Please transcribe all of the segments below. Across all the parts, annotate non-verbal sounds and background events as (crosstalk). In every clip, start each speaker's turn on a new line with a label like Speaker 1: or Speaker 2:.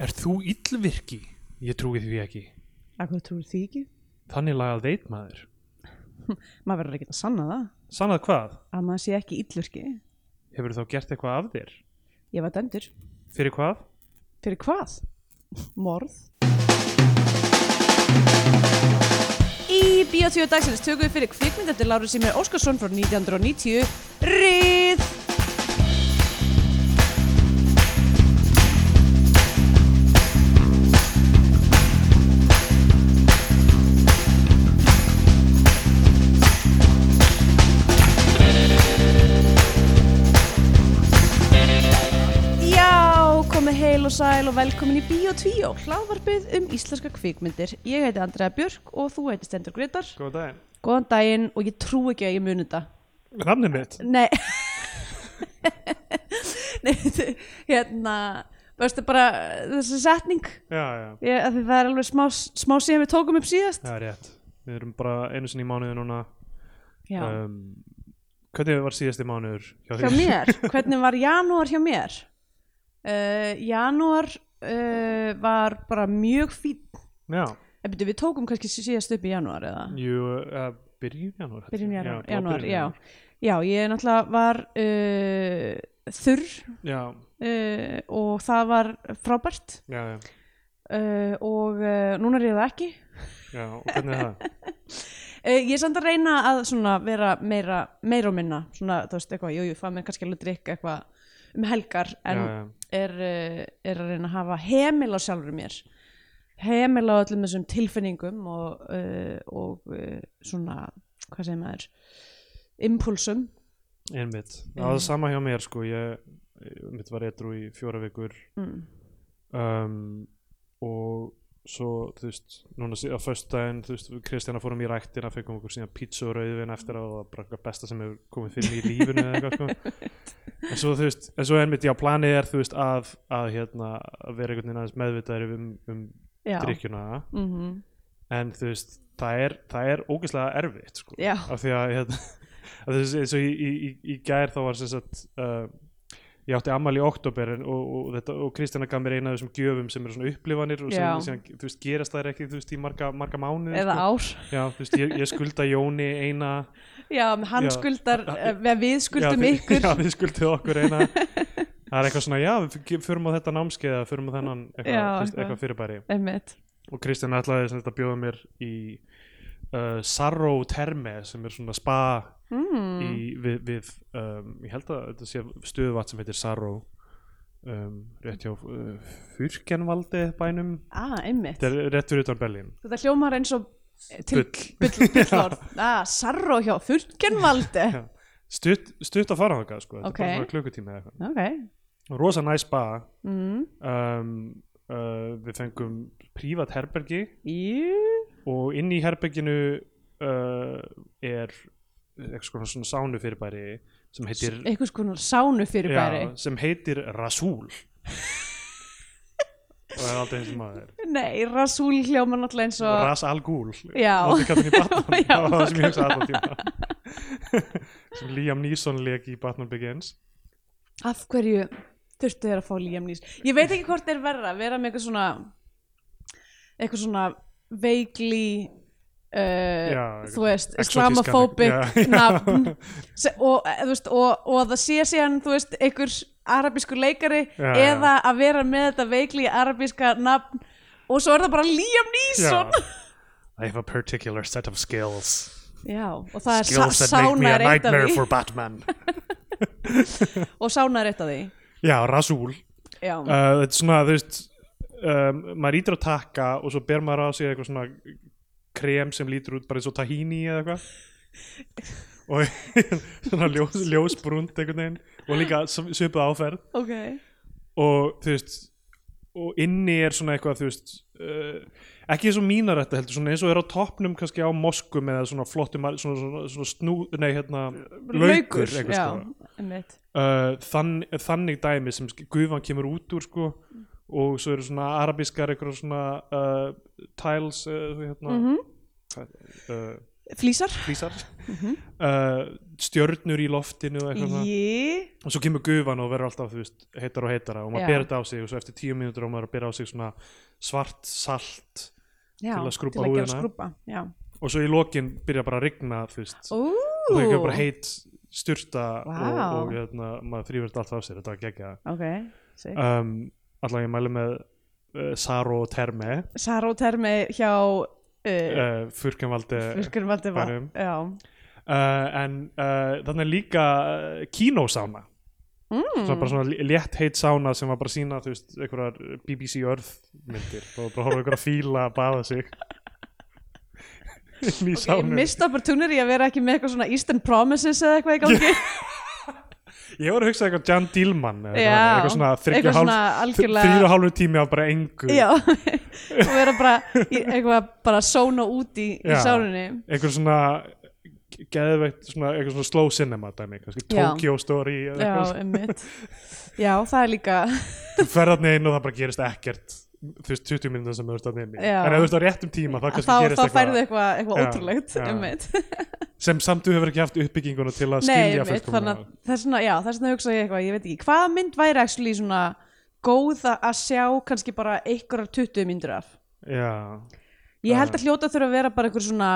Speaker 1: Er þú illvirki? Ég trúi því ekki.
Speaker 2: Akkur trúir því ekki?
Speaker 1: Þannig lagað veit maður.
Speaker 2: Maður verður ekki að sanna það.
Speaker 1: Sannað hvað?
Speaker 2: Að maður sé ekki illurki.
Speaker 1: Hefur þá gert eitthvað af þér?
Speaker 2: Ég var dæmdur.
Speaker 1: Fyrir hvað?
Speaker 2: Fyrir hvað? Morð.
Speaker 3: Í Bíotvíu dagsins tökum við fyrir kvikmynd eftir Lárus Simir Óskarsson frá 1990 Rið Já, komið heil og sæl og velkomin í Bíotvíu hlaðvarpið um íslenska kvikmyndir Ég heiti Andrea Björk og þú heiti Stendur Gretar
Speaker 1: Góð daginn.
Speaker 3: Góðan daginn og ég trú ekki að ég muni þetta
Speaker 1: Namnið mitt?
Speaker 3: Nei (laughs) Nei, þetta- hérna Veistu bara uh, þessi setning
Speaker 1: Já, já.
Speaker 3: ég, af því Það er alveg smá, smá síðan við tókum upp síðast
Speaker 1: Það er rétt. Við erum bara einu sinni í mánuði núna.
Speaker 3: Já,
Speaker 1: Um, hvernig var síðasti mánuður hjá
Speaker 3: hjá mér Hvernig var janúar hjá mér? Uh, janúar uh, var bara mjög fín
Speaker 1: Já.
Speaker 3: Eh, byrju, Við tókum kannski sí- síðast upp í janúar eða?
Speaker 1: Jú, uh, byrjun janúar. held ég.
Speaker 3: Byrjun janúar,
Speaker 1: bara
Speaker 3: janúar,
Speaker 1: byrjun
Speaker 3: já Já, ég náttúrulega var uh, þurr
Speaker 1: janúar.
Speaker 3: uh, og það var frábært
Speaker 1: Já, já, já.
Speaker 3: uh, og uh, núna er ég það ekki
Speaker 1: Já, og hvernig er það?
Speaker 3: uh, ég er samt að reyna að svona vera meira, meira og minna svona, þú veist, eitthvað, jú, jú, fá mér kannski alveg drikk eitthvað um helgar (laughs) en
Speaker 1: já, já.
Speaker 3: Er, uh, er að reyna að hafa hemil á sjálfur mér hemil á öllum þessum tilfinningum og, uh, og uh, svona, hvað segir maður impulsum
Speaker 1: Einmitt. Það var sama hjá mér, sko. Ég, mitt var eitthvað í fjóra vikur
Speaker 3: mm.
Speaker 1: um, og svo þú veist, núna sí- á föstudaginn þú veist, við Kristjana fórum í ræktina fengum okkur síðan pizza og rauðvin eftir að það var bara eitthvað besta sem hefur komið fyrir mig í lífinu eða eitthvað sko en svo þú veist, en svo einmitt, já, planið er þú veist að, að hérna, að vera einhvern veginn aðeins meðvitaðir um, um
Speaker 3: já,
Speaker 1: drikkjuna
Speaker 3: mm
Speaker 1: en þú veist, það er, það er ógeðslega erfitt sko
Speaker 3: já.
Speaker 1: af því að, hérna, (laughs) að þessi, eins og í, í, í, í gær þá var sem sagt uh, ég átti ammali í oktober en, og, og, þetta, og Kristjana gaf mér eina af þessum gjöfum sem eru svona upplifanir og
Speaker 3: Já.
Speaker 1: sem, sem þú veist, gerast þær ekki þú veist, í marga, marga mánuð
Speaker 3: eða
Speaker 1: sko.
Speaker 3: ár
Speaker 1: Já, þú veist, ég, ég skulda Jóni eina
Speaker 3: já, hann
Speaker 1: Já.
Speaker 3: skuldar,
Speaker 1: Já.
Speaker 3: uh, við skuldum
Speaker 1: já, þið- (laughs)
Speaker 3: ykkur
Speaker 1: já, þið skuldið okkur eina það er eitthvað svona, já, við f- förum á þetta námskeið eða förum á þennan eitthvað,
Speaker 3: Já,
Speaker 1: þú veist,
Speaker 3: eitthvað.
Speaker 1: eitthvað fyrirbæri
Speaker 3: (laughs) einmitt
Speaker 1: og Kristjana ætlaði sem þetta bjóða mér í uh, Sarro Terme sem er svona spa
Speaker 3: mm.
Speaker 1: í, við, við um, ég held að þetta sé stöðuvat sem heitir Saró um, rétt hjá uh, Fyrkenvaldi bænum
Speaker 3: ah, einmitt
Speaker 1: þetta er rétt fyrir utan Berlín
Speaker 3: Þetta hljómar eins og eh, til
Speaker 1: Bull.
Speaker 3: bull, bullorð ah, Sarro hjá Furkenvalde
Speaker 1: Já. stutt, stutt að fara þangað sko,
Speaker 3: Ok.
Speaker 1: þetta er bara svona klukkutíma eða
Speaker 3: Ok
Speaker 1: eitthvað rosa næs spa
Speaker 3: mm.
Speaker 1: um, uh, við fengum prívat herbergi
Speaker 3: Jú
Speaker 1: og inn í herberginu uh, er eitthvað svona, svona sánu fyrirbæri sem heitir
Speaker 3: Einhvers konar sánu fyrir bæri
Speaker 1: já, sem heitir
Speaker 3: (laughs)
Speaker 1: Rasúl og það er aldrei eins og maður
Speaker 3: Nei, Rasúl hljómar náttúrulega eins og
Speaker 1: Ras Al Ghul
Speaker 3: Já.
Speaker 1: Látum kallinn í Batman.
Speaker 3: (laughs) Já,
Speaker 1: það var það sem ég hugsaði allan tíma (laughs) sem Liam Neeson leik í Batman Begins
Speaker 3: Af hverju þurftu þér að fá Liam Neeson Ég veit ekki hvort þeir verra Vera með eitthvað svona Eitthvað svona veikli uh,
Speaker 1: Já,
Speaker 3: Þú veist,
Speaker 1: exotískan- Já,
Speaker 3: islamofóbik
Speaker 1: já.
Speaker 3: (laughs) Nafn Se- og, eh, þú veist, og, og að það sé síðan þú veist, einhver arabískur leikari
Speaker 1: Já, já.
Speaker 3: eða að vera með þetta veikli arabíska nafn og svo er það bara Liam Neeson já,
Speaker 1: I have a particular set of skills
Speaker 3: og það er sa
Speaker 1: skills that make me
Speaker 3: sána
Speaker 1: a
Speaker 3: er eitt af
Speaker 1: nightmare
Speaker 3: því
Speaker 1: for Batman
Speaker 3: og sána er eitt af því
Speaker 1: Já, Rasúl
Speaker 3: já,
Speaker 1: uh, þetta er svona, þú veist um, maður ítir að taka og svo ber maður á sig eitthvað svona krem sem lítur út bara eins og tahini eða eitthvað og (laughs) svona ljós, ljósbrunt einhvern veginn og líka svipuð áferð
Speaker 3: ok
Speaker 1: og þú veist og inni er svona eitthvað þú veist uh, ekki eins og mínar þetta heldur svona eins og er á toppnum kannski á moskum eða svona flottum svona, svona, svona snú, nei hérna laukur sko. einhvers
Speaker 3: já,
Speaker 1: staðar.
Speaker 3: einmitt
Speaker 1: Uh, þann, þannig dæmi sem sk- gufan kemur út úr sko og svo eru svona arabískar eitthvað svona uh, tiles uh, hérna,
Speaker 3: Mhm.
Speaker 1: uh,
Speaker 3: flýsar Mhm.
Speaker 1: flísar uh, stjörnur í Eh, loftinu og eitthvað svona.
Speaker 3: Í,
Speaker 1: og svo kemur gufan og verður alltaf þú veist, heitar og heitara og
Speaker 3: Já.
Speaker 1: maður ber þetta á sig og svo eftir tíu mínútur og maður að bera á sig svona svart salt
Speaker 3: Já,
Speaker 1: að skrúbba
Speaker 3: til að gera
Speaker 1: húðina.
Speaker 3: skrúbba, já.
Speaker 1: og svo í lokin byrja bara að rigna þú veist,
Speaker 3: Ú,
Speaker 1: og það er bara heit styrta og,
Speaker 3: Vá.
Speaker 1: og hérna, maður þrýfur þetta allt af sér þetta var geggja
Speaker 2: ok, sick.
Speaker 3: Ah.
Speaker 1: um, allavega ég mæli með uh, Saro og Terme
Speaker 3: Sarótermi hjá uh,
Speaker 1: uh, Furkenvaldi
Speaker 3: Fyrkjumvaldi var.
Speaker 1: Færeyjum.
Speaker 3: Já,
Speaker 1: uh, en uh, þannig er líka uh, kínosána mm. bara svona lé- létt heit sána sem var bara að sína þú veist, einhverjar BBC Earth myndir og bara horfa á einhverja fíla að baða
Speaker 3: (laughs)
Speaker 1: sig inn í
Speaker 3: ok, ég
Speaker 1: sánu
Speaker 3: mist opportunity að vera ekki með eitthvað svona Eastern Promises eða eitthvað í gangi.
Speaker 1: (laughs) ég voru að hugsa eitthvað Jan Dillman eða
Speaker 3: Já,
Speaker 1: eitthvað, eitthvað svona
Speaker 3: eitthvað svona algjörlega-
Speaker 1: þrýra hálfu tími af bara engu
Speaker 3: Já, (laughs) og vera bara í- eitthvað bara sóna út í, í
Speaker 1: Já.
Speaker 3: sárunni.
Speaker 1: einhver svona eh, geðveikt svona, eitthvað svona slow cinema dæmi, kannski
Speaker 3: Já.
Speaker 1: Tokyo Story eða
Speaker 3: Já,
Speaker 1: eitthvað,
Speaker 3: emmitt. Já, það er líka...
Speaker 1: þú ferð þarna inn og það bara gerist ekkert þú veist 20 minnum sem þú ert þarna inn í
Speaker 3: Já.
Speaker 1: en ef þú ert á réttum tíma þá kannski
Speaker 3: þá,
Speaker 1: gerist
Speaker 3: þá
Speaker 1: eitthvað
Speaker 3: færðu eitthvað, eitthvað
Speaker 1: Já,
Speaker 3: ótrúlegt
Speaker 1: já.
Speaker 3: einmitt.
Speaker 1: sem samt þú hefur ekki haft uppbygginguna til að
Speaker 3: Nei,
Speaker 1: skilja
Speaker 3: einmitt,
Speaker 1: fullkomna
Speaker 3: þannig að þess vegna, já, þess vegna hugsa ég eitthvað, ég veit ekki hvaða mynd væri actually svona góð að að sjá kannski bara einhverjar 20 myndur af
Speaker 1: já,
Speaker 3: ég held að hljóta þurfa að vera bara einhver svona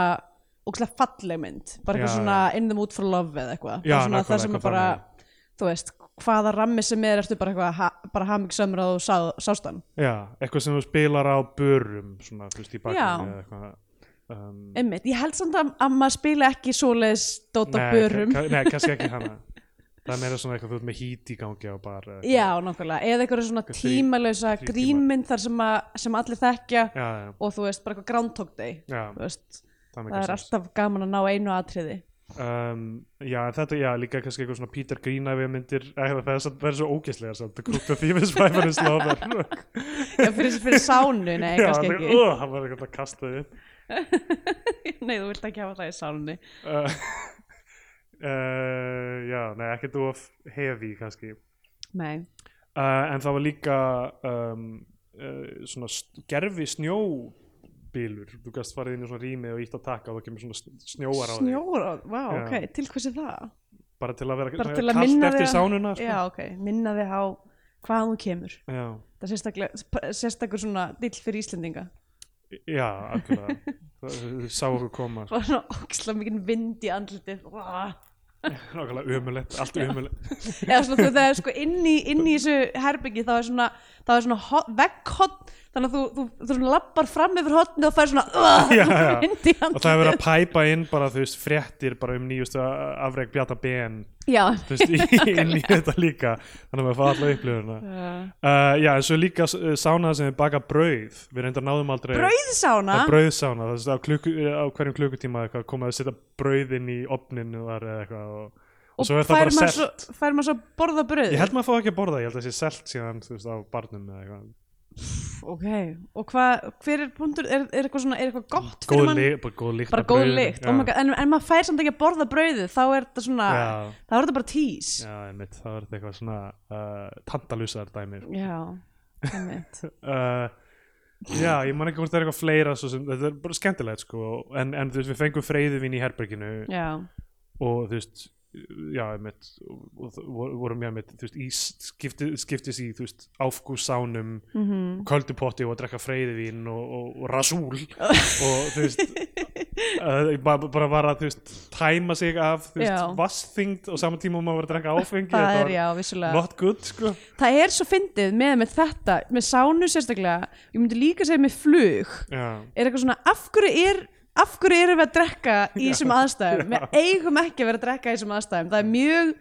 Speaker 3: ókslega falleg mynd bara einhver
Speaker 1: Já,
Speaker 3: svona in the mood for love eða eitthvað
Speaker 1: Já,
Speaker 3: Bara svona,
Speaker 1: nákvæmlega,
Speaker 3: það sem
Speaker 1: eitthvað
Speaker 3: er bara, þú veist hvaða rammi sem er ertu bara eitthvað ha- bara hamingsamur og sá, sástan
Speaker 1: já, eitthvað sem þú spilar á börum svona, þú veist, í bakgrunni
Speaker 3: Já.
Speaker 1: eða eitthvað um,
Speaker 3: einmitt, ég held samt að, að maður spila ekki svoleiðis dót á
Speaker 1: nei,
Speaker 3: börum
Speaker 1: ka- ka- nei, kannski
Speaker 3: (laughs)
Speaker 1: ekki hana það er meira svona eitthvað þú ert með hít í gangi á bar eða eitthvað.
Speaker 3: Já, nákvæmlega, eða eitthvað svona
Speaker 1: Eitthvað þrí-
Speaker 3: tímalausa
Speaker 1: þrír tímar.
Speaker 3: grínmynd þar sem, að, sem allir þekkja
Speaker 1: já, já,
Speaker 3: og þú veist, bara eitthvað Groundhog Day
Speaker 1: já,
Speaker 3: þú veist,
Speaker 1: það,
Speaker 3: það er
Speaker 1: mikið sens.
Speaker 3: alltaf gaman að ná einu atriði
Speaker 1: um, já, en þetta, já, líka kannski eitthvað svona Peter Greenaway myndir eða það er, samt- það er svo ógeðslega samt, Group of Thieves Five is Love
Speaker 3: Já, fyrir, fyrir sánu, nei,
Speaker 1: (laughs) já,
Speaker 3: kannski
Speaker 1: það,
Speaker 3: ekki
Speaker 1: uh, hann var eitthvað að kasta þið
Speaker 3: (laughs) Nei, þú vilt ekki hafa það í sánunni
Speaker 1: (laughs) uh, uh, já, nei, ekkert of heavy kannski uh,
Speaker 3: Nei,
Speaker 1: en það var líka um, uh, svona gerfi snjóbílur þú gæst farið inn í svona rými og ítt að taka og það kemur svona sn- snjóar á þig
Speaker 3: snjóra, vá,
Speaker 1: Já.
Speaker 3: ok, til hvers er það?
Speaker 1: bara til að vera
Speaker 3: Bara
Speaker 1: svona
Speaker 3: til að
Speaker 1: kalt
Speaker 3: minna
Speaker 1: eftir
Speaker 3: þig á-
Speaker 1: sánuna sko.
Speaker 3: Já, ok, minna þig á hvaðan þú kemur
Speaker 1: já,
Speaker 3: Það er sérstaklega, sérstakur svona dill fyrir Íslendinga (laughs)
Speaker 1: já algjörlega Það- sá okkur koma sko.
Speaker 3: Bara svona óksla mikið vind í andlitið Vá.
Speaker 1: Nákvæmlega ömulegt, allt ömulegt
Speaker 3: eða svona þú það er sko inn í, inn í þessu herbyggi þá er svona, þá er svona vegghotn þannig að þú, þú, þú svona lappar fram yfir hotni og fær svona uh,
Speaker 1: (laughs) Já,
Speaker 3: (laughs)
Speaker 1: já.
Speaker 3: vind í
Speaker 1: Og það er verið að
Speaker 3: andlitið
Speaker 1: pæpa inn bara þú veist fréttir bara um nýjustu afreg Bjarta BN
Speaker 3: já,
Speaker 1: þú veist, í- inn í þetta líka þannig að maður fá alla upplifuna uh, Já, en svo líka uh, sánaða sem er baka brauð við reyndar náðum aldrei
Speaker 3: brauðsána
Speaker 1: að brauðsána, það er á, klukku, á hverjum klukkutíma eitthvað, koma að setja brauðin í opninu þar eða eitthvað og, og, svo er það
Speaker 3: fær
Speaker 1: bara
Speaker 3: maður
Speaker 1: selt
Speaker 3: svo, fær maður svo borða brauð
Speaker 1: Ég held maður fá ekki að borða, ég held að það sé selt síðan þú veist á barnum eða eitthvað
Speaker 3: ok, og hvað, hver er punktur er, er eitthvað svona, er eitthvað gott
Speaker 1: Góð,
Speaker 3: fyrir mann
Speaker 1: ly, bara góð lykt
Speaker 3: bara
Speaker 1: af
Speaker 3: góð
Speaker 1: brauðinu,
Speaker 3: lykt, oh my
Speaker 1: já.
Speaker 3: god, en, en maður fær samt ekki að borða brauðið þá er þetta svona,
Speaker 1: Já.
Speaker 3: þá er þetta bara tís já,
Speaker 1: Já, einmitt, það var eitthvað svona uh, tandalusar dæmi sko.
Speaker 3: já. einmitt.
Speaker 1: (laughs) uh, Já, ég man ekki hvort það er eitthvað fleira svo sem, þetta er bara skemmtilegt sko en, en þú veist, við fengum freyðuvin í herberginu
Speaker 3: já,
Speaker 1: og þú veist já, einmitt, og, og, þ- vor- vorum ég einmitt, þú veist, í skipti, skiptis í þú veist, áfgússánum mm
Speaker 3: Mhm.
Speaker 1: -hmm. köldupotti og að drekka freyðuvin og, og, og
Speaker 3: (laughs)
Speaker 1: rasúl og þú veist uh, ég bara, bara var að, þú veist, tæma sig af, þú veist,
Speaker 3: Já.
Speaker 1: vassþyngd og saman tíma og maður var að drekka áfengi
Speaker 3: það
Speaker 1: þetta
Speaker 3: er
Speaker 1: var
Speaker 3: já, vissulega
Speaker 1: Not good, sko
Speaker 3: það er svo fyndið með, með þetta með sánu sérstaklega, ég myndi líka segja með flug
Speaker 1: Já,
Speaker 3: er eitthvað svona, af hverju er af hverju erum við að drekka í þessum aðstæðum við eigum ekki að vera að drekka í þessum aðstæðum það er mjög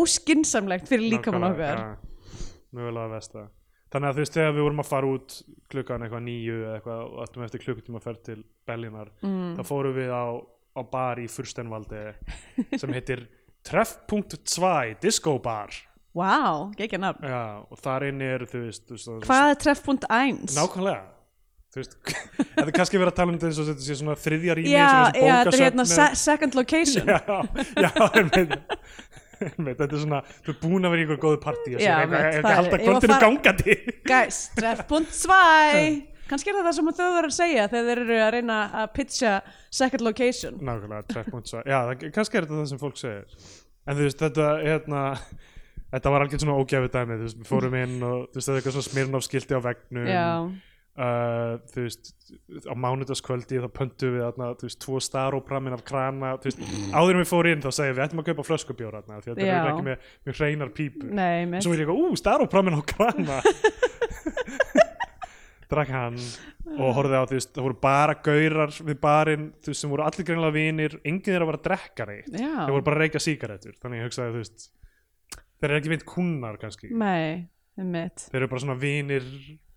Speaker 3: óskinsamlegt fyrir líkamann
Speaker 1: nákvæmlega,
Speaker 3: okkar
Speaker 1: já. Mögulega vest það Þannig að þú veist þegar við vorum að fara út klukkan eitthvað nýju eða eitthvað og ættum eftir klukkutíma að ferð til Bellinar mm. þá fórum við á, á bar í Furstenvaldi sem heitir Treff.2 Disco Bar
Speaker 3: wow, gekkja nafn
Speaker 1: Já, og þar inn er þú veist, þú veist það-
Speaker 3: hvað er treffbúnd æns?
Speaker 1: Nákvæmlega Þú veist, (laughs) þetta er kannski verið að tala um þetta eins og þetta sé svona þriðja rými
Speaker 3: já,
Speaker 1: sem þessi
Speaker 3: já, þetta er
Speaker 1: bókasöfn
Speaker 3: hérna
Speaker 1: er-
Speaker 3: se second location já,
Speaker 1: já, já, einmitt Einmitt, þetta er svona, þú er búin að vera í einhver góðu partí og
Speaker 3: Já,
Speaker 1: sér,
Speaker 3: einmitt,
Speaker 1: eitthvað,
Speaker 3: það
Speaker 1: eitthvað
Speaker 3: er-
Speaker 1: halda
Speaker 3: ég var
Speaker 1: kvöldinu
Speaker 3: fara-
Speaker 1: gangandi
Speaker 3: guys, treffbúnd 2 kannski er það það sem þau verður að segja þegar þeir eru að reyna að pitcha second location
Speaker 1: Nákvæmlega, 3.2 Já, það, kannski er þetta það sem fólk segir En þú veist, þetta, hérna þetta var algjörn svona ógæfi dæmi þú veist, við fórum inn og þú veist, það er eitthvað svona smirnafskilti á vegnum
Speaker 3: já,
Speaker 1: uh, þú veist, á mánudaskvöldi þá pöntum við þarna, þú veist, tvo starópramin af krana, þú veist, áður en við fórum inn þá segja við ættum að kaupa flöskubjóra þarna því að þetta
Speaker 3: Já.
Speaker 1: er ekki með, með hreinar pípur
Speaker 3: nei, mitt
Speaker 1: svo er ég eitthvað, ú, starópramin á
Speaker 3: (laughs)
Speaker 1: krana drakk hann og horfði á, þú veist, það voru bara gaurar við barinn, þú veist, sem voru allir greinlega vinir, enginn þeirra var að drekka neitt
Speaker 3: já,
Speaker 1: þeir voru bara að reykja sígarettur, þannig ég hugsaði, þú veist þeir eru ekki veit kunnar
Speaker 3: Mm.
Speaker 1: kannski
Speaker 3: nei, mitt
Speaker 1: þeir eru bara svona vinir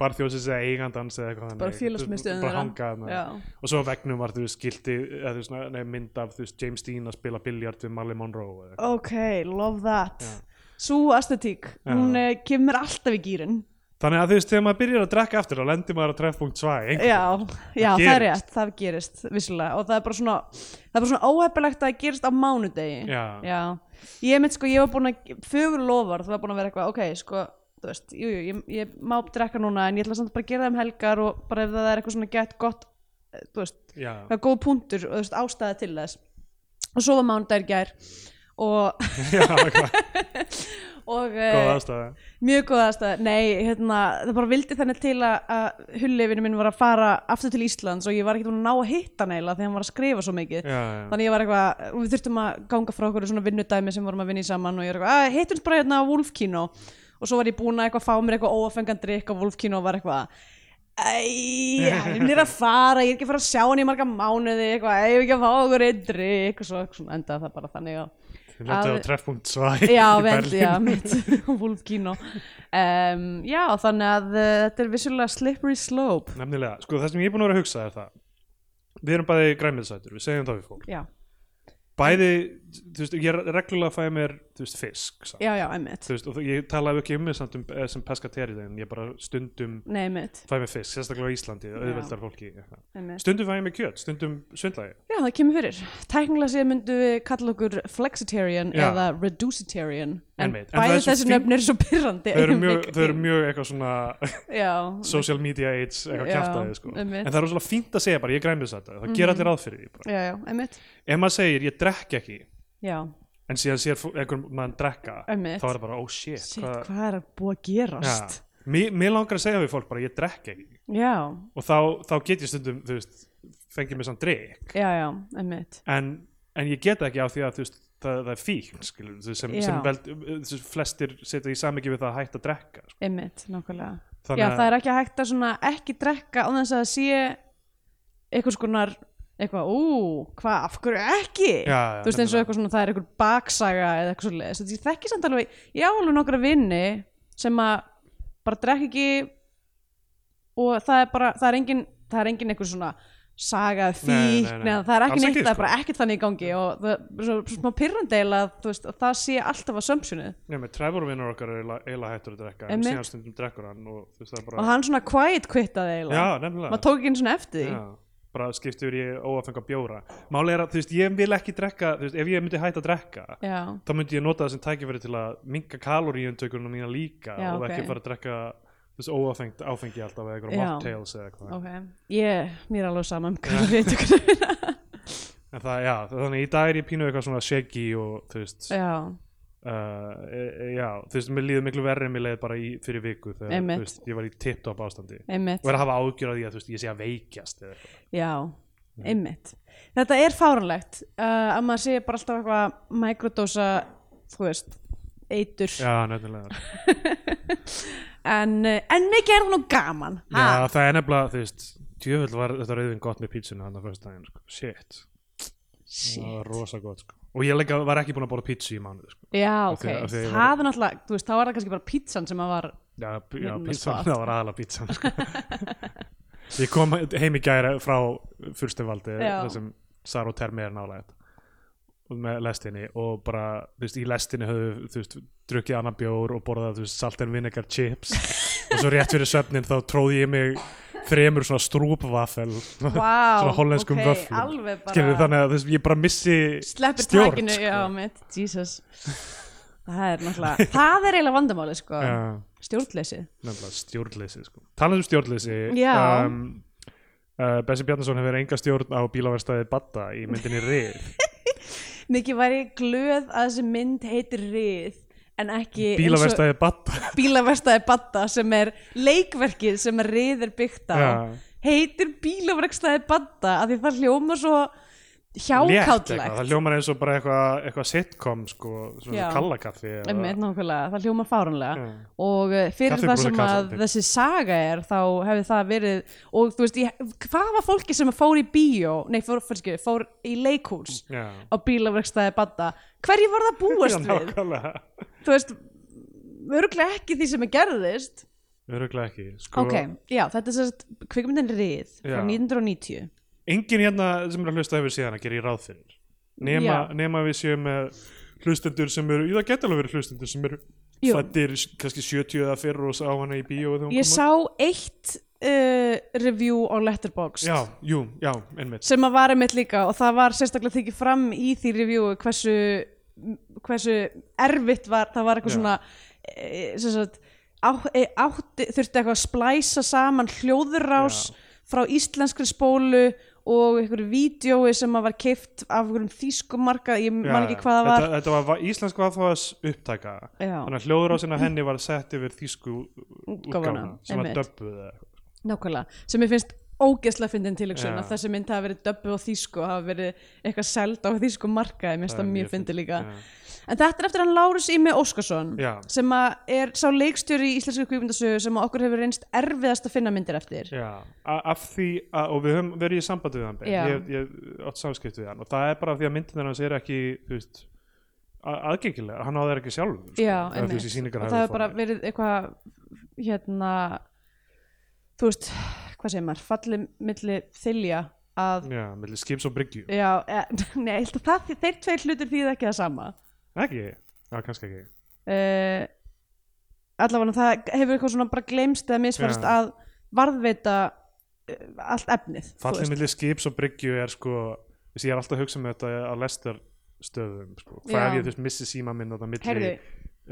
Speaker 1: barþjóðsins eða eigandans eða eitthvað
Speaker 3: bara
Speaker 1: þannig.
Speaker 3: félagsmiðstöðin
Speaker 1: bara hangað
Speaker 3: já,
Speaker 1: þarna. og svo á veggnum var þú veist skilti eða, þú veist, svona, nei, mynd af þú veist, James Dean að spila biljart við Marley Monroe eða, eitthvað.
Speaker 3: ok, love that
Speaker 1: Já.
Speaker 3: svo aesthetík,
Speaker 1: Já.
Speaker 3: hún eh, kemur alltaf í gýrin
Speaker 1: þannig að þú veist þegar maður byrjar að drekka aftur þá lendir maður á treffpunkt 2 einhvern
Speaker 3: já, já, það er
Speaker 1: gerist.
Speaker 3: rétt, það gerist vissulega, og það er bara svona það er bara svona óhefilegt að það gerist á mánudegi
Speaker 1: Já.
Speaker 3: ég mynd sko, ég var búin að fögur lofar, það var búin að vera eitthvað ok, sko, þú veist, jú, jú, ég, ég má drekka núna, en ég ætla samt bara að gera það um helgar og bara ef það er eitthvað svona gett gott eh, þú veist,
Speaker 1: veginn. Já.
Speaker 3: það er góð punktur og þú veist, ástæða til þess og svo var mánudagur í gær og,
Speaker 1: Já, klart,
Speaker 3: (laughs) og
Speaker 1: góð
Speaker 3: eh,
Speaker 1: aðstæða
Speaker 3: mjög góð aðstæða nei, hérna, það bara vildi þannig til að, að hullifinu minn var að fara aftur til Íslands og ég var ekkert búin að ná að hitta neila þegar hann var að skrifa svo mikið
Speaker 1: já, já.
Speaker 3: þannig ég var eitthvað, og við þurftum að ganga frá okkur svona vinnudæmi sem vorum að vinna í saman og ég er eitthvað, að hittum bara hérna á Wolf Kino og svo var ég búin að eitthvað fá mér eitthvað óafengan drikk á Wolf Kino og var eitthvað Æ, hann er að fara, ég er ekki að fara að sjá hann í marga mánuði eitthvað, ég er ekki að fá okkur einn drikk og svo svona endaði það bara þannig að
Speaker 1: Þið lendir á
Speaker 3: að-
Speaker 1: treffpunkt 2
Speaker 3: já, vendi, já, mitt (laughs) Wolf Kino um, já, þannig að uh, þetta er vissulega slippery slope
Speaker 1: nefnilega, sko það sem ég er búin að vera að hugsa er það við erum bæði græmiðsætur, við segjum það við fólk
Speaker 3: já,
Speaker 1: bæði, þú veist, ég er reglulega að fæða mér þú veist, fisk samt.
Speaker 3: já, já, einmitt
Speaker 1: þú veist, og ég talaði ekki um mig samt um, eh, sem pescatarian, ég bara stundum
Speaker 3: nei, einmitt,
Speaker 1: fæ mér fisk, sérstaklega á Íslandi auðveldar fólki, eitthvað.
Speaker 3: einmitt
Speaker 1: stundum fæ ég mér kjöt stundum sundlægi,
Speaker 3: já, það kemur fyrir, tæknilega séð myndu við kalla okkur flexitarian
Speaker 1: Já.
Speaker 3: eða reducitarian en
Speaker 1: Einmitt. En það er
Speaker 3: bæði
Speaker 1: svo
Speaker 3: þessi
Speaker 1: fín-
Speaker 3: nöfn eru svo pyrrandi (laughs)
Speaker 1: þau eru mjög, þau eru mjög eitthvað svona (laughs)
Speaker 3: já,
Speaker 1: social media aids, eitthvað
Speaker 3: Já,
Speaker 1: kjartaði sko. en
Speaker 3: einmitt. Mhm.
Speaker 1: það er svona fínt að segja bara, ég græmið þetta það gera allir ráð fyrir því bara.
Speaker 3: já, já, einmitt
Speaker 1: ef maður segir, ég drekk ekki
Speaker 3: já,
Speaker 1: en síðan sér fó- einhver mann drekka
Speaker 3: Einmitt.
Speaker 1: þá er það bara, oh shit,
Speaker 3: shit, hvað er að búa að gerast
Speaker 1: ja. mér, mér langar að segja við fólk bara, ég drekk ekki
Speaker 3: já,
Speaker 1: og þá, þá get ég stundum, þú veist fengið mér samt drikk
Speaker 3: já, já, einmitt
Speaker 1: en, en ég get það ekki á því að þú veist, það, það er fíkn skilur, þú veist, sem, sem
Speaker 3: Já.
Speaker 1: veld, þú veist, flestir setja í samingi við það að hætta að drekka sko.
Speaker 3: einmitt, nákvæmlega
Speaker 1: þannig
Speaker 3: Já,
Speaker 1: að
Speaker 3: það er ekki hægt að svona ekki drekka á þess að það sé eitthvað skonar eitthvað, ú, hvað, af hverju ekki?
Speaker 1: Já, já,
Speaker 3: þú veist eins og eitthvað svona, það er eitthvað baksaga eða eitthvað svona leðis. Ég þekki samt alveg, ég á alveg nokkra vinni sem að bara drekka ekki og það er bara, það er engin, það er engin eitthvað svona saga
Speaker 1: Nei, nei,
Speaker 3: fíkn
Speaker 1: nei.
Speaker 3: eða það er ekki
Speaker 1: Alls
Speaker 3: neitt,
Speaker 1: ekki,
Speaker 3: það er
Speaker 1: sko.
Speaker 3: bara ekkert þannig í gangi og það er svo, svo smá pyrrandeila, þú veist, að það sé alltaf að sömsunnið
Speaker 1: nefnir, Trevor vinnur okkar er eiginlega- eiginlega hættur að drekka en
Speaker 3: Einmitt.
Speaker 1: síðan stundum drekkur hann og þú veist það er bara
Speaker 3: og hann svona quiet quittaði eiginlega,
Speaker 1: já, nefnilega
Speaker 3: maður tók ekki einu svona eftir því.
Speaker 1: já, bara skipti yfir í óafengar bjóra máli er að, þú veist, ég vil ekki drekka þú veist, ef ég myndi hætta að drekka
Speaker 3: Já,
Speaker 1: þá myndi ég nota það sem tækifæri til að minka kaloríuntökurna mína líka
Speaker 3: Já,
Speaker 1: og
Speaker 3: ok.
Speaker 1: ekki fara að drekka þú veist, óafengt áfengi alltaf eða eitthvað
Speaker 3: Já.
Speaker 1: mocktails eða eitthvað
Speaker 3: ok. Ég, mér er alveg sama um hvað við tökum.
Speaker 1: En það, já, þannig í dag er ég pínu eitthvað svona shaky og þú veist, uh,
Speaker 3: já,
Speaker 1: e, e, já, þú veist, mér líður miklu verri en mér leið bara í, fyrir viku þegar,
Speaker 3: Einmitt.
Speaker 1: þú veist, ég var í tip-top ástandi
Speaker 3: einmitt.
Speaker 1: og er að hafa ágjör að því að, þú veist, ég sé að veikjast eða eitthvað.
Speaker 3: Já, einmitt. Þetta er fáranlegt uh, að maður sé bara alltaf eitthvað mikrodósa, þú veist, eitur.
Speaker 1: Já, nefnilega.
Speaker 3: En, uh, en mikið er það nú gaman. ha?
Speaker 1: Já, það er nefnilega, þú veist, djöfull var þetta rauðin gott með pítsuna hann að fyrst daginn, sko, shit,
Speaker 3: Shit.
Speaker 1: það var rosa gott, sko. Og ég leika, var ekki búin að bóra pítsu í mánuð, sko.
Speaker 3: Já,
Speaker 1: Af
Speaker 3: ok.
Speaker 1: því- af því ég
Speaker 3: það
Speaker 1: var-
Speaker 3: er náttúrulega, þú veist, þá var það kannski bara pizzan sem að var,
Speaker 1: Já, p- já
Speaker 3: Vinna
Speaker 1: pítsan,
Speaker 3: svart.
Speaker 1: það var aðalega pítsan,
Speaker 3: (laughs)
Speaker 1: sko. ég kom heim í gæra frá Furstenvaldi,
Speaker 3: Já.
Speaker 1: þar sem Sara og Termi er nálægt og með lestinni og bara, þú veist, í lestinni höfðu, þú veist, drukkið annan bjór og borðað, þú veist, salt and vinegar chips
Speaker 3: (laughs)
Speaker 1: og svo rétt fyrir svefnin þá tróði ég mig þremur svona strúpvafel
Speaker 3: wow,
Speaker 1: svona hollenskum
Speaker 3: ok,
Speaker 1: vöfflum.
Speaker 3: alveg bara.
Speaker 1: skilur þannig að þú veist, ég bara missi
Speaker 3: sleppir
Speaker 1: stjórn,
Speaker 3: takinu,
Speaker 1: sko.
Speaker 3: já, mitt, Jesus. Það er náttúrulega, það er eiginlega vandamálið, sko.
Speaker 1: Já.
Speaker 3: Stjórnleysið.
Speaker 1: nefnilega stjórnleysi sko. talað um stjórnleysi
Speaker 3: Já.
Speaker 1: uh, Bessi Bjarnason hefur enga stjórn á bílaverstaði Batta
Speaker 3: (laughs)
Speaker 1: í myndinni Rið
Speaker 3: Mikið var ég glöð að þessi mynd heitir Rið en ekki eins og-
Speaker 1: Bílaverstaði batta
Speaker 3: bílaverstaði Badda sem er leikverkið sem er reyðir byggt á
Speaker 1: Já.
Speaker 3: heitir bílaverstaði Badda af því það hljóma svo
Speaker 1: Létt eitthvað, það
Speaker 3: hjákáttlegt
Speaker 1: hljómar eins og bara eitthvað eitthvað sitcom sko, svona
Speaker 3: Já.
Speaker 1: kallakaffi eða-
Speaker 3: Einmitt, nákvæmlega, það hljóma fárunlega
Speaker 1: Já.
Speaker 3: og eh, fyrir
Speaker 1: Kaffibrúsa
Speaker 3: það sem að
Speaker 1: kallandi.
Speaker 3: þessi saga er þá hefði það verið og þú veist, ég, hvað var fólki sem fór í bíó nei, fór, fór, fór, fór í leikhús
Speaker 1: Já.
Speaker 3: á bílaverkstæði Badda hverju var
Speaker 1: (laughs)
Speaker 3: það
Speaker 1: Já,
Speaker 3: búast við?
Speaker 1: nákvæmlega
Speaker 3: þú veist, örglega ekki því sem er gerðist
Speaker 1: Öruglega ekki sko,
Speaker 3: Ok, já, þetta er sérst kvikmyndin Rið frá
Speaker 1: Já.
Speaker 3: 1990
Speaker 1: Engin hérna sem er að hlusta hefur síðan að gera í ráð fyrir nema,
Speaker 3: Já.
Speaker 1: nema við séum með hlustendur sem eru, jú það geta alveg verið hlustendur sem eru
Speaker 3: Jú.
Speaker 1: fættir kannski 70 eða fyrr og sá hana í bíó þegar hún
Speaker 3: Ég
Speaker 1: kom
Speaker 3: sá eitt uh, review á
Speaker 1: út.
Speaker 3: Letterboxd
Speaker 1: Já, jú, já, einmitt
Speaker 3: sem að var einmitt líka og það var sérstaklega þykir fram í því review hversu, hversu erfitt var, það var eitthvað
Speaker 1: Já.
Speaker 3: svona e, sagt, á, e, átti, þurfti eitthvað að splæsa saman hljóðurrás
Speaker 1: Já.
Speaker 3: frá íslenskri spólu og einhverju vídjói sem að var keift af einhverjum þýskumarka, ég
Speaker 1: Já,
Speaker 3: man ekki
Speaker 1: já.
Speaker 3: hvað það var
Speaker 1: Þetta, þetta var va- íslensk aðfáðas upptaka
Speaker 3: Já.
Speaker 1: Þannig að hljóðurásin af henni var sett yfir þýsku útgáfuna sem var
Speaker 3: einmitt.
Speaker 1: döbbuð eða eitthvað.
Speaker 3: Nákvæmlega, sem ég finnst ógeðslega fyndin tilöksun
Speaker 1: Já.
Speaker 3: að þessi mynd hafa verið döbbu á þýsku og hafa verið eitthvað seld á þýsku markaði, mér finnst
Speaker 1: er
Speaker 3: það
Speaker 1: mjög
Speaker 3: mjög fyndi líka
Speaker 1: já.
Speaker 3: en þetta er eftir hann Lárus Ími Óskarsson
Speaker 1: Já.
Speaker 3: sem að er sá leikstjóri í íslensku kvíkmyndasögu sem að okkur hefur reynst erfiðast að finna myndir eftir
Speaker 1: Já, a- af því að, og við höfum verið í sambandi við hann Ben.
Speaker 3: Já.
Speaker 1: ég, ég átt samskipt við hann og það er bara af því að myndin hans er ekki þú veist, a- aðgengilega, hann á þeir ekki sjálfur sko,
Speaker 3: Já,
Speaker 1: eða þú
Speaker 3: einmitt.
Speaker 1: veist, í sýningar
Speaker 3: og það hefur bara verið eitthvað hérna þú veist, hvað segir maður, fallið milli þylja að
Speaker 1: Já, millir skips og bryggju,
Speaker 3: Já, e, (laughs) nei, ég held að það, þeir tveir hlutir því ekki það sama
Speaker 1: ekki? Já, kannski ekki
Speaker 3: uh, allavega það hefur eitthvað svona bara gleymst eða misfærast
Speaker 1: Já.
Speaker 3: að varðveita uh, allt efnið þú
Speaker 1: Fallið
Speaker 3: veist.
Speaker 1: millir skips og bryggju er sko, þess að ég er alltaf að hugsa um þetta á lestar stöðum sko. hvað
Speaker 3: Já.
Speaker 1: ef ég þú veist missi síma minn þetta milli
Speaker 3: Heyrðu.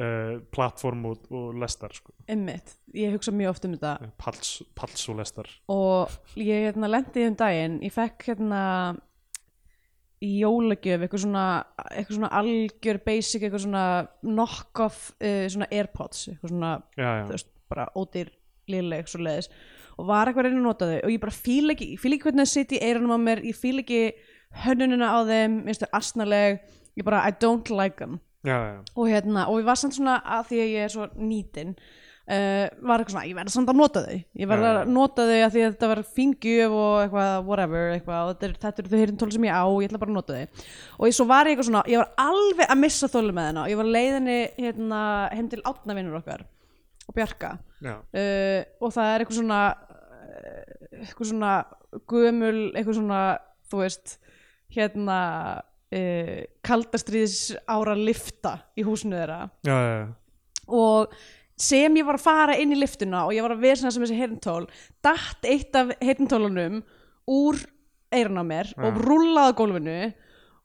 Speaker 1: uh, platform og, og lestar sko. Eh,
Speaker 3: einmitt, ég hugsa mjög oft um þetta
Speaker 1: pals, pals og lestar
Speaker 3: og ég hérna lendi um daginn ég fekk hérna í jólagjöf eitthvað svona, eitthvað svona algjör basic eitthvað svona knock-off uh, svona airpods eitthvað svona
Speaker 1: Já, já,
Speaker 3: þú veist, bara ódýr léleg svo leiðis og var eitthvað að reyna að nota þau og ég bara fíla ekki, ég fíla ekki hvernig það sitt í eyrunum á mér ég fíla ekki hönnunina á þeim minnst þau asnaleg, ég bara I don't like them
Speaker 1: já, já.
Speaker 3: og hérna, og ég var samt svona að því að ég er svo nýtin uh, var eitthvað svona, ég verði samt að nota þau ég verði
Speaker 1: Já, já.
Speaker 3: að nota þau að því að þetta var fingjöf og eitthvað, whatever, eitthvað og þetta er- þetta eru þau hérin tól sem ég á, ég ætla bara að nota þau og ég, svo var ég eitthvað svona, ég var alveg að missa þólu með hennar, ég var á leiðinni hérna, heim til átnavinnur okkar og Bjarka
Speaker 1: já.
Speaker 3: uh, og það er eitthvað svona uh, eitthvað svona gömul, eitthvað svona þú veist, hérna uh, kaldastriðis ára lifta í húsinu þeirra
Speaker 1: já, já, já.
Speaker 3: og sem ég var að fara inn í liftuna og ég var að vesna sem þessi heyrntól datt eitt af heyrntólunum úr eyrun á mér og rúllaði á gólfinu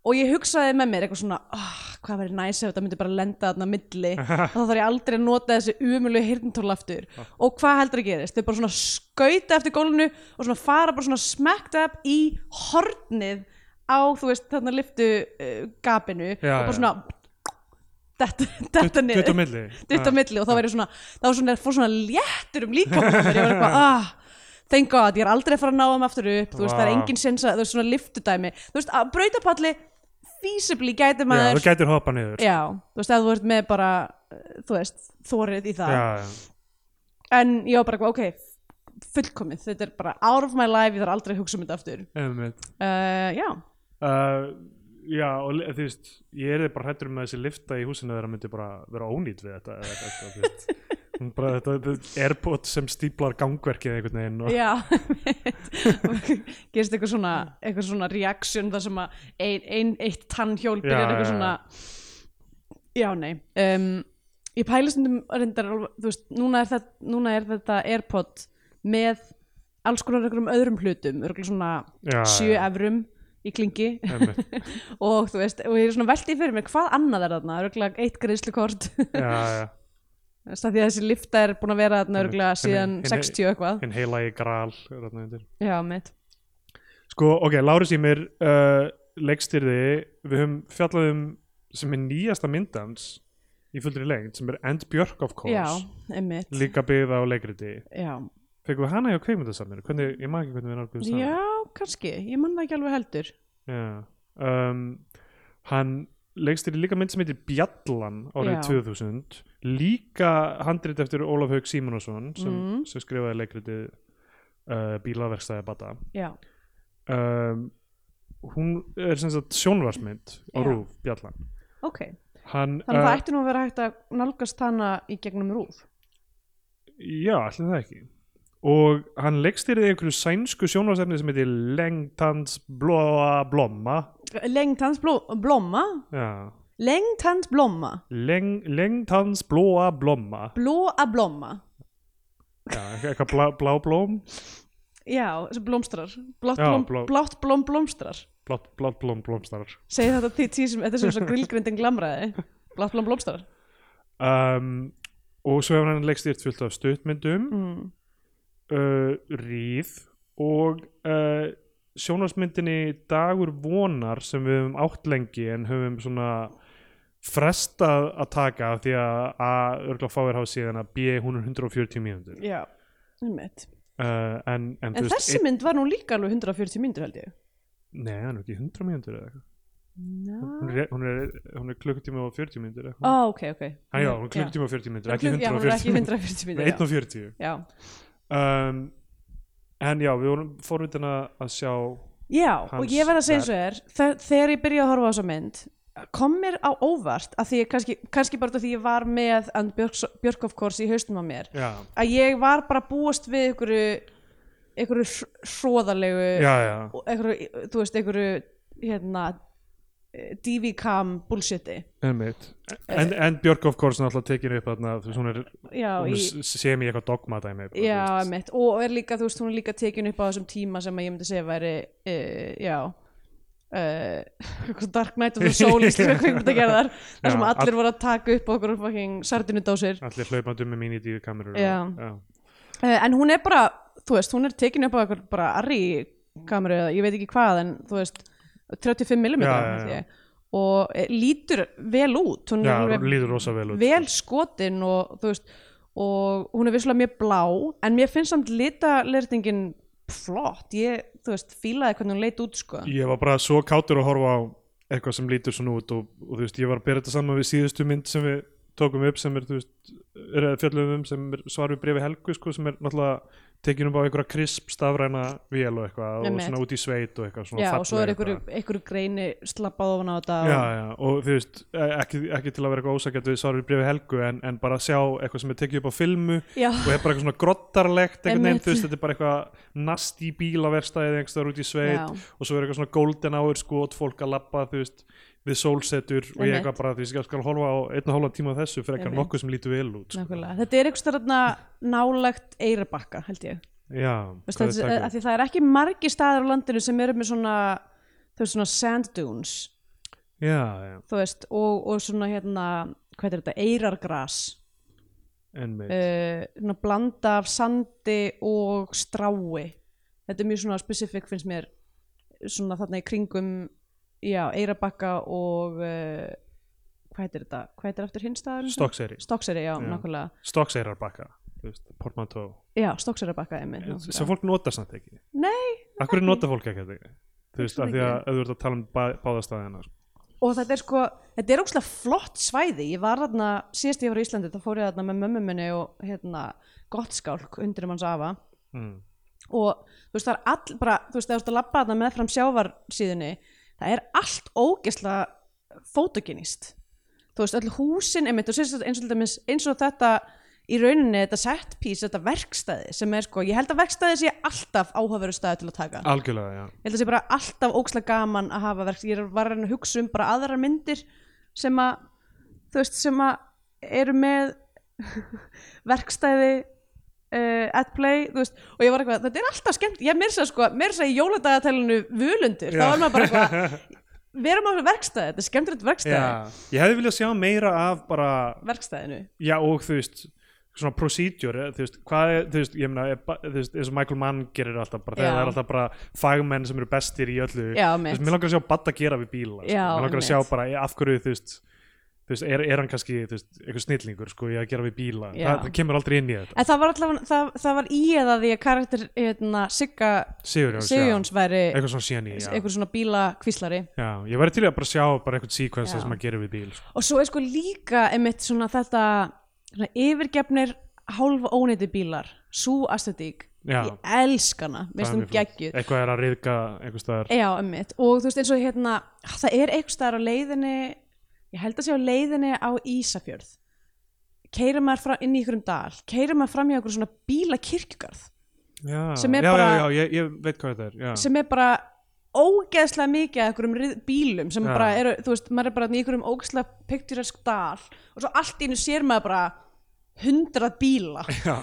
Speaker 3: og ég hugsaði með mér eitthvað svona oh, hvað verið næs ef þetta myndi bara lenda þarna á milli og þá þarf ég aldrei að nota þessi umjölu heyrntól aftur og hvað heldur að gerist þau bara svona skauta eftir gólfinu og svona fara bara svona smacked up í hornið á þú veist þarna liftu uh, gapinu
Speaker 1: Já,
Speaker 3: og bara
Speaker 1: já.
Speaker 3: svona detta, detta
Speaker 1: Dutt-
Speaker 3: niður
Speaker 1: dutt á milli.
Speaker 3: dutt á
Speaker 1: Já.
Speaker 3: milli og þá var ég svona þá var svona, fór svona léttur um líka þegar ég var
Speaker 1: (laughs)
Speaker 3: eitthvað ah, thank god, ég er aldrei að fara að ná þeim aftur upp þú veist, það er
Speaker 1: Vá.
Speaker 3: engin sens að þú veist svona liftudæmi þú veist, að brautapalli feasibly gæti
Speaker 1: já,
Speaker 3: maður
Speaker 1: þú gætir hoppa niður
Speaker 3: já, þú veist, ef þú ert með bara eh, þú veist, þórið í það
Speaker 1: já, já.
Speaker 3: en ég var bara eitthvað, ok fullkomið, þetta er bara out of my life ég þarf aldrei að hugsa um þetta aftur
Speaker 1: Einmitt.
Speaker 3: uh, já,
Speaker 1: Uh, já, og li- þú veist, ég er bara hættur um að þessi lifta í húsinu þeirra myndi bara vera ónýtt við þetta eða eitthvað, þú veist.
Speaker 3: (laughs)
Speaker 1: Hún bara þetta, þetta airport sem stíplar gangverkið einhvern veginn (laughs) og
Speaker 3: Já, gerist eitthvað svona, eitthvað svona reaction þar sem að ein, ein, eitt tannhjól byrjar
Speaker 1: Já,
Speaker 3: eitthvað
Speaker 1: já,
Speaker 3: svona, já nei, um, ég pæli stundum reyndar, alveg- þú veist, núna er, það, núna er þetta Airpod með alls konar einhverjum öðrum hlutum, örgulega svona
Speaker 1: Já,
Speaker 3: sjö
Speaker 1: já.
Speaker 3: efrum í klingi (laughs)
Speaker 1: Einmitt.
Speaker 3: og þú veist, og ég er svona veltið fyrir mér, hvað annað er þarna, örgulega eitt greiðslukort, (laughs)
Speaker 1: já, já,
Speaker 3: þess að því að þessi lifta er búin að vera þarna
Speaker 1: Einmitt,
Speaker 3: örgulega síðan
Speaker 1: einmitt, einmitt.
Speaker 3: 60 og eitthvað,
Speaker 1: hinn heila í gral er þarna undir.
Speaker 3: já mitt.
Speaker 1: Sko, ok, Láris í mér uh, leikstýrði, við höfum fjallað um sem er nýjasta myndans í fullri lengd sem er End Björk of course
Speaker 3: Já, einmitt
Speaker 1: líka byggða á leikriti
Speaker 3: Já,
Speaker 1: fegum við hana hjá kveikmyndasamnir hvernig, ég maður ekki hvernig við nálgum
Speaker 3: já kannski, ég manna ekki alveg heldur
Speaker 1: Já, um, hann leikstýri líka mynd sem heitir Bjallan árið
Speaker 3: Já.
Speaker 1: 2000 líka handrit eftir Ólaf Haug Símonasson sem,
Speaker 3: Mm.
Speaker 1: sem skrifaði leikritið uh, Bílaverkstæði Bata
Speaker 3: Já,
Speaker 1: um, hún er sem sagt sjónvarsmynd á
Speaker 3: Já.
Speaker 1: Rúf, Bjallan
Speaker 3: ok
Speaker 1: hann,
Speaker 3: Þannig að það
Speaker 1: uh,
Speaker 3: ætti nú að vera hægt að nálgast hana í gegnum rúf
Speaker 1: já, allir það ekki og hann leikstýriði einhverju sænsku sjónvarsefni sem heitir Lengtans Blóa Blomma
Speaker 3: Lengt hans bló, blóma
Speaker 1: já
Speaker 3: Lengt hans blóma
Speaker 1: Leng, lengtans blóa blomma
Speaker 3: Bló að blóma
Speaker 1: Já, eitthvað- eitthvað blá, bláblóm
Speaker 3: Já, sem blómstrar Blátt
Speaker 1: Já,
Speaker 3: blóm,
Speaker 1: bló-
Speaker 3: blátt blóm blómstrar
Speaker 1: blátt, blátt blóm blómstarar
Speaker 3: Segði þetta því tí sem, þetta er sem svo grillgrindin glamraði Blátt blóm blómstrar
Speaker 1: um, og svo hefur hann leikstýrt fullt af stuttmyndum
Speaker 3: mm.
Speaker 1: uh, Ríð og uh, sjónarsmyndinni Dagur vonar sem við höfum átt lengi en höfum svona frestað að taka af því að A, örgla fáir hafa síðan að B, hún er 140 mínútur uh,
Speaker 3: Já, einmitt
Speaker 1: en, en, þú
Speaker 3: En þessi mynd var nú líka alveg 140 myndur held ég
Speaker 1: ein, Nei, hann er ekki 100 mínútur eða eitthvað
Speaker 3: Ná
Speaker 1: Hún er, hún er, hún er klukkutíma og 40 mínútur eða
Speaker 3: Ó,
Speaker 1: eitthvað.
Speaker 3: ok, ok
Speaker 1: Hann- Já, hún er klukkutíma og 40 mínútur, ekki
Speaker 3: Já, hún er
Speaker 1: 140 (laughs)
Speaker 3: ekki 140
Speaker 1: Nei,
Speaker 3: myndur
Speaker 1: 1 og 40
Speaker 3: Já,
Speaker 1: um, En já, við vorum forvitin að að sjá
Speaker 3: Já,
Speaker 1: hans
Speaker 3: og ég verð að segja
Speaker 1: verk.
Speaker 3: eins og er þe- þegar ég byrjaði að horfa á þessa mynd kom mér á óvart að því ég kannski, kannski bara út af því ég var með And Björk- Björk of course í haustum á mér
Speaker 1: Já,
Speaker 3: að ég var bara að búast við einhverju einhverju hr- hróðalegu
Speaker 1: já, já,
Speaker 3: og einhverju, þú veist, einhverju hérna eh, DV-cam bullshiti
Speaker 1: einmitt
Speaker 3: Eh,
Speaker 1: En, en Björk of course náttúrulega tekinu upp þarna þú veist, hún er,
Speaker 3: Já,
Speaker 1: hún er
Speaker 3: í,
Speaker 1: s- sem í eitthvað dogma dæmi bara,
Speaker 3: já
Speaker 1: þú veist.
Speaker 3: mitt og er líka, þú veist, hún er líka tekin upp á þessum tíma sem að ég myndi segja væri uh, já (laughs) uh, Dark Knight of the Soul í slöku
Speaker 1: (laughs)
Speaker 3: kvikmyndagerðar
Speaker 1: Já,
Speaker 3: þar sem
Speaker 1: all-
Speaker 3: allir voru að taka upp okkur fucking sardinudásir uh,
Speaker 1: Allir hlaupandi með mín í díu kamerur
Speaker 3: Já.
Speaker 1: já,
Speaker 3: Eh, en hún er bara, þú veist, hún er tekin upp á okkur bara arri kameru eða ég veit ekki hvað en þú veist 35 mm
Speaker 1: Já, já, já.
Speaker 3: og eh, lítur vel út hún er
Speaker 1: já
Speaker 3: alveg-
Speaker 1: hún líður rosa vel út
Speaker 3: vel skotin og þú veist og hún er vissulega mjög blá en mér finnst samt litalertingin flott, ég, þú veist, fílaði hvernig hún leit út sko.
Speaker 1: Ég var bara svo kátur að horfa á eitthvað sem lítur svona út og, og þú veist, ég var að bera þetta saman við síðustu mynd sem við tókum upp sem er, þú veist, er fjöllum um sem er svar við brefi Helgu, sko, sem er náttúrulega tekinum á einhverja krisp stafræna vél og eitthvað og
Speaker 3: Einmitt.
Speaker 1: svona út í sveit og eitthvað svona
Speaker 3: Já, og svo er
Speaker 1: fallega
Speaker 3: einhverju, einhverju greini slappað ofan á þetta
Speaker 1: eitthvað. Já, já, og þú veist, e- ekki, ekki til að vera eitthvað ósækjandi við svar við brefi Helgu en, en bara sjá eitthvað sem er tekið upp á filmu
Speaker 3: og, já.
Speaker 1: og er bara eitthvað svona grottarlegt einhvern veginn,
Speaker 3: Einmitt.
Speaker 1: þú veist, þetta er bara eitthvað nasti bílaverstaðið einhvers þar út í sveit
Speaker 3: Já.
Speaker 1: og svo er eitthvað svona golden hour skot fólk að labba þú veist við sólsetur og ég
Speaker 3: Einmitt.
Speaker 1: eitthvað bara þú veist ég skal horfa á einn og hálfa tíma af þessu frekar
Speaker 3: Einmitt.
Speaker 1: nokkuð sem lítur vel út sko.
Speaker 3: nákvæmlega. Þetta er einhverju þarna nálægt Eyrarbakka, held ég
Speaker 1: já,
Speaker 3: Vist,
Speaker 1: hvað er
Speaker 3: þessi,
Speaker 1: það
Speaker 3: að
Speaker 1: ekki?
Speaker 3: því það er ekki margi staðar á landinu sem eru með svona, þú veist, svona sand dunes
Speaker 1: já, já,
Speaker 3: þú veist, og, og svona hérna, hvað er þetta, Eyrargras
Speaker 1: einmitt
Speaker 3: uh, svona blanda af sandi og strái þetta er mjög svona specifík finnst mér svona þarna í kringum já, Eirabakka og uh, hvað heitir þetta? Hvað heitir aftur hinstaðar?
Speaker 1: Stokkseyri,
Speaker 3: Stokkseri, já,
Speaker 1: Já.
Speaker 3: nákvæmlega
Speaker 1: Stokkseyrar þú veist, portmantó
Speaker 3: Já, Stokkseri-bakka einmitt nákvæmlega.
Speaker 1: sem fólk nota samt ekki
Speaker 3: Nei,
Speaker 1: akkur nota fólk ekki þetta þú veist, af
Speaker 3: Hugsaði
Speaker 1: því að
Speaker 3: ekki.
Speaker 1: ef þú ert að tala um bá- báða staðina sko.
Speaker 3: og þetta er sko þetta er ógslag flott svæði ég var þarna, síðast ég var í Íslandi þá fór ég þarna með mömmu minni og hérna gottskálk undir um hans afa
Speaker 1: mm.
Speaker 3: og þú veist það er all bara, þú veist það er að labba þarna meðfram sjávarsíðunni það er allt ógeðslega fotogenist þú veist öll húsin einmitt, og sérst, eins, og, til dæmis- eins og þetta í rauninni þetta set piece, þetta verkstæði sem er sko, ég held að verkstæði sé alltaf áhugaveru staði til að taka
Speaker 1: algjörlega,
Speaker 3: (laughs)
Speaker 1: já
Speaker 3: ég held að sé bara alltaf ógeðslega gaman að hafa verkstæði ég var að reyna að hugsa um bara aðrar myndir sem að þú veist sem að eru með (laughs) verkstæði uh, at play þú veist, og ég var eitthvað, þetta er alltaf skemmt ég mér sér sko, mér sér í jóladagatælinu völundur, þá
Speaker 1: Já.
Speaker 3: var maður
Speaker 1: (laughs)
Speaker 3: bara eitthvað við erum á verkstæði, þetta er skemmtilegt verkstæði
Speaker 1: Já, ég hefði viljað sjá meira af bara,
Speaker 3: verkstæðinu,
Speaker 1: já og þú veist svona procedure, eh, þú veist, hvað er, þú veist, ég meina, er ba- þú veist, eins og Michael Mann gerir alltaf bara, þegar
Speaker 3: Já.
Speaker 1: það er alltaf bara fagmenn sem eru bestir í öllu,
Speaker 3: Já,
Speaker 1: þú
Speaker 3: mitt.
Speaker 1: veist, mér langar að sjá Badda gera við bíla, sko.
Speaker 3: Já,
Speaker 1: mér langar að
Speaker 3: mitt.
Speaker 1: sjá bara eh, af hverju, þú veist, þú veist, er, er hann kannski þú veist, eitthvað snillingur sko, í að gera við bíla
Speaker 3: Já.
Speaker 1: það, það kemur aldrei inn í þetta
Speaker 3: En það var allavega, það, það var í eða því að karakter hérna, Sigga
Speaker 1: Sigurjóns,
Speaker 3: Sigjóns væri
Speaker 1: já, eitthvað svona síðan í já.
Speaker 3: einhver svona bílakvíslari
Speaker 1: já, ég væri til í að bara sjá bara eitthvað sequence
Speaker 3: Já.
Speaker 1: það sem að gera við bíl sko.
Speaker 3: og svo er sko líka einmitt svona þetta svona yfirgefnir hálfa ónýtti bílar svo astetík,
Speaker 1: Já.
Speaker 3: ég elska hana
Speaker 1: Það
Speaker 3: mér
Speaker 1: er
Speaker 3: finnst hún
Speaker 1: mjög flott.
Speaker 3: geggjuð Eh,
Speaker 1: eitthvað er að riðka einhvers staðar
Speaker 3: Já, einmitt, og þú veist eins og hérna það er einhvers staðar á leiðinni ég held að sé á leiðinni á Ísafjörð keira maður fram, inn í ykkur um dal keira maður fram í ykkur svona bílakirkjugarð
Speaker 1: já,
Speaker 3: sem er
Speaker 1: já,
Speaker 3: bara-
Speaker 1: já, já, ég, ég veit hvað þetta er já.
Speaker 3: sem er bara ógeðslega mikið af einhverjum ryð- bílum sem
Speaker 1: Já.
Speaker 3: bara eru, þú veist, maður er bara í einhverjum ógeðslega picturesk dal og svo allt í einu sér maður bara hundrað bíla (laughs)
Speaker 1: já,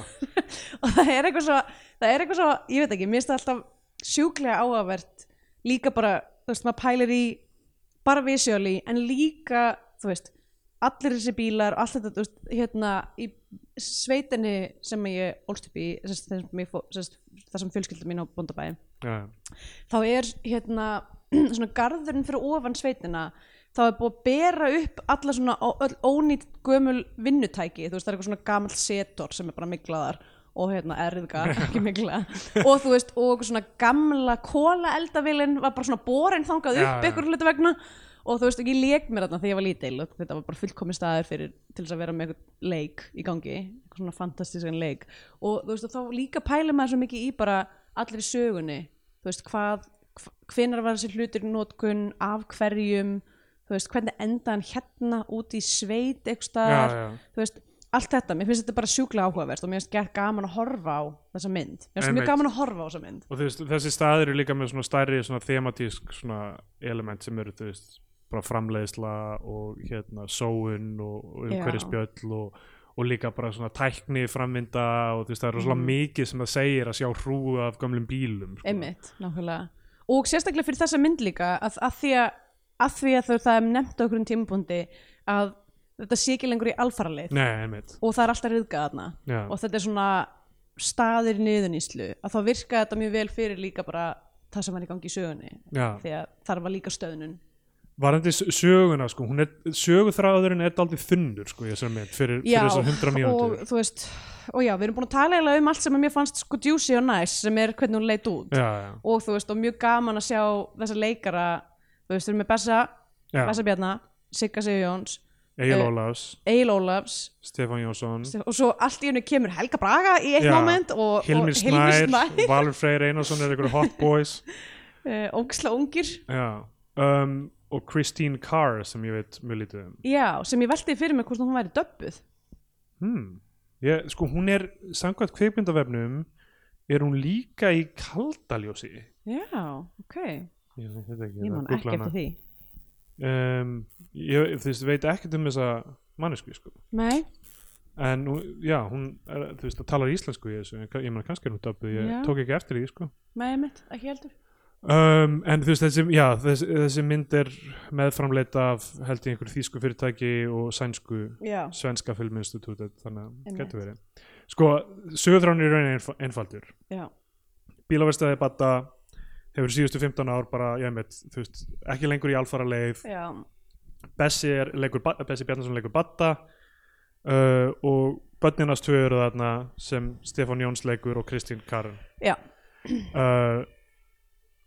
Speaker 3: og það er eitthvað svo, það er eitthvað svo ég veit ekki, mér finnst það alltaf sjúklega áhugavert líka bara, þú veist, maður pælir í bara visjóli en líka, þú veist allir þessi bílar, allt þetta, þú veist, hérna í sveitinni sem ég ólst upp í, þess, þess, þess, þess, þess sem fjölskylda mín á bóndabæði
Speaker 1: já,
Speaker 3: þá er hérna (clears throat) svona garðurinn fyrir ofan sveitina þá er búið að bera upp alla svona ó- öll ónýtt gömul vinnutæki þú veist það er eitthvað svona gamall setor sem er bara miklaðar og hérna erðga
Speaker 1: (laughs)
Speaker 3: ekki mikla og þú veist og eitthvað svona gamla kóla eldavillin var bara svona borin þangað
Speaker 1: Já,
Speaker 3: upp
Speaker 1: já.
Speaker 3: ykkur hlutu vegna og þú veist ekki leik mér þarna þegar ég var lítil og þetta var bara fullkomi staður fyrir til þess að vera með eitthvað leik í gangi eitthvað svona fantastískan leik og þú veist og þá líka pælir maður svo mikið í bara allir í sögunni þú veist hvað hvenar var þessi hlutur í notkun af hverjum þú veist hvernig enda hann hérna út í sveit eitthvað staðar
Speaker 1: já, já.
Speaker 3: þú veist allt þetta, mér finnst þetta bara sjúklega áhugavert og mér finnst gett gaman að horfa á þessa mynd mér finnst
Speaker 1: Einmitt.
Speaker 3: mjög gaman að horfa á þessa mynd
Speaker 1: og þú veist, þessi staðir eru líka með svona stærri svona thematísk svona element sem eru þú veist, bara framleiðsla og hérna sóun og, og
Speaker 3: Já.
Speaker 1: umhverfisbjöll og, og líka bara svona tækni framvinda og þú veist, það eru
Speaker 3: Mhm.
Speaker 1: svona mikið sem það segir að sjá hrúu af gömlum bílum sko.
Speaker 3: einmitt, nákvæmlega og sérstaklega fyrir þessa mynd líka að, að því að, að því að þau það er nefnt á okkur um tímabundi að þetta sé ekki lengur í alfaraleið
Speaker 1: Nei, einmitt
Speaker 3: og það er alltaf riðgað þarna
Speaker 1: Já.
Speaker 3: og þetta er svona staðir niðurníslu að þá virka þetta mjög vel fyrir líka bara það sem hann er í gangi í sögunni
Speaker 1: Já.
Speaker 3: því að þar var líka stöðnun
Speaker 1: Varandi s- söguna, sko, hún er, söguþráðurinn er daldið þunnur, sko, ég sem mynd, fyrir, fyrir þessar hundra mínútur.
Speaker 3: og þú veist og já, við erum búin að tala eiginlega um allt sem að mér fannst sko juicy og nice sem er hvernig hún leit út
Speaker 1: Já, já,
Speaker 3: og þú veist, og mjög gaman að sjá þessa leikara, þú veist, við erum með Bessa
Speaker 1: Já.
Speaker 3: Bessa Bjarna, Sigga Sigjóns
Speaker 1: Egil
Speaker 3: Eh,
Speaker 1: Ólafs,
Speaker 3: Egil Ólafs
Speaker 1: Stefán Jónsson,
Speaker 3: og svo allt í hennu kemur Helga Braga í eitt
Speaker 1: Mm. Já.
Speaker 3: moment og,
Speaker 1: Hilmir
Speaker 3: og
Speaker 1: Snær, Valur Freyr Einarsson er einhverju hot boys.
Speaker 3: (laughs) eh, ógislega ungir
Speaker 1: Já, um, og Christine Carr sem ég veit mjög lítið um
Speaker 3: já, sem ég velti fyrir mig hvort hún væri döbbuð
Speaker 1: hmm. ég, sko hún er, samkvæmt kveikmyndavefnum er hún líka í kaldaljósi ég,
Speaker 3: já, ok,
Speaker 1: veit þetta ekki,
Speaker 2: Ég man ekki eftir því.
Speaker 1: því um, ég þú veist, veit ekkert um þessa mannesku sko.
Speaker 3: nei,
Speaker 1: en nú- já, hún er, þú veist, það talar íslensku í þessu, en ka- ég meina kannski er hún döppu ég
Speaker 3: Já.
Speaker 1: tók ekki eftir því sko.
Speaker 3: nei, mitt, ekki heldur
Speaker 1: um, en þú veist, þessi, já, þessi, þessi mynd er meðframleita af held ég einhverju þýsku fyrirtæki og sænsku
Speaker 3: já,
Speaker 1: svenska filminstitutet þannig að
Speaker 3: Einmitt.
Speaker 1: getur verið sko, sögurþrán er raunin einf einfaldur
Speaker 3: já,
Speaker 1: bílaverstaði Batta hefur síðustu 15 ár bara, ég veit, þú veist ekki lengur í alfara leið,
Speaker 3: já
Speaker 1: Bessi, er, leikur, Ba- Bessi Bjarnason leikur Batta uh, og börninast tvö eru þarna sem Stefán Jóns leikur og Kristín Karn
Speaker 3: já,
Speaker 1: uh,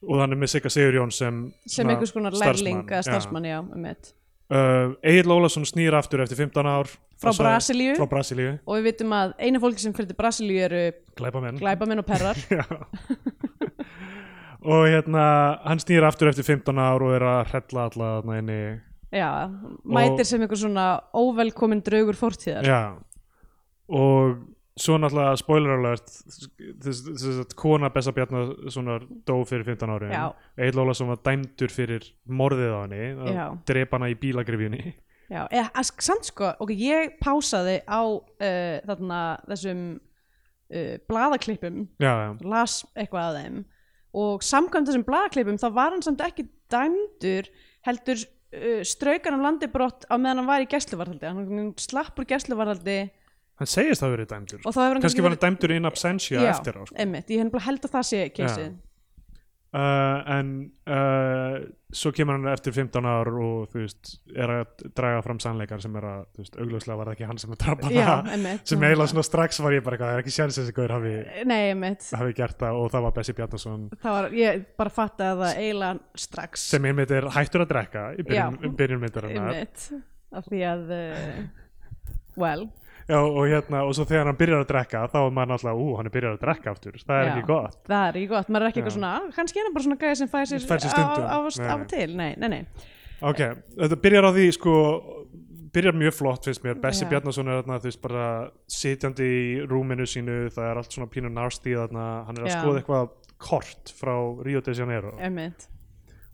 Speaker 1: og þannig með Sigga Sigur Jóns sem,
Speaker 3: sem
Speaker 1: svona
Speaker 3: einhvers konar
Speaker 1: starfsmann,
Speaker 3: lærling eða starfsmann, já, um
Speaker 1: uh, Egil Lólasson snýr aftur eftir 15 ár
Speaker 3: frá
Speaker 1: Þessa-
Speaker 3: Brasilíu
Speaker 1: frá Brasilíu,
Speaker 3: og við vitum að eina fólki sem fyrir til Brasilíu eru
Speaker 1: glæpa
Speaker 3: glæbamenn og
Speaker 1: (laughs)
Speaker 3: perrar
Speaker 1: Já. og hérna hann snýr aftur eftir 15 ár og er að hrella alla þarna inni
Speaker 3: já, mætir
Speaker 1: Og-
Speaker 3: sem einhver svona óvelkomin draugur fórtíðar
Speaker 1: já. og svo náttúrulega spoiler alert þess þess að kona Bessa Bjarnar svona dó fyrir 15 ári
Speaker 3: Já.
Speaker 1: Egil Ólafsson var dæmdur fyrir morðið á henni að
Speaker 3: Já.
Speaker 1: drepa hana í bílagrifjunni
Speaker 3: já, eða, að, samt sko, ok, ég pásaði á uh, þarna þessum uh, blaðaklippum
Speaker 1: (laughs) já, já,
Speaker 3: las eitthvað að þeim og samkvæmt þessum blaðaklippum þá var hann samt ekki dæmdur heldur uh, straukan af landi brott á meðan hann var í gæsluvarðaldi hann slappur gæsluvarðaldi
Speaker 1: hann segist að hafa verið dæmdur
Speaker 3: og þá hefur hann
Speaker 1: kannski var hann dæmdur in absentia
Speaker 3: já,
Speaker 1: eftir á sko.
Speaker 3: einmitt, ég hef nefnilega held að það sé keysið.
Speaker 1: Já. uh, en uh, svo kemur hann eftir 15 ár og þú veist, er að draga fram sannleikar sem er að, þú veist, augljóslega var það ekki hann sem að drapa
Speaker 3: Já,
Speaker 1: hana
Speaker 3: einmitt
Speaker 1: sem eiginlega svona strax var ég bara eitthvað, það er ekki sjans þessi gaur hafi,
Speaker 3: Nei, einmitt
Speaker 1: hafi gert það og það var Bessi Bjarnason
Speaker 3: Það var, ég bara fattaði það eiginlega strax
Speaker 1: sem einmitt er hættur að drekka í byrjun,
Speaker 3: Já.
Speaker 1: byrjun myndarinnar
Speaker 3: einmitt Af því að uh, Well
Speaker 1: Já, og hérna, og svo þegar hann byrjar að drekka þá er maður náttúrulega, ú, hann er byrjar að drekka aftur það er
Speaker 3: Já.
Speaker 1: ekki gott
Speaker 3: Það er ekki gott, maður er ekki
Speaker 1: Já.
Speaker 3: eitthvað svona "Ah, kannski er hann bara svona gæði sem fæði sér
Speaker 1: Fær sér stundum."
Speaker 3: á, á,
Speaker 1: Nei,
Speaker 3: á, á
Speaker 1: nei.
Speaker 3: til, nei, nei, nei
Speaker 1: Ok, þetta byrjar á því sko byrjar mjög flott finnst mér Bessi
Speaker 3: Já.
Speaker 1: Bjarnason er þarna, þú veist, bara sitjandi í rúminu sínu, það er allt svona pínu narsti þarna, hann er að
Speaker 3: Já.
Speaker 1: skoða eitthvað kort frá Rio de Janeiro
Speaker 3: einmitt,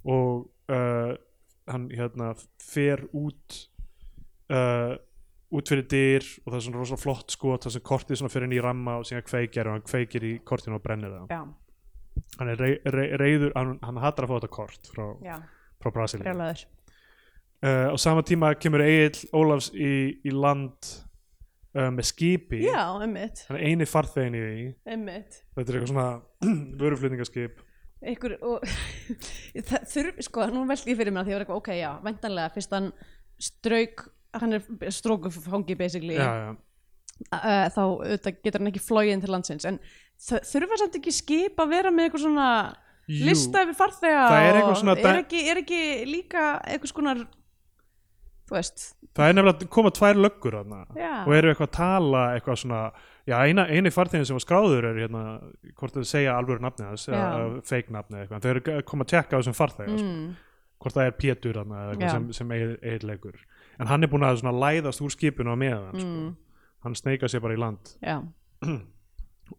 Speaker 1: og uh, hann hérna fer út uh, út fyrir dyr og það er svona rosalega flott skot það sem kortið svona fyrir inn í ramma og síðan kveikir og hann kveikir í kortinu og brennir það
Speaker 3: já,
Speaker 1: hann er rey, rey, reyður, hann, hann hattar að fá þetta kort frá,
Speaker 3: já,
Speaker 1: frá Brasilíu
Speaker 3: brjálæður
Speaker 1: uh, á sama tíma kemur Egil Ólafs í, í land uh, með skipi
Speaker 3: Já, einmitt,
Speaker 1: hann er eini farþegin í því
Speaker 3: einmitt
Speaker 1: þetta er eitthvað svona (clears throat) vöruflutningaskip
Speaker 3: Ykkur, og (laughs) það þurf, sko, nú veldi ég fyrir mér að því að ég var eitthvað, ok, já, vendanlega, fyrst hann strauk, hann er strókufangi basically,
Speaker 1: já, já.
Speaker 3: uh, þá auðvitað getur hann ekki flógin til landsins, en þ- þurfa samt ekki skip að vera með eitthvað svona
Speaker 1: Jú,
Speaker 3: lista yfir farþega
Speaker 1: Það er eitthvað
Speaker 3: og
Speaker 1: svona
Speaker 3: er
Speaker 1: dæ-
Speaker 3: ekki, er ekki líka eitthvað svona þú veist
Speaker 1: það er nefnilega að koma tvær löggur hana,
Speaker 3: Já.
Speaker 1: og eru eitthvað að tala eitthvað svona já, eina, eini farþegin sem var skráður er hérna, hvort þau segja alvöru nafni hans eða
Speaker 3: Já.
Speaker 1: eða fake nafni eða eitthvað en þau eru að koma að tjekka á þessum farþega sko.
Speaker 3: mm,
Speaker 1: hvort það er Pétur hana, eða eitthvað
Speaker 3: Já.
Speaker 1: sem, sem Egil leggur en hann er búin að svona læðast úr skipinu á meðan sko.
Speaker 3: Mm.
Speaker 1: hann sneika sér bara í land
Speaker 3: já,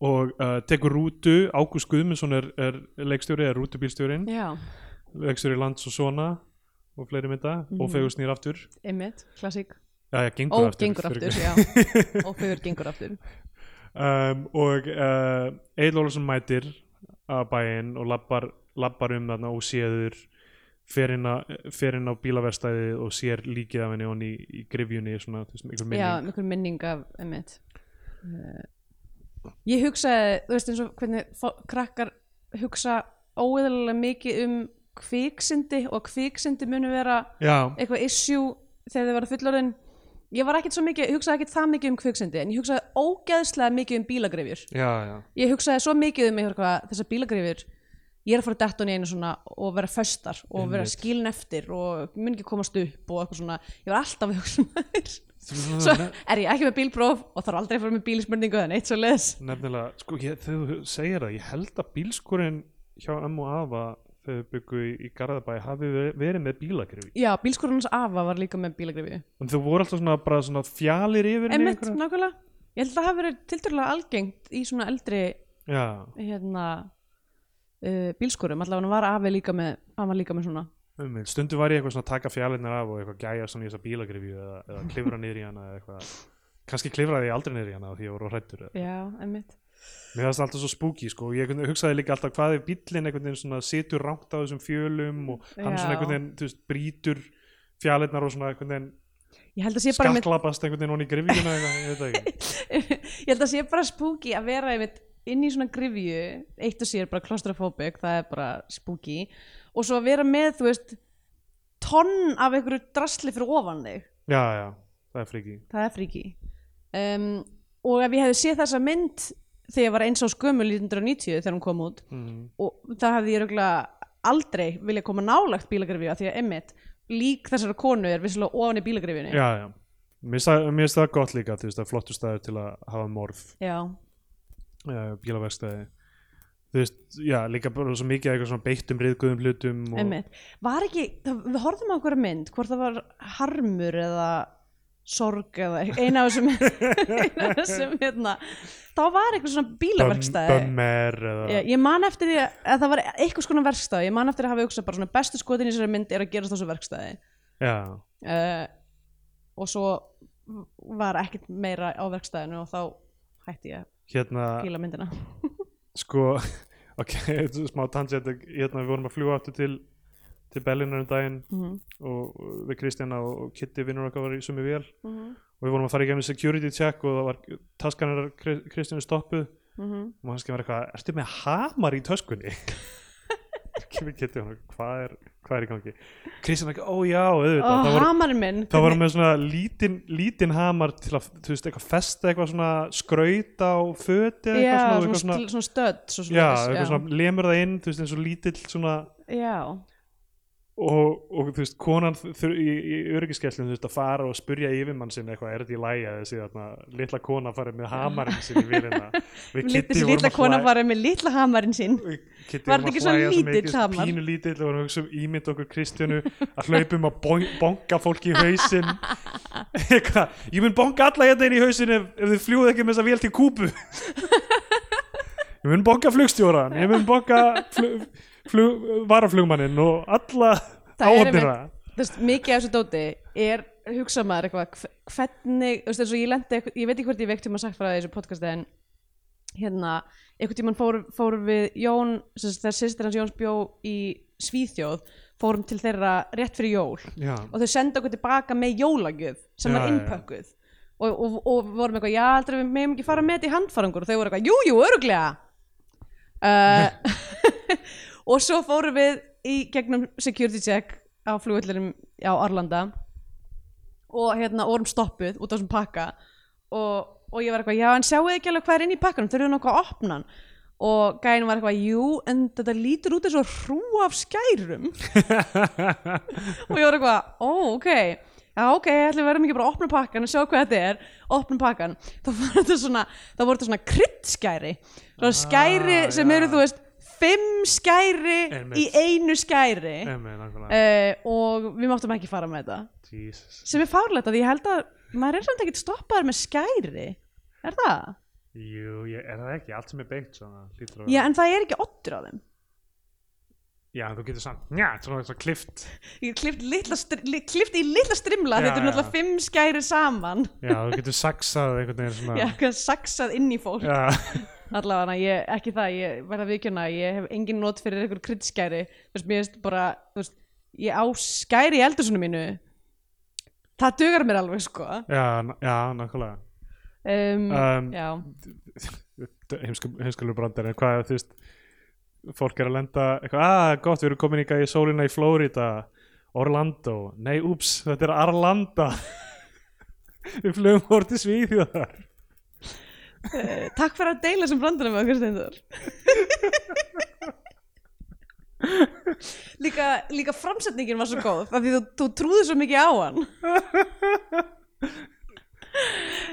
Speaker 1: og uh, tekur rútu Ágúst Guðmundsson er, er leikstjóri eða rútubílstjórin,
Speaker 3: já,
Speaker 1: leikstjóri lands og svona og fleiri mynda, mm. og fegur snýr aftur
Speaker 3: einmitt, klassík
Speaker 1: já, já, gengur
Speaker 3: ó,
Speaker 1: aftur,
Speaker 3: gengur
Speaker 1: fyrir-
Speaker 3: aftur, já ó, fyrir gengur aftur
Speaker 1: um, og uh, Egil Ólafsson mætir að bæinn og labbar, labbar um þarna og séður fer inn, a, fer inn á bílaverstæði og sér líkið af henni honni í, í grifjunni svona, þú veist, einhver
Speaker 3: já,
Speaker 1: (laughs) minning
Speaker 3: einhver minning af einmitt Eh, ég hugsaði, þú veist eins og hvernig fó- krakkar hugsa óeðalega mikið um kviksindi og kviksindi munu vera
Speaker 1: já,
Speaker 3: eitthvað issue þegar þið verða fullorðin ég var ekkert svo mikið, hugsaði ekkert það mikið um kviksindi en ég hugsaði ógeðslega mikið um bílagrifjur
Speaker 1: já, já,
Speaker 3: ég hugsaði svo mikið um eitthvað, þessar bílagrifjur ég er að fara að detta hún í einu svona og vera föstar og vera
Speaker 1: Einmitt.
Speaker 3: skilin eftir og mun ekki komast upp og eitthvað svona ég var alltaf að hugsa um þær svo
Speaker 1: já.
Speaker 3: er ég ekki með bílpróf og þarf aldrei að fara með bílismörningu eða neitt svo leðs
Speaker 1: Nefnilega, sko, ég, þegar þú segir það, ég held að bílskurinn hjá ömmu og afa þegar þau byggu í, í Garðabæ hafi ve- verið með bílagrifi.
Speaker 3: já, bílskorun hans afa var líka með bílagrifju
Speaker 1: En þau voru alltaf svona, bara svona fjalir yfir henni
Speaker 3: einmitt, nákvæmlega ég held að það hafi verið tilturlega algengt í svona eldri
Speaker 1: Já,
Speaker 3: hérna uh, bílskorum, allavega hann var afi líka með hann var líka með svona
Speaker 1: einmitt. Stundu var ég eitthvað svona að taka fjalirnar af og eitthvað gæja svona í þessa bílagrifi eða, (laughs) eða klifra niður í hana eða eitthvað. Kannski klifraði ég aldrei niður í hana af því ég voru hrættur.
Speaker 3: já, emmitt
Speaker 1: Mér fannst alltaf svo spooky, sko. Ég einhvern veginn hugsaði líka alltaf hvað ef bíllinn einhvern veginn svona situr rangt á þessum fjölum og hann svona
Speaker 3: Já.
Speaker 1: einhvern veginn, þú veist, brítur fjalirnar og svona einhvern veginn
Speaker 3: ég held að sé bara,
Speaker 1: skakklapast einhvern veginn onni í grifjuna eða ég veit það ekki.
Speaker 3: (laughs) ég held að sé bara spooky að vera einmitt inn í svona grifju eitt og sér bara klostrofóbik, það er bara spooky og svo að vera með, þú veist tonn af einhverju drasli fyrir ofan þig,
Speaker 1: Já, já, það er friki
Speaker 3: það er fríki um, og ef ég hefði séð þessa mynd þegar ég var eins á skömmul 1990 þegar hún kom út
Speaker 1: mm.
Speaker 3: og það hefði ég röglega aldrei vilja koma nálagt bílagrifju af því að emmitt lík þessara konu er vissulega ofan í bílagrifjunni
Speaker 1: Já, já Mér finnst það- mér finnst það gott líka, þú veist, það er flottur staður til að hafa morð,
Speaker 3: já,
Speaker 1: uh, bílaverkstæði Þú veist, já, líka bara svo mikið af eitthvað svona beittum, riðguðum hlutum og...
Speaker 3: emmitt var ekki, það, við horfðum á okkur mynd hvort það var harmur eða sorg eða eina af þessum (laughs) eina af þessum hérna þá var eitthvað svona bílaverkstæði
Speaker 1: Bömmer eða...
Speaker 3: Ég, ég man eftir því að, að það var eitthvað skona verkstæði ég man eftir að hafa hugsað bara svona bestu skotin í þessari mynd er að gerast á þessu verkstæði
Speaker 1: Já,
Speaker 3: uh, og svo var ekkert meira á verkstæðinu og þá hætti ég
Speaker 1: hérna,
Speaker 3: að fíla myndina
Speaker 1: sko (laughs) Ok, þetta er smá tangent Hérna, við vorum að fljúa aftur til til Berlínar um daginn
Speaker 3: Mhm.
Speaker 1: og og við Kristjana og og Kitty vinnur okkar var í sumi vél
Speaker 3: Mhm.
Speaker 1: og við vorum að fara í gegnum security check og það var taskanar Kristjánu stoppuð
Speaker 3: Mhm.
Speaker 1: og hann skemmur eitthvað, ertu með hamar í töskunni? við kittu hann hvað er, hvað er í gangi Kristján ekki, ó já, auðvitað
Speaker 3: og
Speaker 1: það var,
Speaker 3: hamarinn minn
Speaker 1: það var
Speaker 3: hvernig-
Speaker 1: hann með svona lítinn lítin hamar til að, þú veist, eitthvað festa eitthvað svona skraut á föti eða
Speaker 3: já,
Speaker 1: eitthvað
Speaker 3: svona,
Speaker 1: eitthvað
Speaker 3: svona, svona stödd svo
Speaker 1: já,
Speaker 3: svoleiðis,
Speaker 1: eitthvað svona lemur það inn, þú veist, eins og lítill svona
Speaker 3: já,
Speaker 1: og, og þú veist, konan þur, í, í öryggiskesslum þurft að fara og spurja yfirmann sinni eitthvað, er þetta í lægi að þessi þarna, litla kona farið með hamarinn sinni í vélina
Speaker 3: (laughs)
Speaker 1: við
Speaker 3: Lít-
Speaker 1: Kitty
Speaker 3: þessi
Speaker 1: vorum
Speaker 3: litla
Speaker 1: að
Speaker 3: kona
Speaker 1: hlæja-
Speaker 3: farið með litla hamarinn sinn
Speaker 1: við Kitty
Speaker 3: Var
Speaker 1: vorum
Speaker 3: þetta
Speaker 1: að
Speaker 3: ekki svona
Speaker 1: hlæja svo
Speaker 3: lítill
Speaker 1: mikið,
Speaker 3: hamar?
Speaker 1: pínu lítill og við hugsaum um ímynd okkur Kristjánu að hlaupum að boing- bonga fólki í
Speaker 3: (laughs)
Speaker 1: hausinn eitthvað, ég mun bonga alla hérna inn í hausinn ef, ef þið fljúð ekki með þessa vél til kúpu ég mun bonga flugstjóran ég mun bonga flug, flug, varaflugmannin og alla
Speaker 3: Það er
Speaker 1: áhafnina
Speaker 3: einmitt- þú veist, mikið af þessu dóti er hugsa maður eitthvað hve- hvernig, þú veist, eins og ég lendi eitthvað- ég veit ekki hvort ég veikt um að sagt frá það í þessu podcasti en hérna, einhvern tímann fórum fór við Jón, sem sagt, þegar sýstir hans Jóns bjó í Svíþjóð fórum til þeirra rétt fyrir jól
Speaker 1: Já,
Speaker 3: og þau senda okkur tilbaka með jólagjöf sem
Speaker 1: Já, já,
Speaker 3: var
Speaker 1: já.
Speaker 3: innpökkuð og, og, og vorum eitthvað, já, aldrei við meðum ekki fara með þetta í handfarangur og þau voru eitthvað, jú, jú, öruglega uh, (laughs) og svo fórum við í gegnum security check á flugullinum á Arlanda og hérna og vorum stoppuð út á þessum pakka og, og ég var eitthvað, já en sjáu ekki alveg hvað er inn í pakkanum, þau eru nokkuð að opna hann og gæin var eitthvað, jú en þetta lítur út eins og hrú af
Speaker 1: (laughs)
Speaker 3: skærum og ég var eitthvað, ó ok já ok, ætlum við verðum ekki bara að opna pakkan og sjá hvað þetta er, opna pakkan þá voru þetta svona, þá voru þetta svona kryddskæri svona skæri sem
Speaker 1: Ah, já.
Speaker 3: eru þú veist, fimm skæri
Speaker 1: Einmitt.
Speaker 3: í einu skæri
Speaker 1: emmi, nákvæmlega
Speaker 3: uh, og við máttum ekki fara með þetta
Speaker 1: Jesus.
Speaker 3: sem er fárlegt að ég held að maður er samt ekkert stoppaður með skæri er það?
Speaker 1: Jú, ég, er það ekki, allt sem er beint svona, hlýtur að
Speaker 3: Já
Speaker 1: vera-
Speaker 3: en það er ekki oddur á þeim
Speaker 1: Já, en þú getur samt, njá, svona, svona klift
Speaker 3: ég klift, litla, str- li, klift í litla strimla
Speaker 1: Já,
Speaker 3: þetta er náttúrulega
Speaker 1: já.
Speaker 3: fimm skæri saman
Speaker 1: Já, þú getur saxað einhvern veginn svona
Speaker 3: já, eitthvað saxað inn í fólk
Speaker 1: Já,
Speaker 3: allavega ég, ekki það, ég verða vikjuna ég hef engin not fyrir einhver kryddskæri þú veist, mér veist bara þú veist, ég á skæri í eldursunum mínu það dugar mér alveg sko
Speaker 1: já, n- já, nákvæmlega
Speaker 3: um,
Speaker 1: um,
Speaker 3: já,
Speaker 1: heimsku- Heimskulur brandar en hvað, þú veist fólk er að lenda, eitthvað, að gott, við erum komin í, í sólina í Flórida Orlando, nei, úps, þetta er Arlanda (laughs) Við flugum hvort til Svíþjóðar
Speaker 3: uh, takk fyrir að deila sem brandarum með okkur steindur líka, líka framsetningin var svo góð af því þú, þú trúði svo mikið á hann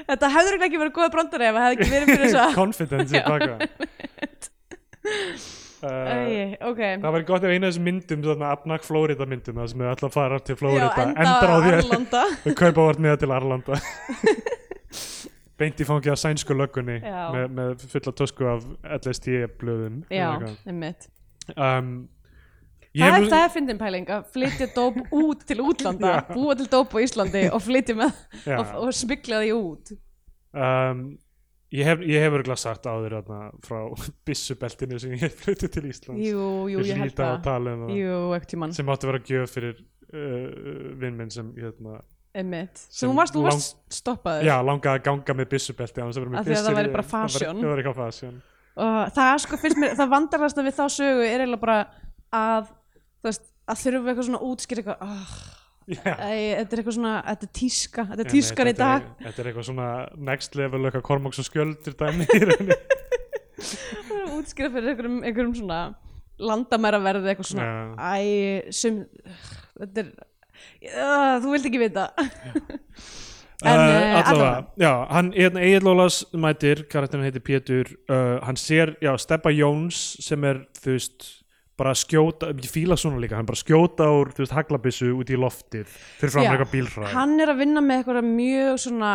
Speaker 3: þetta hefur ekki verið góða brandari ef það hefði ekki verið fyrir þess að
Speaker 1: Confidence í baka uh,
Speaker 3: Æi, ok
Speaker 1: Það væri gott ef eina af þessum myndum, þarna Abnak Flórida myndum, það sem við ætla að fara til
Speaker 3: Já,
Speaker 1: Flórida,
Speaker 3: enda,
Speaker 1: endar á því að (laughs)
Speaker 3: Arlanda
Speaker 1: við kaupa vart miða til
Speaker 3: (laughs)
Speaker 1: Arlanda beint í fangja sænsku löggunni
Speaker 3: Já.
Speaker 1: með, með fulla tösku af LST blöðum
Speaker 3: Já, einmitt
Speaker 1: um, Oh ég
Speaker 3: Það
Speaker 1: hef
Speaker 3: er,
Speaker 1: nú-
Speaker 3: það er fyndin pæling að flytja dóp út til útlanda,
Speaker 1: Já.
Speaker 3: búa til dóp á Íslandi og flytja með
Speaker 1: Já.
Speaker 3: og, og smygla því út
Speaker 1: um, ég hef, ég hef örgulega sagt áður þarna, frá (laughs) byssubeltinu sem ég flutti til Íslands
Speaker 3: Jú, jú, ég held
Speaker 1: að
Speaker 3: það
Speaker 1: tala um það
Speaker 3: Jú, ekkert tímann
Speaker 1: sem átti að vera gjöf fyrir uh, vinn minn sem hérna,
Speaker 3: Einmitt.
Speaker 1: Sem
Speaker 3: Sem hún varst, hún
Speaker 1: lang-
Speaker 3: varst stoppaður.
Speaker 1: já, langaði að ganga með byssubelti án þess að vera með
Speaker 3: Af því að það
Speaker 1: byssur í-
Speaker 3: væri bara fashion.
Speaker 1: það var eitthvað fashion
Speaker 3: Og það sko finnst mér, það vandarasta við þá sögu er eiginlega bara að, þú veist, að þurfa eitthvað svona útskýr eitthvað, oh,
Speaker 1: já
Speaker 3: æ, þetta er eitthvað svona, þetta er tíska, þetta er
Speaker 1: Einmitt,
Speaker 3: tískar í
Speaker 1: þetta er-
Speaker 3: dag. (laughs)
Speaker 1: Þetta er eitthvað svona next level eitthvað Kormáks og skjöldur dæmi (laughs) í rauninni.
Speaker 3: Það er útskýra fyrir einhverjum, einhverjum svona landamæra verði eitthvað svona, æ, sem, þetta er, uh, þú vilt ekki vita. En, eh,
Speaker 1: uh, allavega,
Speaker 3: allavega.
Speaker 1: já, hann Egil Ólas mætir, karakterin heitir Pétur uh, hann sér, já, Steppa Jóns sem er, þú veist bara skjóta, ég fíla svona líka, hann bara skjóta úr, þú veist, haglabissu út í loftið fyrir fram
Speaker 3: Já,
Speaker 1: eitthvað bílhræð
Speaker 3: Hann er að vinna með eitthvað mjög svona,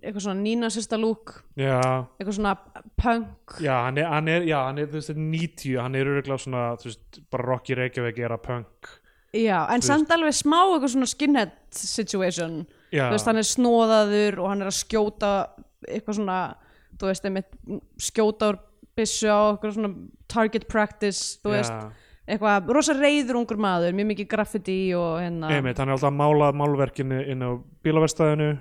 Speaker 3: eitthvað svona nína sérsta lúk,
Speaker 1: já,
Speaker 3: eitthvað svona punk.
Speaker 1: já, hann er, hann er, já, hann er, þú veist, þetta er 90 hann er örgulega svona, þú veist, bara Rocky Reykjavík er að punk
Speaker 3: Já, en
Speaker 1: Þú
Speaker 3: samt alveg smá eitthvað svona skinhead situation
Speaker 1: já,
Speaker 3: þú veist, hann er snóðaður og hann er að skjóta eitthvað svona, þú veist, einmitt skjóta úr byssu á eitthvað svona target practice, þú veist eitthvað, rosa reyður ungur maður mjög mikið graffiti og hérna
Speaker 1: Einmitt, hann er alltaf að mála málverkinu inn á bílaverstaðinu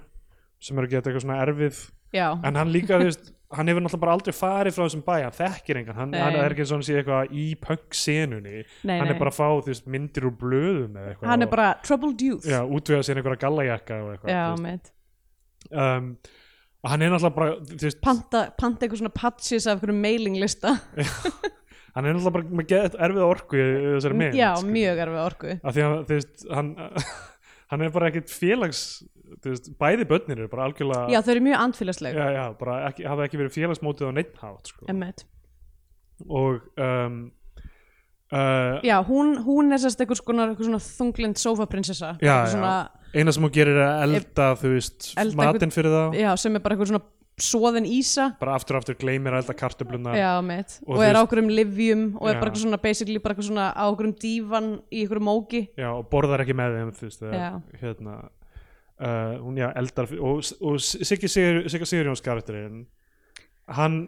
Speaker 1: sem er að geta eitthvað svona erfið
Speaker 3: Já,
Speaker 1: en hann líka, þú veist, hann hefur náttúrulega bara aldrei farið frá þessum bæ hann þekkir engan, hann,
Speaker 3: Nei.
Speaker 1: hann er ekki svona sé eitthvað í punk-senunni
Speaker 3: Nei,
Speaker 1: hann
Speaker 3: nei.
Speaker 1: er bara að fá þú veist, myndir úr blöðum eða eitthvað
Speaker 3: hann er
Speaker 1: og-
Speaker 3: bara troubled youth
Speaker 1: já, útvega sér einhverja gallajakka og eitthvað
Speaker 3: já
Speaker 1: þú
Speaker 3: mitt
Speaker 1: veist. um, og hann er náttúrulega bara þú veist,
Speaker 3: panta, panta eitthvað svona patches af einhverjum mailinglista
Speaker 1: hann er náttúrulega bara með get, erfið orku í í þessari mynd
Speaker 3: (laughs) já,
Speaker 1: skilur.
Speaker 3: mjög erfið orku
Speaker 1: af því að þú veist hann, (laughs) hann er bara ekkit félags þú veist, bæði börnir eru bara algjörlega
Speaker 3: já, þau eru mjög andfélagsleg
Speaker 1: já, já, bara ekki, hafa ekki verið félagsmótið á neitt hátt sko.
Speaker 3: Emmett.
Speaker 1: og um, uh,
Speaker 3: já, hún, hún er sérst einhvers konar einhver svona þunglind sofaprinsessa
Speaker 1: Já,
Speaker 3: Einhver svona,
Speaker 1: eina sem hún gerir er að elda þú veist,
Speaker 3: Elda
Speaker 1: matinn fyrir þá
Speaker 3: já, sem er bara einhver svona soðin ísa
Speaker 1: bara aftur og aftur gleymir að elda kartöfluna
Speaker 3: Já, mitt.
Speaker 1: Og þú
Speaker 3: Og, er á
Speaker 1: veist-
Speaker 3: okkurum livjum og er
Speaker 1: Já.
Speaker 3: bara eitthvað svona basically bara eitthvað svona á okkurum dívan í okkur móki.
Speaker 1: Já, og borðar ekki með þeim þú veist, eða,
Speaker 3: Já.
Speaker 1: hérna uh, hún já, eldar fyrir- og, og Siggi Sigur, Sigga Sigurjóns karakterinn hann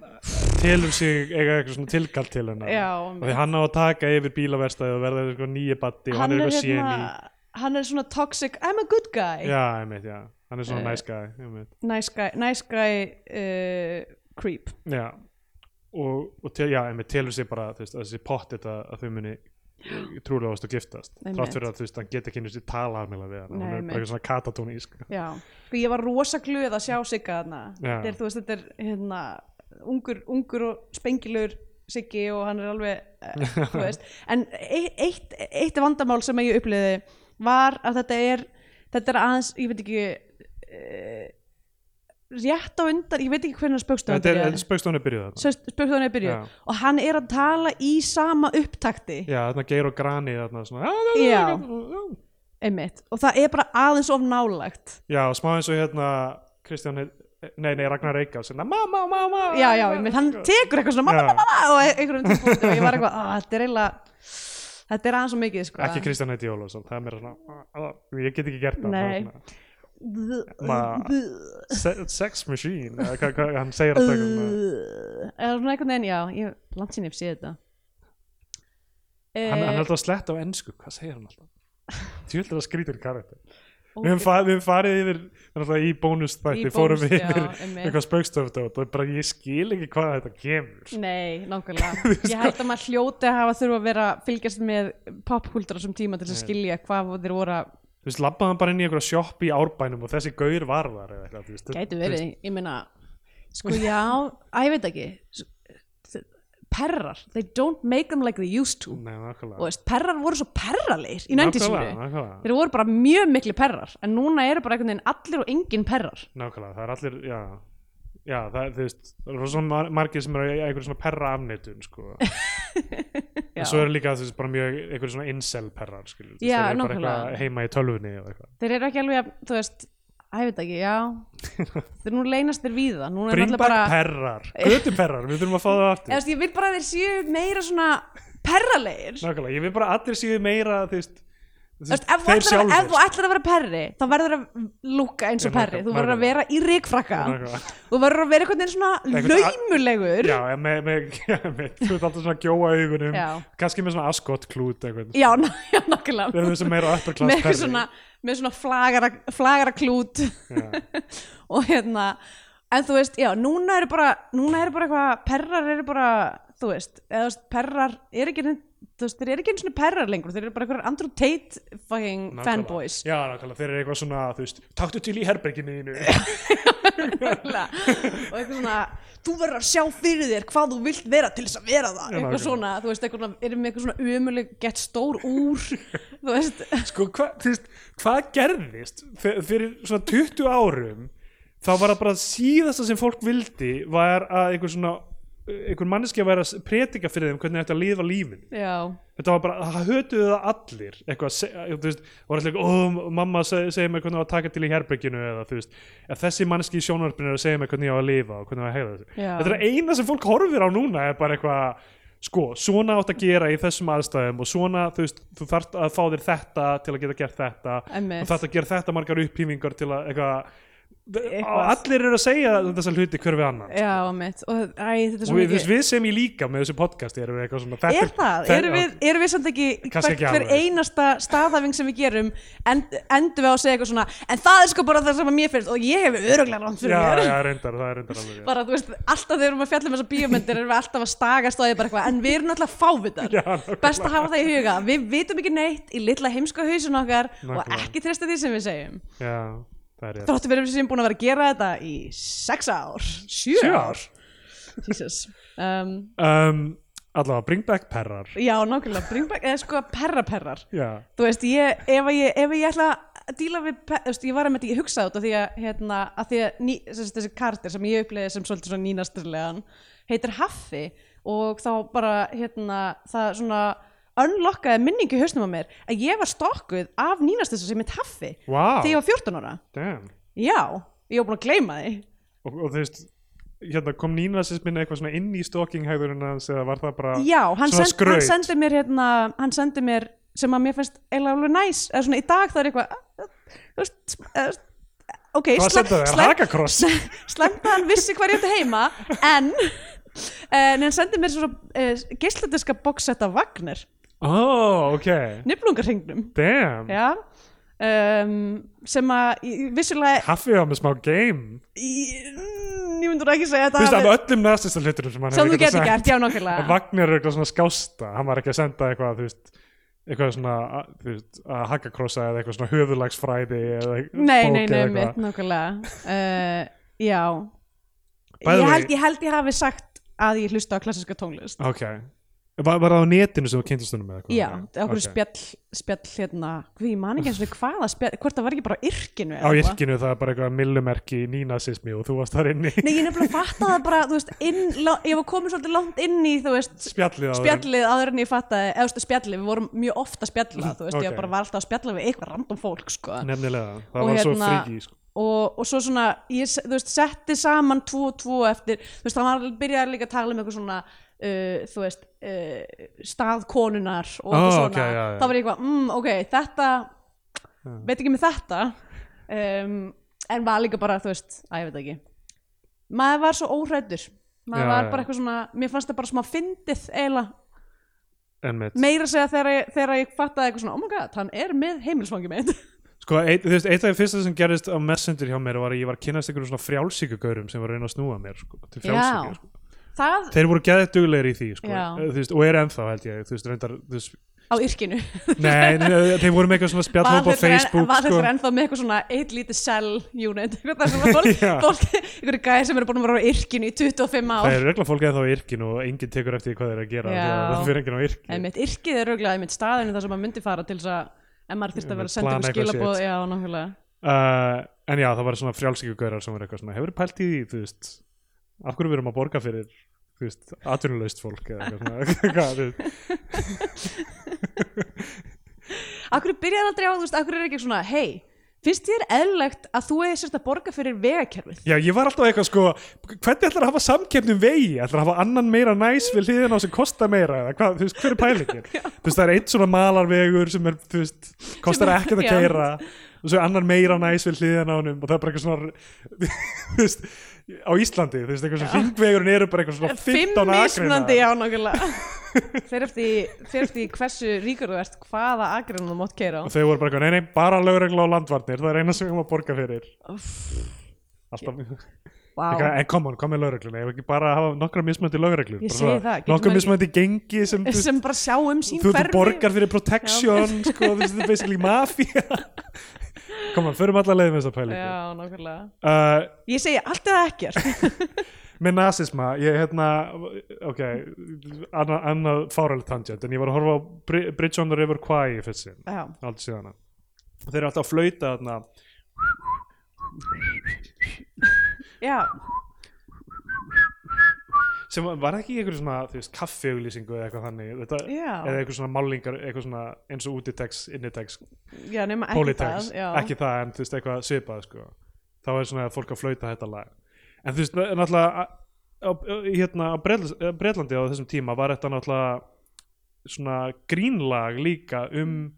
Speaker 1: telur sig eiga eitthvað svona tilkall til hennar
Speaker 3: Já,
Speaker 1: og því hann á að taka yfir bílaverstaði og verða eitthvað nýja batti og hann er eitthvað séni
Speaker 3: hérna- hann er svona toxic, I'm a good guy,
Speaker 1: já, einmitt, já, hann er svona
Speaker 3: Eh.
Speaker 1: uh, nice guy einmitt.
Speaker 3: nice guy, nice guy uh, creep.
Speaker 1: já, og, og tel, já, einmitt, telur sig bara þú veist, að þessi pott þetta að þau
Speaker 3: (gasps)
Speaker 1: muni trúlegast og giftast
Speaker 3: Einmitt.
Speaker 1: þrátt fyrir að þú veist, hann get ekki einu sinni tala almennilega við hann,
Speaker 3: Nei,
Speaker 1: hún er
Speaker 3: einmitt.
Speaker 1: bara eitthvað svona katatónísk
Speaker 3: Já, Sko, ég var rosa glöð að sjá Sigga þarna.
Speaker 1: Já.
Speaker 3: Þetta er, þú veist, þetta er hérna, ungur, ungur og spengilur Siggi og hann er alveg,
Speaker 1: (laughs)
Speaker 3: uh, þú veist. En e- eitt, eitt vandamál sem ég upplýði var að þetta er, þetta er aðeins, ég veit ekki, uh, rétt á undan, ég veit ekki hvernig spökstöðan
Speaker 1: þetta er spaukstónu byrjuð þarna
Speaker 3: spökstöðan er byrjuð
Speaker 1: Já.
Speaker 3: og hann er að tala í sama upptakti
Speaker 1: Já, þarna Geir og Grani þarna svona
Speaker 3: Já.
Speaker 1: já.
Speaker 3: einmitt og það er bara aðeins of nálægt
Speaker 1: já, smá eins og hérna Kristján, Hei- nei, nei, Ragnar Reykjá svona, mamma, mamma
Speaker 3: já, já, einmitt, hann tekur eitthvað svona mamma,
Speaker 1: Já.
Speaker 3: mamma, mamma, og einhverjum tímpúti og ég var eitthvað, "Ah, þetta er eiginlega þetta er aðeins og mikið, sko
Speaker 1: Ekki Kristján Heiti Ólafsson, það er meira svona "Ah, ah, Ég get ekki gert það
Speaker 3: Nei.
Speaker 1: hann er svona, "Se- Sex machine, eða hvað hva, hann segir alltaf
Speaker 3: (laughs)
Speaker 1: eitthvað
Speaker 3: Eh, er svona einhvern veginn, já ég, langt sinni ég sé þetta Eh,
Speaker 1: Hann, hann er alltaf slett á ensku, hvað segir hann (laughs) alltaf? Tjöldur Eh, að skrítur karakter Við höfum fa- við höfum farið yfir náttúrulega í bónustætti,
Speaker 3: Í
Speaker 1: fórum
Speaker 3: bónus,
Speaker 1: við
Speaker 3: já,
Speaker 1: yfir
Speaker 3: einmitt.
Speaker 1: eitthvað spaukstöfdótt og bara ég skil ekki hvað þetta kemur
Speaker 3: Nei,
Speaker 1: (laughs)
Speaker 3: nákvæmlega. Ég held að maður hljóti að hafa þurfa að vera að fylgjast með popkúltúra sem tíma til að skilja hvað þeir voru að
Speaker 1: Þú veist, labbaði hann bara inn í einhverja sjopp í árbænum og þessi gaur var þar eða eitthvað, þú veist.
Speaker 3: Gæti verið, ég meina Sko já, að ég veit ekki S- Perrar, they don't make them like they used to
Speaker 1: Nei,
Speaker 3: og
Speaker 1: nákvæmlega.
Speaker 3: veist, perrar voru svo perralegir í 90-sinu
Speaker 1: Nákvæmlega,
Speaker 3: þeir voru bara mjög miklu perrar en núna eru bara einhvern veginn allir og engin perrar
Speaker 1: nákvæmlega, það er allir, já, já, það er, þú veist, það eru svona mar margir sem eru í einhverju svona perra afneitun, sko. (laughs)
Speaker 3: Já.
Speaker 1: En svo eru líka, þú veist, bara mjög einhverju svona incel perrar, skilur. þú veist,
Speaker 3: Já,
Speaker 1: þeir eru bara
Speaker 3: nákvæmlega.
Speaker 1: eitthvað heima í tölvunni eða eitthvað.
Speaker 3: þeir eru ekki alveg, að, þú veist að ég veit ekki,
Speaker 1: (laughs)
Speaker 3: já þeir nú leynast þeir við það núna er
Speaker 1: Bring
Speaker 3: allir
Speaker 1: back
Speaker 3: bara,
Speaker 1: perrar, götu perrar, við þurfum að fá það
Speaker 3: (laughs) eða
Speaker 1: aftur.
Speaker 3: veist, ég vil bara að þeir séu meira svona perralegir þú
Speaker 1: Nákvæmlega, ég vil bara að allir séu meira, þú veist, þú
Speaker 3: veist,
Speaker 1: veist,
Speaker 3: ef, þú
Speaker 1: þeir
Speaker 3: ætlar, ef þú
Speaker 1: sjálfur.
Speaker 3: ætlar að vera perri þá verður að lúka eins og
Speaker 1: Já,
Speaker 3: perri þú verður að
Speaker 1: nákvæmlega.
Speaker 3: vera í rikfrakka
Speaker 1: Nákvæmlega.
Speaker 3: þú verður að vera einhvern veginn svona
Speaker 1: Einhvern að-
Speaker 3: laumulegur
Speaker 1: Já, en með, (laughs) með, já, með, þú veist alltaf svona gjóa augunum,
Speaker 3: Já.
Speaker 1: kannski með svona askott klút eitthvað.
Speaker 3: já, ná- (laughs) já, nákvæmlega
Speaker 1: Við erum þessu meira upper
Speaker 3: (laughs) með
Speaker 1: class
Speaker 3: eitthvað svona, með svona flagara, flagara klút (laughs) og hérna en þú veist, já, núna eru bara núna eru bara eitthvað, perrar eru bara þú veist, eða þú veist, perrar eru ekki, þú veist, þeir eru ekki einu svona perrar lengur þeir eru bara eitthvað Andrew Tate fucking
Speaker 1: Nákvæmlega.
Speaker 3: fanboys
Speaker 1: Já, nákvæmlega, þeir eru eitthvað svona, þú veist Taktu til í herberginu þínu (laughs)
Speaker 3: Nákvæmlega. og eitthvað svona þú verður að sjá fyrir þér hvað þú vilt vera til þess að vera það,
Speaker 1: Já,
Speaker 3: eitthvað
Speaker 1: nákvæmlega.
Speaker 3: svona þú veist, eitthvað, svona- eru með eitthvað svona umuleg gett stór úr, (laughs) þú veist
Speaker 1: Sko, hva, þú veist, hvað gerðist F- fyrir svona 20 árum þá var það bara síðasta sem fólk vildi var að einhver svona einhver manneskja væri að s- predika fyrir þeim hvernig þetta að lifa lífinu
Speaker 3: já,
Speaker 1: þetta var bara, það hötuðu það allir eitthvað, að seg- þú veist, var allir ó, mamma seg, segir mér hvernig á að taka til í herberginu eða þú veist, að þessi mannski í sjónvarpinu er að segja mér hvernig ég á að lifa og hvernig á að hegða þessu
Speaker 3: Já.
Speaker 1: þetta er eina sem fólk horfir á núna er bara eitthvað, sko, svona átt að gera í þessum aðstæðum og svona þú veist, þú þarft að fá þér þetta til að geta gert þetta
Speaker 3: Einmitt.
Speaker 1: og þarft að gera þetta margar upphýfingar til að eitthvað Eitthvað. allir eru að segja þessa hluti hver við annan
Speaker 3: já, mitt og æ, þetta er
Speaker 1: og
Speaker 3: svo
Speaker 1: við, þú veist,
Speaker 3: mikið
Speaker 1: við sem ég líka með þessu podcasti erum við eitthvað svona þetta
Speaker 3: Er það? Erum við, erum við samt ekki hver,
Speaker 1: Kannski ekki
Speaker 3: hver
Speaker 1: alveg.
Speaker 3: einasta staðhæfing sem við gerum end, endum við á að segja eitthvað svona en það er sko bara það sem að mér finnst og ég hef öruglega rámt fyrir
Speaker 1: já,
Speaker 3: mér
Speaker 1: já, reyndar, það er reyndar alveg rétt.
Speaker 3: bara þú veist, alltaf þegar við erum að fjalla um þessar bíómyndir erum við alltaf að stagast á því bara eitthvað en við erum alltaf fávitar
Speaker 1: Já, nákvæmlega.
Speaker 3: best að hafa það í huga, við vitum ekki neitt í litla heimska hausin okkar og
Speaker 1: Nákvæmlega.
Speaker 3: ekki treysta því sem við segjum
Speaker 1: já, það er rétt
Speaker 3: þróttum við erum sem búin að vera að gera þetta í sex ár, sjö
Speaker 1: Sjö
Speaker 3: ár Jesus um,
Speaker 1: um, allavega, bring back perrar
Speaker 3: já, nákvæmlega, bring back, eða sko perra-perrar
Speaker 1: já,
Speaker 3: þú veist, ég, ef, að ég, ef ég ætla að díla við, pe- þú veist, ég var að með þetta, ég hugsaði út af því að, hérna, að því að ný, þessi, þessi kartir sem ég uppleiði sem svolítið svona nínasturlegan heitir Haffi og þá bara, hérna, það svona unlockaði minningu í hausnum á mér að ég var stokkuð af nínasturlegan sem heitt Haffi
Speaker 1: wow,
Speaker 3: þegar ég var 14 ára,
Speaker 1: damn
Speaker 3: já ég var búin að gleyma því
Speaker 1: og, og þú veist, hérna kom nínasismin eitthvað svona inn í stalkinghæðurinn hans eða var það bara
Speaker 3: já,
Speaker 1: svona
Speaker 3: hann, send, hann
Speaker 1: skraut
Speaker 3: sendi mér hérna, hann sendi mér sem að mér finnst eiginlega alveg næs eða svona í dag það er eitthvað eh, þú veist, eh, þú veist, ok,
Speaker 1: hvað
Speaker 3: slem-
Speaker 1: sendaði þér,
Speaker 3: slem-
Speaker 1: hakakross
Speaker 3: slemta hann vissi hvað ég átti heima en, en hann sendi mér svona uh, geisladiska bóksetta Wagner
Speaker 1: oh, ok,
Speaker 3: niflungarhingnum
Speaker 1: damn
Speaker 3: já, um, sem að ég- ég vissulega
Speaker 1: Kaffi var með smá game
Speaker 3: ég, mm, ég myndur ekki segja
Speaker 1: Þú veist
Speaker 3: þetta
Speaker 1: af
Speaker 3: hafi-
Speaker 1: öllum næstista hluturum sem hann
Speaker 3: sem þú
Speaker 1: hefur
Speaker 3: getur
Speaker 1: getað
Speaker 3: gert, já
Speaker 1: En
Speaker 3: nákvæmlega
Speaker 1: Vagner er eitthvað svona skásta hann var ekki að senda eitthvað þú veist eitthvað svona að- þú veist, að hakkakrossa eða eitthvað svona höfulagsfræði eða
Speaker 3: nei,
Speaker 1: bók
Speaker 3: nei, nei,
Speaker 1: eða
Speaker 3: mitt,
Speaker 1: eitthvað.
Speaker 3: nákvæmlega uh, já
Speaker 1: By the
Speaker 3: ég
Speaker 1: way-
Speaker 3: held, ég held ég hafi sagt að ég hlusta á klassiska tónlist
Speaker 1: ok, var, var það á netinu sem þú kynntist honum með eitthvað
Speaker 3: já, okkur spjall, spjall hérna, hvað ég man ekki eins og hvaða spjall, hvort það var ekki bara á yrkinu
Speaker 1: á
Speaker 3: eða eitthvað.
Speaker 1: yrkinu það er bara eitthvað millumerki nínasismi og þú varst þar inni
Speaker 3: Nei, ég nefnilega fattaði það bara, þú veist, inn, lá- ég var komin svolítið langt inn í, þú veist,
Speaker 1: (laughs) spjallið á þeim.
Speaker 3: spjallið áður en ég fattaði, eða þú veist, spjallið, við vorum mjög ofta
Speaker 1: (laughs)
Speaker 3: að spjalla, þú veist,
Speaker 1: Ok.
Speaker 3: ég bara var alltaf að spjalla við eitthvað random fólk, sko.
Speaker 1: nefnilega, það
Speaker 3: Og
Speaker 1: var svo
Speaker 3: hérna-
Speaker 1: fríki sko.
Speaker 3: Og, og svo svona, ég, se- þú veist, setti saman tvo og tvo eftir, þú veist, það var byrjaði líka að tala um eitthvað svona, uh, þú veist, uh, stað konunar og
Speaker 1: Ah,
Speaker 3: eitthvað svona.
Speaker 1: ok, já, já.
Speaker 3: Þá var ég eitthvað, mm, ok, þetta, veit ekki með þetta, um, en var líka bara, þú veist, að ég veit það ekki maður var svo óhrættur maður
Speaker 1: Já,
Speaker 3: var
Speaker 1: já.
Speaker 3: bara eitthvað svona, mér fannst það bara smá fyndið eiginlega,
Speaker 1: en mitt
Speaker 3: meira að segja þegar ég, þegar ég fattaði eitthvað svona, oh my god, hann er með heimilsfangi mitt (laughs)
Speaker 1: Sko, eitt, þú veist, eitt af því fyrsta sem gerðist á Messenger hjá mér var að ég var að kynast einhverjum svona frjálsíkugaurum sem var að reyna að snúa mér, sko, til frjálsíku, sko.
Speaker 3: það
Speaker 1: Þeir voru geðið duglegir í því, sko,
Speaker 3: Já.
Speaker 1: Eh, þú veist, og eru ennþá, held ég, þú veist, reyndar, þú veist,
Speaker 3: á yrkinu
Speaker 1: nei, nei, þeir voru með eitthvað svona spjallhóp á
Speaker 3: Valhöllur en-
Speaker 1: Facebook,
Speaker 3: Valhöllur
Speaker 1: sko.
Speaker 3: ennþá með eitthvað svona eitt lítið cell unit eitthvað þar sem að fólk,
Speaker 1: (laughs) Já.
Speaker 3: fólk einhverju gæðir sem eru búin að vera á yrkinu í 25
Speaker 1: Það
Speaker 3: ár
Speaker 1: er regla fólk eða þá yrkin og enginn tekur eftir því hvað þeir eru að gera,
Speaker 3: Já.
Speaker 1: því að það fyrir enginn á yrkin.
Speaker 3: einmitt yrkið er auðvitað einmitt staðinu þar sem maður myndi fara til þess að en maður þyrfti að vera að senda
Speaker 1: Plana
Speaker 3: um
Speaker 1: eitthvað
Speaker 3: skilabóð
Speaker 1: shit.
Speaker 3: já, nákvæmlega
Speaker 1: Uh, en já, það var svona frjálsíkugaurar sem voru eitthvað svona, hefur pælt í því, þú veist, af hverju við erum að borga fyrir, þú veist, atvinnuleist fólk eða eitthvað svona, (laughs) hvað, þú veist,
Speaker 3: Akkur byrjar aldrei á, þú veist, akkur er ekki svona hei, finnst þér eðlilegt að þú eða sérst að borga fyrir vegakerfið?
Speaker 1: Já, ég var alltaf eitthvað sko, hvernig ætlar að hafa samkeppni um vegi? Ætlar að hafa annan meira næs við hliðin á sem kostar meira? Eða hvað, þú veist, hver er
Speaker 3: (laughs)
Speaker 1: pælingin? þú veist, það er eitt svona malarvegur sem er, þú veist, kostar
Speaker 3: Sem er-
Speaker 1: ekkert að
Speaker 3: já.
Speaker 1: keira og svo er annar meira næs við hliðin á honum og það er bara eitthvað svona, (laughs) þú veist, á Íslandi, þú veist, eitthvað svona hringvegurinn eru bara eitthvað svona 15
Speaker 3: Fimm mismunandi,
Speaker 1: agrina.
Speaker 3: já, nákvæmlega.
Speaker 1: (laughs)
Speaker 3: Fer eftir, fer eftir hversu ríkur þú ert, hvaða agrinu þú mátt keira á.
Speaker 1: Og þau voru bara eitthvað, nei, nei, bara lögregla og landvarnir, það er eina sem við erum að borga fyrir. Alltaf, (laughs)
Speaker 3: Vá,
Speaker 1: Eitthvað, en come on, hvað með lögregluna, ég hef ekki bara að hafa nokkra mismöndi lögreglur
Speaker 3: Ég
Speaker 1: bara
Speaker 3: segi
Speaker 1: svona,
Speaker 3: það, getur
Speaker 1: nokkra
Speaker 3: maður ekki-
Speaker 1: mismöndi gengi sem, þú veist,
Speaker 3: sem bara sjá um sín
Speaker 1: þú, þú
Speaker 3: hverfi.
Speaker 1: borgar fyrir
Speaker 3: (laughs)
Speaker 1: protection sko, þú veist, þetta er basically mafía (laughs) come on, förum alla leið með þessa pælingu
Speaker 3: Já, nákvæmlega.
Speaker 1: uh,
Speaker 3: Ég segi allt eða ekkert.
Speaker 1: með nasisma, ég hérna ok, annað anna fáralegt tangent, en ég var að horfa á Bri- Bridge on the River Kwai í fyrst sinn
Speaker 3: Já,
Speaker 1: aldrei síðan og þeir eru alltaf að flauta þarna
Speaker 3: já,
Speaker 1: sem var- var ekki einhver svona, þú veist, kaffiauglýsingu eða eitthvað þannig, þetta,
Speaker 3: Já.
Speaker 1: eða eitthvað svona málingar, eitthvað svona eins og útitex, innitex
Speaker 3: já, nema ekki
Speaker 1: Politex,
Speaker 3: það. Já.
Speaker 1: ekki það en þú veist eitthvað svipað sko. þá er svona að fólk að flauta þetta lag en þú veist náttúrulega á- á- hérna á Bretl- eh, Bretlandi á þessum tíma var þetta náttúrulega svona grínlag líka um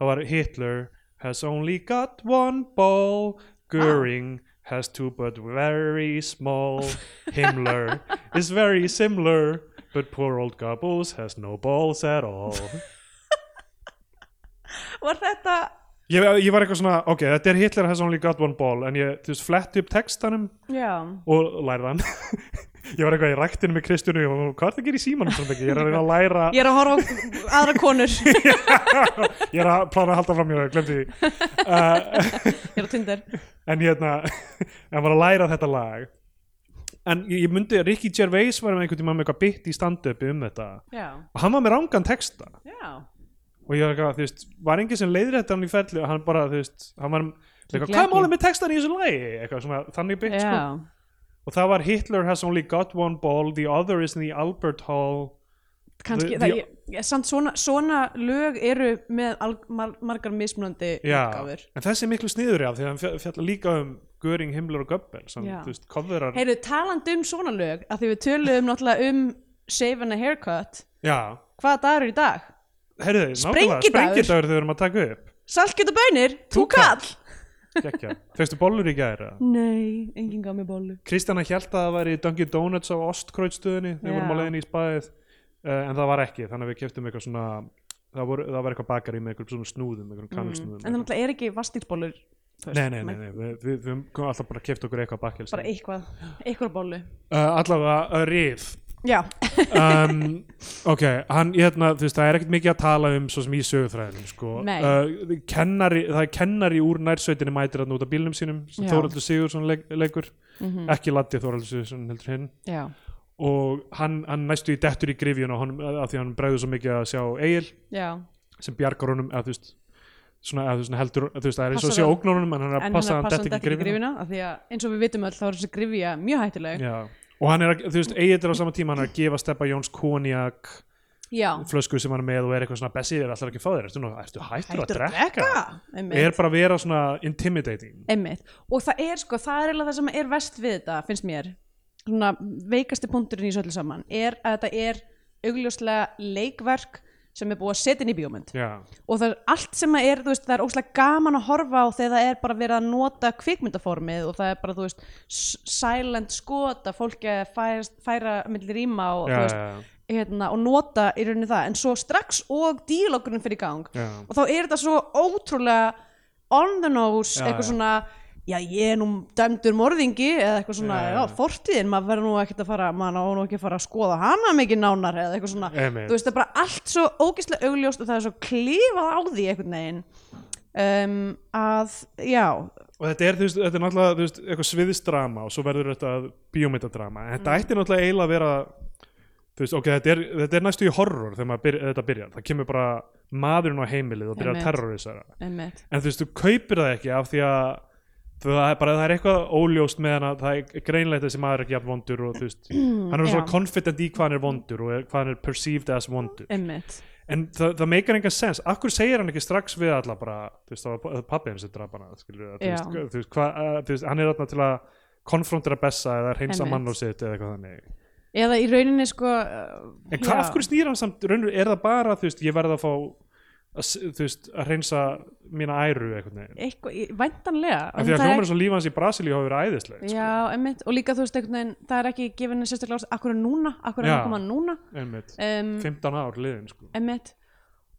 Speaker 1: það var Hitler has only got one ball Göring has two but very
Speaker 3: (laughs)
Speaker 1: small Himmler is very similar but poor old Goebbels has no balls at all
Speaker 3: Var þetta
Speaker 1: ég, ég var eitthvað svona, ok, þetta er Hitler has only got one ball en ég, þú veist, fletti upp textanum
Speaker 3: Já
Speaker 1: og lærði hann (laughs) ég var eitthvað í ræktinu með Kristjánu og hvað er það að gera í símanum svona mikið? ég er að reyna að læra
Speaker 3: Ég er að horfa á aðra (laughs) konur Ég
Speaker 1: ég er að plána að halda fram ég glemdi því uh,
Speaker 3: er að tundar
Speaker 1: en hérna (laughs) en var að læra þetta lag en ég, ég myndi, Ricky Gervais var með einhvern tímann með eitthvað bytt í standupi um þetta
Speaker 3: Já
Speaker 1: og hann var með rangan texta
Speaker 3: Já
Speaker 1: og ég var eitthvað, þú veist, var enginn sem leiðir þetta hann í ferli og hann bara, þú veist, hann var eitthvað,
Speaker 3: Glæpi.
Speaker 1: hvað er málið með textan í þessu lagi eitthvað svona, þannig bytt, sko
Speaker 3: Já
Speaker 1: og það var Hitler has only got one ball the other is in the Albert Hall The-
Speaker 3: kannski, það,
Speaker 1: the-
Speaker 3: ég, ég, samt svona, svona lög eru með al, mar, margar mismunandi
Speaker 1: Já,
Speaker 3: útgáfur
Speaker 1: en þessi er miklu sniður af því að hann fjall- fjallar líka um Göring, Himmler og Goebbels hann,
Speaker 3: Já.
Speaker 1: þú veist, coverar
Speaker 3: heyrðu, talandi um svona lög að því við töluðum náttúrulega um shave and a haircut
Speaker 1: Já,
Speaker 3: hvaða dagur er í dag?
Speaker 1: heyrðu, nákvæmlega,
Speaker 3: Sprengidagur.
Speaker 1: sprengidagur þau erum að taka upp
Speaker 3: saltkjöt og bönir,
Speaker 1: Tú
Speaker 3: tú
Speaker 1: kall.
Speaker 3: kall
Speaker 1: Gekkja, feistu bollur í gæra
Speaker 3: nei, enginn gaf mér bollu
Speaker 1: Kristjana held að það væri Dunkin Donuts á Ostkrautstöðinni þegar við vorum á
Speaker 3: Já.
Speaker 1: leiðinni í spaðið uh, en það var ekki, þannig að við keftum eitthvað svona það, voru, það var eitthvað bakari með eitthvað svona snúðum eitthvað
Speaker 3: Mm. en
Speaker 1: kannilsnúðum
Speaker 3: það náttúrulega er ekki vastilbollur
Speaker 1: Nei, nei, nei, nei, við, við, við höfum alltaf bara keft okkur eitthvað bakkels
Speaker 3: bara eitthvað, eitthvað bollu
Speaker 1: uh, Allavega, uh, rif
Speaker 3: já,
Speaker 1: um, ok, hann, ég hérna, þú veist, það er ekkert mikið að tala um svo sem í sögufræðinum, sko
Speaker 3: Nei.
Speaker 1: uh, kennari, það er kennari úr nærsveitinni mætir að nota bílnum sínum sem
Speaker 3: Já. Mhm.
Speaker 1: Þóraldur Sigurðsson leik, leikur ekki Latti Þóraldur Sigurðsson heldur hinn
Speaker 3: já,
Speaker 1: og hann, hann næstu í dettur í grifjun og hann, að því hann bregður svo mikið að sjá Egil
Speaker 3: já
Speaker 1: sem bjargar honum, að þú veist svona, að þú veist, heldur, þú veist, það er eins og að
Speaker 3: Passar
Speaker 1: sjá
Speaker 3: hann.
Speaker 1: ógnunum en hann er að
Speaker 3: en hérna,
Speaker 1: passa að
Speaker 3: hann
Speaker 1: hann dett
Speaker 3: er passandi
Speaker 1: ekki í
Speaker 3: ekki
Speaker 1: grifjun
Speaker 3: grifina af því að eins og við vitum öll þá er þessi grifja mjög hættileg já,
Speaker 1: Já. og hann er, að, þú veist, Egil er á sama tíma hann er að gefa steppa Jóns Koniak flösku sem hann er með og er eitthvað svona Bessi er alltaf ekki að fá þér, ertu, nú, ertu hættur að
Speaker 3: Hættur að
Speaker 1: drekka?
Speaker 3: einmitt.
Speaker 1: Er bara að vera svona intimidating
Speaker 3: Einmitt. Og það er sko, það er eiginlega það sem er vest við þetta, finnst mér. Svona veikasti punkturinn í svo öllu saman er að þetta er augljóslega leikverk sem er búið að setja inn í bíómynd.
Speaker 1: Já,
Speaker 3: Og það er allt sem að er, þú veist, það er ógslag gaman að horfa á þegar það er bara verið að nota kvikmyndaformið og það er bara, þú veist, s- silent skot að fólki að færa, færa millir rýma og,
Speaker 1: já,
Speaker 3: þú
Speaker 1: já,
Speaker 3: veist, hérna, og nota í rauninni það. En svo strax og dílókurinn fyrir gang,
Speaker 1: já,
Speaker 3: og þá er þetta svo ótrúlega on the nose,
Speaker 1: Já,
Speaker 3: eitthvað
Speaker 1: já.
Speaker 3: svona já ég er nú dæmdur morðingi eða eitthvað svona,
Speaker 1: Já,
Speaker 3: já,
Speaker 1: já, já.
Speaker 3: fortíðin maður verður nú ekkert að fara, maður á nú ekki að fara að skoða hana mikið nánar eða eitthvað svona
Speaker 1: Einmitt.
Speaker 3: þú veist það er bara allt svo ógeðslega augljóst og það er svo klifað á því einhvern veginn um, að, já
Speaker 1: Og þetta er, þú veist, þetta er náttúrulega þú veist, eitthvað sviðisdrama og svo verður þetta að bíómyndadrama en
Speaker 3: Mm.
Speaker 1: þetta ætti náttúrulega eiginlega að vera þú veist, ok, þetta er, þetta er næstu í horror þegar maður byrja, þetta byrjar, það kemur bara maðurinn á heimilið og byrjar að
Speaker 3: Einmitt.
Speaker 1: terrorisera
Speaker 3: einmitt,
Speaker 1: en þú veist, þú kaupir það ekki af því að það er bara, það er eitthvað óljóst með hann að það er greinlegt þessi maður er ekki jafn vondur og þú
Speaker 3: (clears throat)
Speaker 1: veist, hann er
Speaker 3: já.
Speaker 1: svona confident í hvað hann er vondur og er- hvað hann er perceived as vondur
Speaker 3: einmitt
Speaker 1: en það, það meikar engan sens, akkur segir hann ekki strax við alla bara, þú veist, það var pappi hans sem draf hana, skilur við, þú
Speaker 3: Já.
Speaker 1: veist, þú veist, hva, að, þú veist hann er þarna til að konfrontera Bessa eða reynsa
Speaker 3: Einmitt.
Speaker 1: mann og sitt eða eitthvað þannig
Speaker 3: eða í rauninni sko
Speaker 1: en hvað, af hverju snýr hann samt, raunur, er það bara þú veist, ég verð að fá að, s- þú veist, að reynsa mína æru eitthvað neginn
Speaker 3: eitthvað, í- væntanlega
Speaker 1: af
Speaker 3: En
Speaker 1: því að
Speaker 3: það er-
Speaker 1: hljómar eins og líf hans í Brasilíu hafa verið æðislegt sko.
Speaker 3: Já, emmitt, og líka þú veist einhvern veginn, það er ekki gefinni sérstaklega ást, akkur er núna, akkur er
Speaker 1: Já.
Speaker 3: að koma núna
Speaker 1: einmitt,
Speaker 3: um,
Speaker 1: 15 ár liðin sko.
Speaker 3: emmitt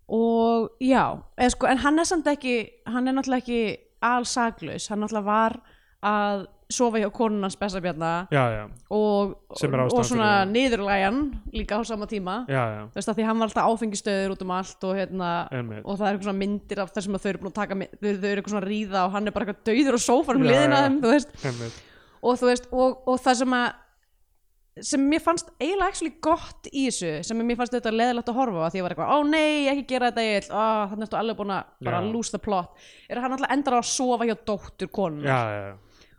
Speaker 3: og já, eða, sko, en hann er samt ekki hann er náttúrulega ekki alsaglaus, hann náttúrulega var að sofa hjá konun hans besta bjarna
Speaker 1: já, já,
Speaker 3: og,
Speaker 1: Sem er ástæðan
Speaker 3: og svona
Speaker 1: fyrir-
Speaker 3: niðurlægan líka á sama tíma
Speaker 1: já, já,
Speaker 3: þú veist að því hann var alltaf áfengistöður út um allt og hérna
Speaker 1: Einmitt.
Speaker 3: og það er eitthvað svona myndir af þessum að þau eru búin að taka mynd- þau, þau eru eitthvað svona að ríða og hann er bara eitthvað dauður á sófanum
Speaker 1: Já,
Speaker 3: liðin að
Speaker 1: já.
Speaker 3: þeim, þú veist
Speaker 1: einmitt
Speaker 3: og þú veist og, og það sem að sem mér fannst eiginlega actually gott í þessu sem mér fannst þetta leðilegt að horfa á því ég var eitthvað, ó nei, ekki gera þetta eill oh, þannig ertu alveg búin að bara
Speaker 1: Já.
Speaker 3: lose the plot er að hann alltaf endar á að sofa hjá dóttur konun
Speaker 1: já, já, já,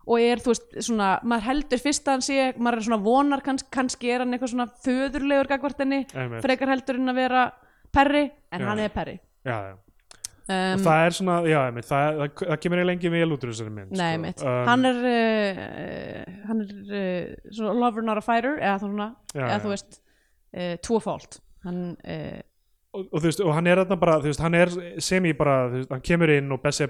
Speaker 3: og er þú veist svona, maður heldur fyrst að hann sé maður er svona vonar, kanns, kannski er hann eitthvað svona föðurlegur gagvart henni
Speaker 1: Einmitt.
Speaker 3: frekar heldur en að vera perri en
Speaker 1: Já.
Speaker 3: hann er perri
Speaker 1: já, já.
Speaker 3: um,
Speaker 1: og það er svona, já, einmitt, það, það, það kemur eiginlega engin vel út úr þessari mynd
Speaker 3: Nei,
Speaker 1: sko.
Speaker 3: mitt.
Speaker 1: Um,
Speaker 3: hann er, uh, hann er uh, svona lover not a fighter eða, þá svona,
Speaker 1: Já,
Speaker 3: eða
Speaker 1: já.
Speaker 3: þú veist uh, twofold hann uh,
Speaker 1: og, og þú veist, og hann er þarna bara, þú veist, hann er sem ég bara, þú veist, hann kemur inn og Bessi,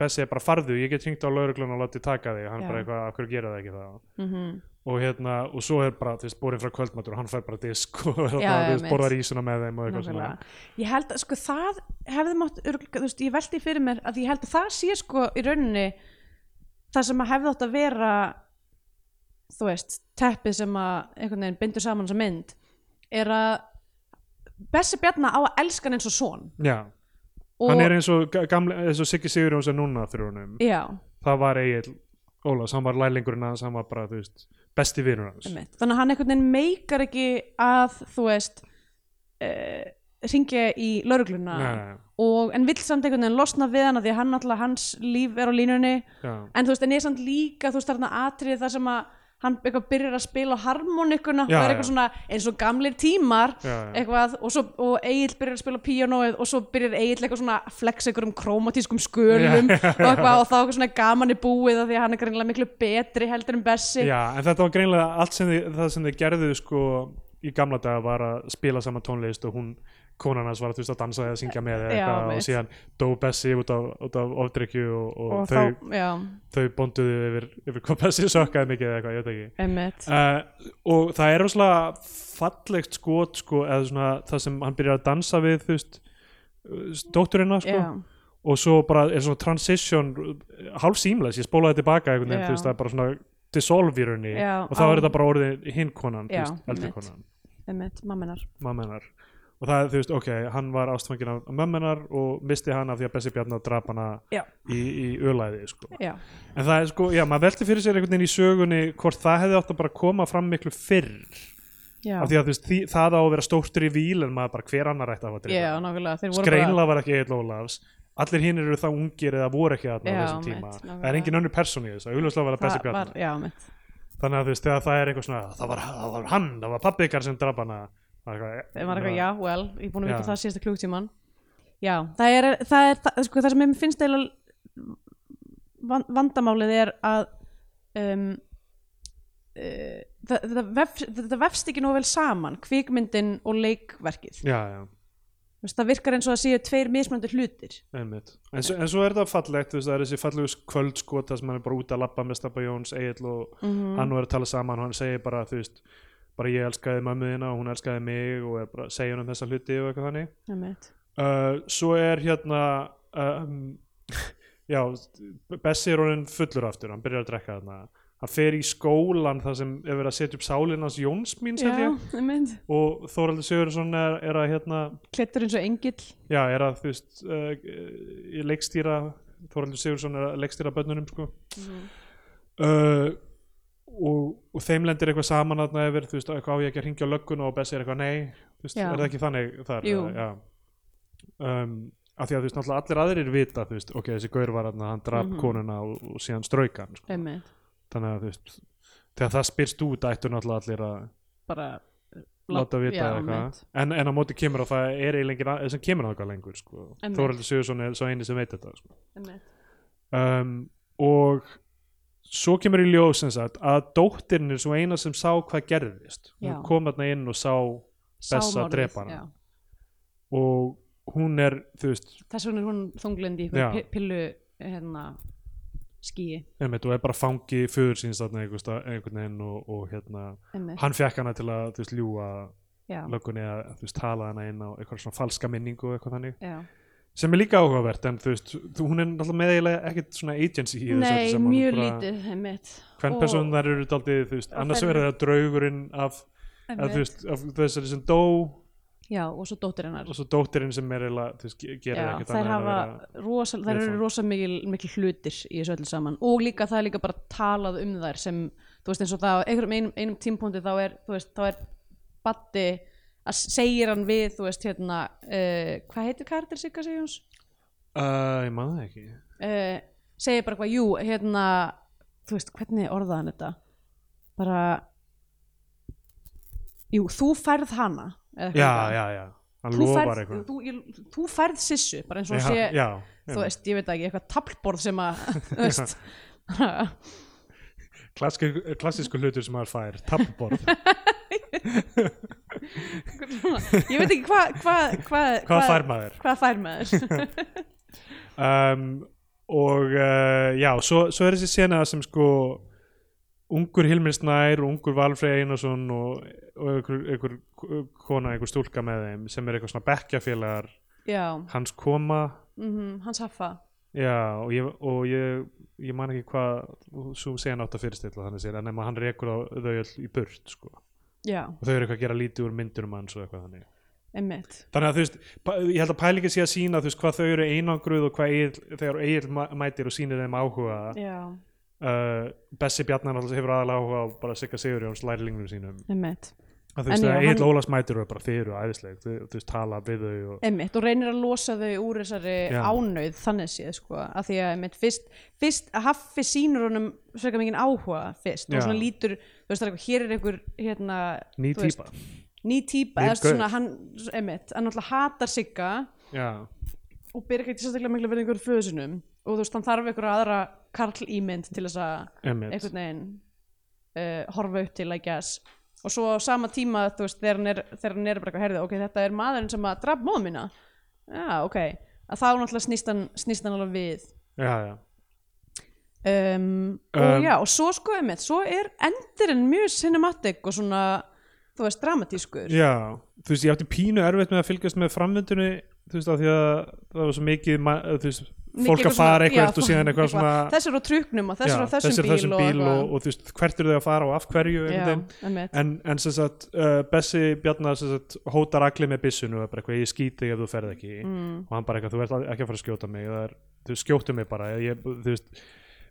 Speaker 1: Bessi er bara farðu, ég get hringt á lauruglun og látið taka þig, hann
Speaker 3: Já.
Speaker 1: er bara eitthvað, af hverju gera það ekki Mhm, það
Speaker 3: mm
Speaker 1: og hérna, og svo er bara, þú veist, borin frá kvöldmatur og hann fær bara disk og (laughs) hérna,
Speaker 3: Já, já,
Speaker 1: þú veist,
Speaker 3: mitt.
Speaker 1: borðar ísuna með þeim og eitthvað svona
Speaker 3: Nákvæmlega. Ég held að sko það hefði mátt, örugglega- þú veist, ég veldi fyrir mér að ég held að það sé sko í rauninni það sem að hefði átt að vera þú veist, teppið sem að einhvern veginn bindur saman sem mynd er að Bessi Bjarna á að elska hann eins og son
Speaker 1: já,
Speaker 3: og,
Speaker 1: hann er eins og ga- gamli, eins og Siggi Sigurjóns er núna fyrir honum,
Speaker 3: Já,
Speaker 1: það var Egil Ólafs, hann var lælingurinn hans, hann var bara, þú veist besti vinur hans,
Speaker 3: einmitt. þannig að hann einhvern veginn meikar ekki að þú veist uh, ringja í laurugluna
Speaker 1: Nei, nei,
Speaker 3: og en vill samt einhvern veginn losna við hann af því að hann alltaf hans líf er á línunni
Speaker 1: já,
Speaker 3: en þú veist, en ég er samt líka þú veist, þarna atrið þar sem að hann eitthvað byrjar að spila á harmonikuna
Speaker 1: Já,
Speaker 3: það er eitthvað
Speaker 1: já.
Speaker 3: svona eins og gamlir tímar
Speaker 1: já, já.
Speaker 3: eitthvað, og, svo, og Egil byrjar að spila á píanóið og svo byrjar Egil eitthvað svona að flexa einhverjum krómatískum skölum
Speaker 1: Já.
Speaker 3: og, eitthvað, og þá eitthvað svona gaman er búið af því að hann er greinlega miklu betri heldur en Bessi
Speaker 1: Já, en þetta var greinlega allt sem þið, það sem þið gerðu sko í gamla daga var að spila saman tónlist og hún konan hans var þú veist, að dansa eða syngja með eða
Speaker 3: Já,
Speaker 1: eitthvað
Speaker 3: mitt.
Speaker 1: og síðan dó Bessi út af, út af ofdrykju og, og,
Speaker 3: og
Speaker 1: þau,
Speaker 3: þá, já,
Speaker 1: þau bonduðu yfir, yfir hvað Bessi sökkaði mikið eða eitthvað, ég veit ekki
Speaker 3: emmitt
Speaker 1: uh, og það er rosalega fallegt skot sko, eða svona það sem hann byrjar að dansa við þú veist, dótturina sko
Speaker 3: já,
Speaker 1: og svo bara er svona transition hálf símles, ég spólaði tilbaka einhvern veginn,
Speaker 3: Já.
Speaker 1: þú veist, það er bara svona dissolve í rauninni
Speaker 3: Já,
Speaker 1: og þá er
Speaker 3: á-
Speaker 1: þetta bara orðið hinn konan, þú
Speaker 3: Já,
Speaker 1: veist, eldri
Speaker 3: einmitt.
Speaker 1: konan
Speaker 3: emmitt, mamminar
Speaker 1: mammenar og það er, þú veist, ok, hann var ástfangin af mammenar og misti hann af því að Bessi Bjarnar drap hana
Speaker 3: Já.
Speaker 1: í, í ölaði, sko
Speaker 3: já,
Speaker 1: en það er sko, já, maður velti fyrir sér einhvern veginn í sögunni hvort það hefði átt að bara koma fram miklu fyrr,
Speaker 3: já,
Speaker 1: af því að þú veist því, það á að vera stóttur í víl en maður bara hver annar ætti að hafa drifið
Speaker 3: já, nákvæmlega þeir voru bara-
Speaker 1: Skreinlega var ekki Egil Ólafs allir hinn eru þá ungir eða voru ekki þarna á
Speaker 3: Já,
Speaker 1: þessum tíma,
Speaker 3: mitt,
Speaker 1: það er engin önnur persónu í þessu, auðvitað var það Bessi
Speaker 3: það var,
Speaker 1: Bjarni
Speaker 3: já, emmitt
Speaker 1: þannig að þú veist, þegar það er eitthvað svona það var, það var hann, það var pabbi ykkar sem draf hana það var
Speaker 3: þeim var eitthvað, já, well, ég er búin að vita
Speaker 1: Já.
Speaker 3: það síðasta klugtíman já, það er það, er, það, sko, það sem ég finnst eiginlega van, vandamálið er að um, uh, það, það, vef, það vefst ekki nóg vel saman kvikmyndin og leikverkið
Speaker 1: já, já,
Speaker 3: Þú veist, það virkar eins og það séu tveir mismöndir hlutir
Speaker 1: einmitt en svo, en svo er það fallegt, þú veist, það er þessi fallegu kvöldskota sem hann er bara út að labba með Stabba Jóns Egil og
Speaker 3: Mm.
Speaker 1: hann er að tala saman og hann segir bara, þú veist bara ég elskaði mömmu þína og hún elskaði mig og er bara að segja hann um þessa hluti og eitthvað þannig
Speaker 3: Einmitt.
Speaker 1: uh, svo er hérna um, já Bessi er honin fullur aftur hann byrjar að drekka þarna hann fer í skólan þar sem er verið að setja upp sálinans Jóns mín
Speaker 3: já,
Speaker 1: sem ég
Speaker 3: einmitt.
Speaker 1: og Þóraldur Sigurðsson er, er að hérna
Speaker 3: klettur eins og engill
Speaker 1: já er að þú veist uh, í leikstýra Þóraldur Sigurðsson er að leikstýra bönnunum sko
Speaker 3: Mhm.
Speaker 1: uh, og, og þeim lendir eitthvað saman þarna yfir þú veist eitthvað á ég ekki að ringja á lögguna og Bessi er eitthvað nei þú veist
Speaker 3: Já.
Speaker 1: er það ekki þannig þar
Speaker 3: Jú.
Speaker 1: eða, já um, af því að þú veist náttúrulega allir aðrir vita þú veist ok þessi gaur var þarna hann draf
Speaker 3: Mhm.
Speaker 1: konuna og, og síðan straukan sko.
Speaker 3: einmitt,
Speaker 1: þannig að þú veist þegar það spyrst út ættu náttúrulega allir að
Speaker 3: bara uh,
Speaker 1: láta vita
Speaker 3: já,
Speaker 1: eða eitthvað
Speaker 3: einmitt.
Speaker 1: en, en á móti kemur að það er eiginlega sem kemur náttúrulega lengur sko.
Speaker 3: Einmitt.
Speaker 1: Þóraldur Sigursson er svo eini sem veit þetta sko
Speaker 3: Einmitt.
Speaker 1: um, og svo kemur í ljós sem sagt að dóttirin er svo eina sem sá hvað gerðist
Speaker 3: Já.
Speaker 1: hún kom þarna inn og sá Bessa
Speaker 3: Sámorðið,
Speaker 1: drepa hana.
Speaker 3: já.
Speaker 1: og hún er, þú veist,
Speaker 3: þess vegna er hún þunglind í
Speaker 1: Já.
Speaker 3: einhverju pi- pillu hérna, skíi
Speaker 1: einmitt, og er bara fangi föður síns þarna einhvers sta- einhvern veginn og, og hérna,
Speaker 3: einmitt,
Speaker 1: hann fekk hana til að þú veist, ljúga
Speaker 3: já,
Speaker 1: löggunni að þú veist, tala hana inn á eitthvað svona falska minningu og eitthvað þannig,
Speaker 3: já.
Speaker 1: sem er líka áhugavert en þú veist, þú- hún er náttúrulega meðeigilega ekkert svona agency í þessu öllu
Speaker 3: nei,
Speaker 1: saman,
Speaker 3: mjög
Speaker 1: bara-
Speaker 3: lítið einmitt
Speaker 1: hvern
Speaker 3: Og-
Speaker 1: person þær eru daldið, þú veist,
Speaker 3: Og
Speaker 1: annars
Speaker 3: þær-
Speaker 1: verður það draugurinn af, að, þú
Speaker 3: einmitt.
Speaker 1: veist, af þessari sem dó
Speaker 3: já, og svo dóttir hennar
Speaker 1: og svo dóttirinn sem er eiginlega, þú veist, ge- gerir
Speaker 3: já,
Speaker 1: ekkert
Speaker 3: þær,
Speaker 1: annað en að
Speaker 3: hafa
Speaker 1: vera-
Speaker 3: rosa, þær eru
Speaker 1: viðfang.
Speaker 3: rosa mikil, mikil hlutir í þessu öllu saman og líka það er líka bara talað um þær sem, þú veist eins og það á einhverjum einum, einum tímpúndi þá er, þú veist, þá er Batti að segir hann við, þú veist, hérna uh, hvað heitir Kardir Sigga Sigjóns?
Speaker 1: uh, ég maður það ekki
Speaker 3: uh, segir bara eitthvað, jú, hérna þú veist, hvernig orðaði hann þetta bara jú, þú færð hana eða eitthvað
Speaker 1: já,
Speaker 3: svona.
Speaker 1: já, já, hann
Speaker 3: þú
Speaker 1: lofar
Speaker 3: færð,
Speaker 1: eitthvað
Speaker 3: þú, ég, þú færð sissu bara eins og
Speaker 1: já,
Speaker 3: sé,
Speaker 1: já,
Speaker 3: þú
Speaker 1: já.
Speaker 3: veist, ég veit ekki eitthvað tablborð sem
Speaker 1: (laughs)
Speaker 3: að, þú veist bara, (laughs)
Speaker 1: Klassik, klassísku hlutur sem maður fær tappaborð
Speaker 3: ég veit ekki hvað hva, hva, hva,
Speaker 1: Hvað fær maður?
Speaker 3: hvað fær maður (laughs)
Speaker 1: um, og uh, já, svo, svo er þessi sena sem sko ungur Hilmir Snær og ungur Valfrey Einarsson og, og einhver, einhver kona, einhver stúlka með þeim sem er eitthvað svona bekkjafélagar
Speaker 3: já,
Speaker 1: hans koma
Speaker 3: mm hans haffa
Speaker 1: já, og ég, og ég, ég man ekki hvað svo sena átt að fyrirstilla þannig sér en nema hann rekur á, þau öll í burt sko.
Speaker 3: já,
Speaker 1: og þau eru eitthvað að gera lítið úr myndunum hans og eitthvað þannig
Speaker 3: einmitt
Speaker 1: Þannig að þú veist, pa- ég held að pælingin sé að sína þú veist hvað þau eru einangruð og hvað Egill- þegar Egil mætir og sýnir þeim áhuga
Speaker 3: já,
Speaker 1: uh, Bessi Bjarnar alltaf hefur aðalega áhuga á bara Sigga Sigurjóns lærlingnum sínum
Speaker 3: einmitt
Speaker 1: að þú veist,
Speaker 3: En
Speaker 1: þegar
Speaker 3: já,
Speaker 1: Egil
Speaker 3: hann-
Speaker 1: Ólafs mætir og bara þið eru æðisleg, þú, þú veist, tala við þau og,
Speaker 3: einmitt og reynir að losa þau úr þessari
Speaker 1: Já.
Speaker 3: ánauð þannig séð sko að því að einmitt fyrst, fyrst að Haffi sýnur honum svega mikið áhuga fyrst
Speaker 1: Já.
Speaker 3: og svona lítur, þú veist það er eitthvað, hér er einhver hérna,
Speaker 1: ný
Speaker 3: þú veist,
Speaker 1: típa
Speaker 3: ný típa
Speaker 1: Nýr
Speaker 3: eða
Speaker 1: gaur.
Speaker 3: svona hann, einmitt, hann alltaf hatar sigga
Speaker 1: Já,
Speaker 3: og byrja ekki sérstaklega miklu verið einhver föðusinum og þú veist hann þarf einhverja aðra karl ímynd til þess að
Speaker 1: emmitt
Speaker 3: einhvern veginn uh, horfa upp til I guess og svo á sama tíma þú veist þegar hann er, þegar hann er bara eitthvað herðið ok þetta er maðurinn sem að draf móða mína já ok að þá náttúrulega snýst hann, snýst hann alveg við
Speaker 1: Já, já,
Speaker 3: um,
Speaker 1: Um,
Speaker 3: og já og svo sko einmitt svo er endurinn mjög cinematic og svona þú veist dramatískur
Speaker 1: já, þú veist, ég átti pínu erfitt með að fylgjast með framvindunni þú veist, af því að það var svo mikið ma- þú veist,
Speaker 3: Mikið
Speaker 1: fólk
Speaker 3: eitthvað
Speaker 1: að fara
Speaker 3: svona- já,
Speaker 1: eitthvað og síðan eitthvað svona
Speaker 3: þessi er á truknum og þessi er á þessum,
Speaker 1: þessi er
Speaker 3: bíl,
Speaker 1: þessum bíl og,
Speaker 3: og,
Speaker 1: og, þú veist, hvert eru þau að fara og af hverju
Speaker 3: og
Speaker 1: einhvern veginn.
Speaker 3: já, einmitt,
Speaker 1: en, en sem sagt, uh, Bessi Bjarnar sem sagt, hótar allir með byssunum og er bara eitthvað, ég skýt þig ef þú ferð ekki
Speaker 3: Mm.
Speaker 1: og hann bara eitthvað, þú ert ekki að fara að skjóta mig það er, þú skjótu mig bara ég, þú veist,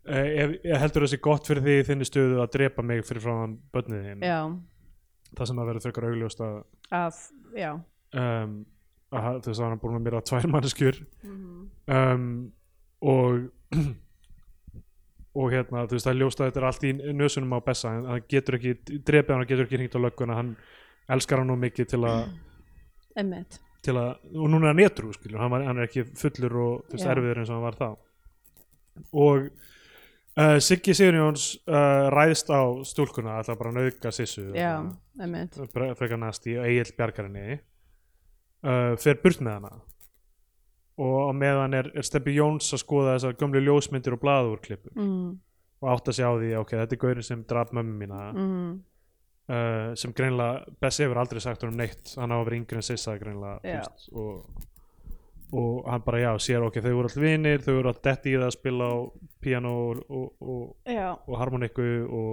Speaker 1: uh, ef, ég heldur þessi gott fyrir því í þinni stöðu að drepa mig fyrir frá hann bönnið þín
Speaker 3: já
Speaker 1: það sem að vera frekar augljóst að
Speaker 3: að, já,
Speaker 1: um, að, ha- þú veist, hann er búin að mér að tvær manneskjur um, og (clears throat) og hérna, þú veist, það er ljóst að þetta er allt í nösunum á Bessa, en hann getur ekki drepið hann, og getur ekki hringt á lögguna hann elskar hann nú mikið til
Speaker 3: (clears throat)
Speaker 1: að
Speaker 3: einmitt
Speaker 1: til að, og núna er hann etru skilur, hann, var, hann er ekki fullur og þú veist,
Speaker 3: Já.
Speaker 1: erfiður eins og hann var þá og uh, Siggi Sigurjóns uh, ræðst á stúlkuna alltaf bara að nauðga sissu
Speaker 3: já, einmitt
Speaker 1: Fre- frekar næsti og Egil bjargar henni uh, fer burt með hana og á meðan er, er Steppi Jóns að skoða þessar gömlu ljósmyndir og blaðúrklippu
Speaker 3: mm,
Speaker 1: og átta sig á því, ok, þetta er gaurin sem draf mömmu mína
Speaker 3: mm,
Speaker 1: uh, sem greinlega, Bessi hefur aldrei sagt honum neitt hann á að vera yngri en sissa greinlega þú
Speaker 3: Já.
Speaker 1: veist, og, og hann bara, já, sér ok, þau voru all vinir þau voru all detti í það að spila á piano og, og, og,
Speaker 3: já,
Speaker 1: og harmoniku og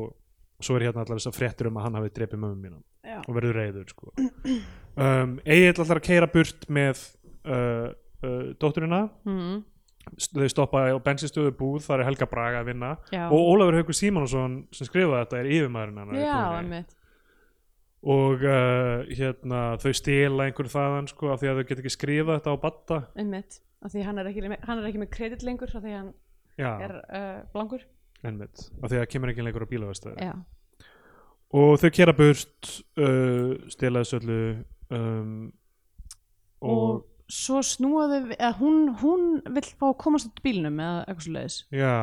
Speaker 1: svo er hérna allar þessar fréttir um að hann hafi drepið mömmu mína
Speaker 3: já
Speaker 1: og verður reyður sko. um, Egil ætlar að keira burt með uh, uh, dótturina
Speaker 3: mm,
Speaker 1: S- þau stoppa á bensinstöðu búð þar er Helga Braga að vinna
Speaker 3: já,
Speaker 1: og Ólafur Haukur Símonsson sem skrifaði þetta er yfirmaðurinn hennar í
Speaker 3: já,
Speaker 1: búðinni.
Speaker 3: einmitt
Speaker 1: og uh, hérna, þau stela einhverju þaðan sko, af því að þau get ekki skrifað þetta á batta
Speaker 3: einmitt, af því hann er ekki, hann er ekki með kredit lengur af því hann er
Speaker 1: já,
Speaker 3: uh, blankur
Speaker 1: ennmitt, af því að kemur ekki lengur á bílavestæði
Speaker 3: já,
Speaker 1: og þau kera burt uh, stela þessu öllu um, og,
Speaker 3: og svo snúaði að hún, hún vill fá að komast út úr bílnum eða eitthvað svo leiðis
Speaker 1: já,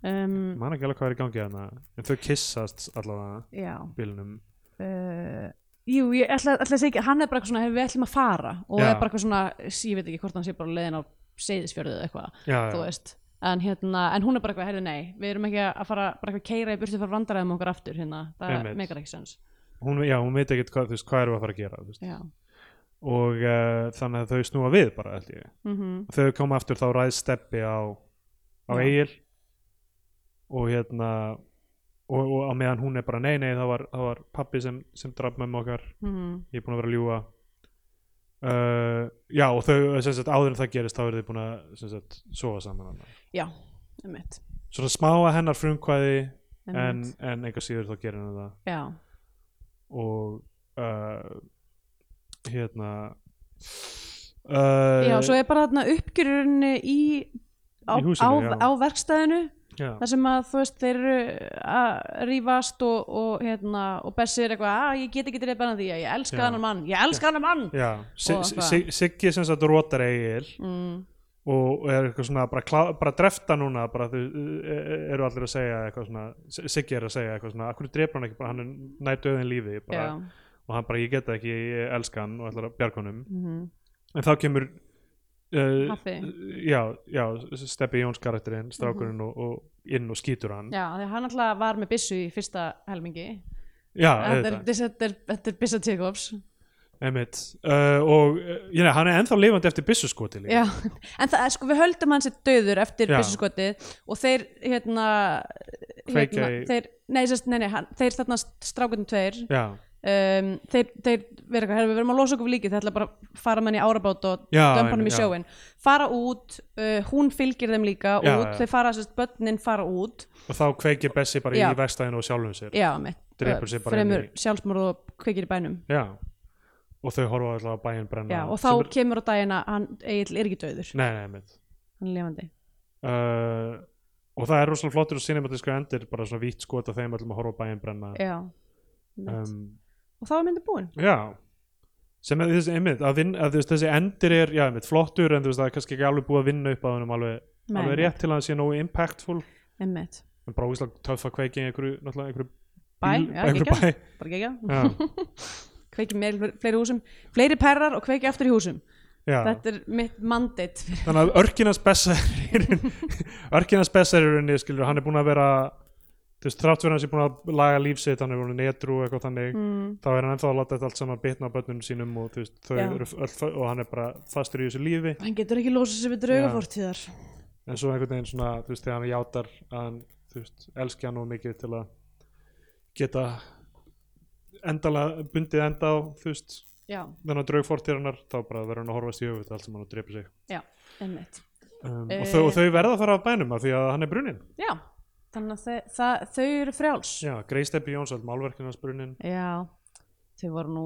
Speaker 3: um,
Speaker 1: man ekki alveg hvað er í gangi hérna en þau kissast allavega
Speaker 3: já
Speaker 1: bílnum
Speaker 3: uh, jú, ég ætla, ætla að segja ekki hann er bara eitthvað svona, "Hey, við ætlum að fara og
Speaker 1: Já.
Speaker 3: er bara eitthvað svona, ég veit ekki hvort hann sé bara leiðin á seyðisfjörðu eða eitthvað
Speaker 1: já,
Speaker 3: þú
Speaker 1: já,
Speaker 3: veist en, hérna, en hún er bara eitthvað, herri nei við erum ekki að fara, bara eitthvað keira í burtu fyrir vandaraðum okkar aftur hérna, það
Speaker 1: Einmitt.
Speaker 3: megar ekki sens
Speaker 1: hún, já, hún veit ekkert hvað, þú veist, hvað eru að fara að gera þú veist.
Speaker 3: já,
Speaker 1: og uh, þannig að þau snúa við bara held ég.
Speaker 3: mm
Speaker 1: þegar þau koma aftur þá ræðst steppi á, á
Speaker 3: Já.
Speaker 1: Egil og hérna og, og á meðan hún er bara nei nei það var, það var pappi sem, sem draf mömmu okkar
Speaker 3: mhm.
Speaker 1: ég er búin að vera að ljúga uh, já og þau sem sagt, áður en það gerist þá eru þau búin að sem sagt, sofa saman annað.
Speaker 3: já, einmitt,
Speaker 1: svona smá að hennar frumkvæði en,
Speaker 3: einmitt.
Speaker 1: en einhver síður þá gerir hennar það
Speaker 3: já,
Speaker 1: og uh, hérna
Speaker 3: já,
Speaker 1: uh,
Speaker 3: svo er bara þarna uppgjörurinni í á,
Speaker 1: Í húsinu,
Speaker 3: á,
Speaker 1: já.
Speaker 3: á verkstæðinu
Speaker 1: já,
Speaker 3: þar sem að þú veist þeir eru að rífast og, og hérna og Bessi er eitthvað, að ég get ekki til þetta því að ég elska
Speaker 1: Já.
Speaker 3: hann mann, ég elska hann mann
Speaker 1: já. Si-
Speaker 3: Og
Speaker 1: si-
Speaker 3: hvað?
Speaker 1: si- Siggi sem sagt rótar eigil
Speaker 3: mm,
Speaker 1: og og er eitthvað svona bara, klá, bara drefta núna bara þau eh, eru allir að segja eitthvað svona Si- Siggi er að segja eitthvað svona akkur drefur hann ekki, bara hann er nær döðin lífi bara,
Speaker 3: já,
Speaker 1: og hann bara ég get það ekki, ég elska hann og ætlar að bjarga honum en þá kemur uh,
Speaker 3: Mhm, Haffi.
Speaker 1: já, já, Steppi Jóns karakterinn strákurinn og, og inn og skýtur hann
Speaker 3: Mhm. Já, því að hann alltaf var með byssu í fyrsta helmingi
Speaker 1: já
Speaker 3: Þetta er,
Speaker 1: auðvitað.
Speaker 3: þessi- þetta er, þetta er byssa Jacobs
Speaker 1: Einmitt. Uh, og uh, ég, nei, hann er ennþá lifandi eftir byssuskoti líka.
Speaker 3: Já, (laughs) en það, er- sko, við höldum hans eitt döður eftir
Speaker 1: Já.
Speaker 3: byssuskotið og þeir, hérna,
Speaker 1: Kveikja
Speaker 3: hérna
Speaker 1: í-
Speaker 3: þeir, nei, sest, nei, nei, hann, þeir þarna strákunum tveir,
Speaker 1: já,
Speaker 3: um, þeir, þeir vera eitthvað, "Herra, við verum að losa okkur við líkið, þeir ætla bara að fara með hann í árabát og
Speaker 1: Já,
Speaker 3: dömpanum í
Speaker 1: einmitt, já.
Speaker 3: sjóin, fara út, uh, hún fylgir þeim líka
Speaker 1: Já,
Speaker 3: út,
Speaker 1: já.
Speaker 3: þau fara, sérst, börnin fara út,
Speaker 1: og þá kveikir Bessi bara
Speaker 3: Já.
Speaker 1: í vestæðinu og sjálfum sér
Speaker 3: já, mitt,
Speaker 1: Drepur sig bara inn
Speaker 3: fremur
Speaker 1: í-
Speaker 3: sjálfsmorð og kveikir í bænum.
Speaker 1: já. og þau horfa alltaf að bæinn brenna
Speaker 3: Já, og
Speaker 1: sem
Speaker 3: þá kemur á daginn að hann Egil er ekki döður,
Speaker 1: nei, nei, einmitt.
Speaker 3: hann er lifandi.
Speaker 1: uh, og það er rosalega flottur og cinematísku endir bara svona vítt skot að þeim öllum að horfa á bæinn brenna
Speaker 3: Já, um,
Speaker 1: um,
Speaker 3: og þá er myndin búin.
Speaker 1: já sem að þessi, einmitt, að vin, að þessi, þessi endir er já, einmitt, flottur en þú veist það er kannski ekki alveg búið að vinna upp að honum alveg,
Speaker 3: Nei,
Speaker 1: alveg
Speaker 3: nei.
Speaker 1: rétt til að hann sé nógu impactful
Speaker 3: Einmitt.
Speaker 1: en bara ógislega töff að kveiki í einhverju, náttúrulega einhverju
Speaker 3: Bæ,
Speaker 1: bíl-
Speaker 3: já,
Speaker 1: einhverju bæ
Speaker 3: geggjað. bara gegja, (laughs)
Speaker 1: já,
Speaker 3: kveiki með fleiri húsum fleiri perrar og kveiki aftur í húsum
Speaker 1: já.
Speaker 3: þetta er mitt mandate fyrir-
Speaker 1: þannig að örkinans bessa (laughs) örkinans bessa er í rauninni skilur, hann er búin að vera þú veist, þrátt verið hans er búin að laga lífsitt hann er búin að netru og eitthvað þannig þá er hann ennþá að láta þetta allt saman bitna á börnunum sínum og þú veist, þau
Speaker 3: Mm. Já.
Speaker 1: eru öll, og hann er bara fastur í þessu lífi
Speaker 3: hann getur ekki losað sér við draugafórtíðar
Speaker 1: en svo einhvern veginn svona, þú veist, þegar hann játar að hann, þú veist, elski hann nú mikið til að geta endalega bundið enda á, þú veist,
Speaker 3: já,
Speaker 1: þennan draug fortíðarinnar þá bara verður hann að horfast í höfuð allt saman og drepa sig
Speaker 3: já, einmitt
Speaker 1: um,
Speaker 3: Eh.
Speaker 1: og, þau, og þau verða að fara af bænum af því að hann er bruninn
Speaker 3: já, þannig að þau, það, þau eru frjáls
Speaker 1: já,
Speaker 3: já.
Speaker 1: Greisteppi Jónsöld, málverkinn hans bruninn
Speaker 3: þau voru nú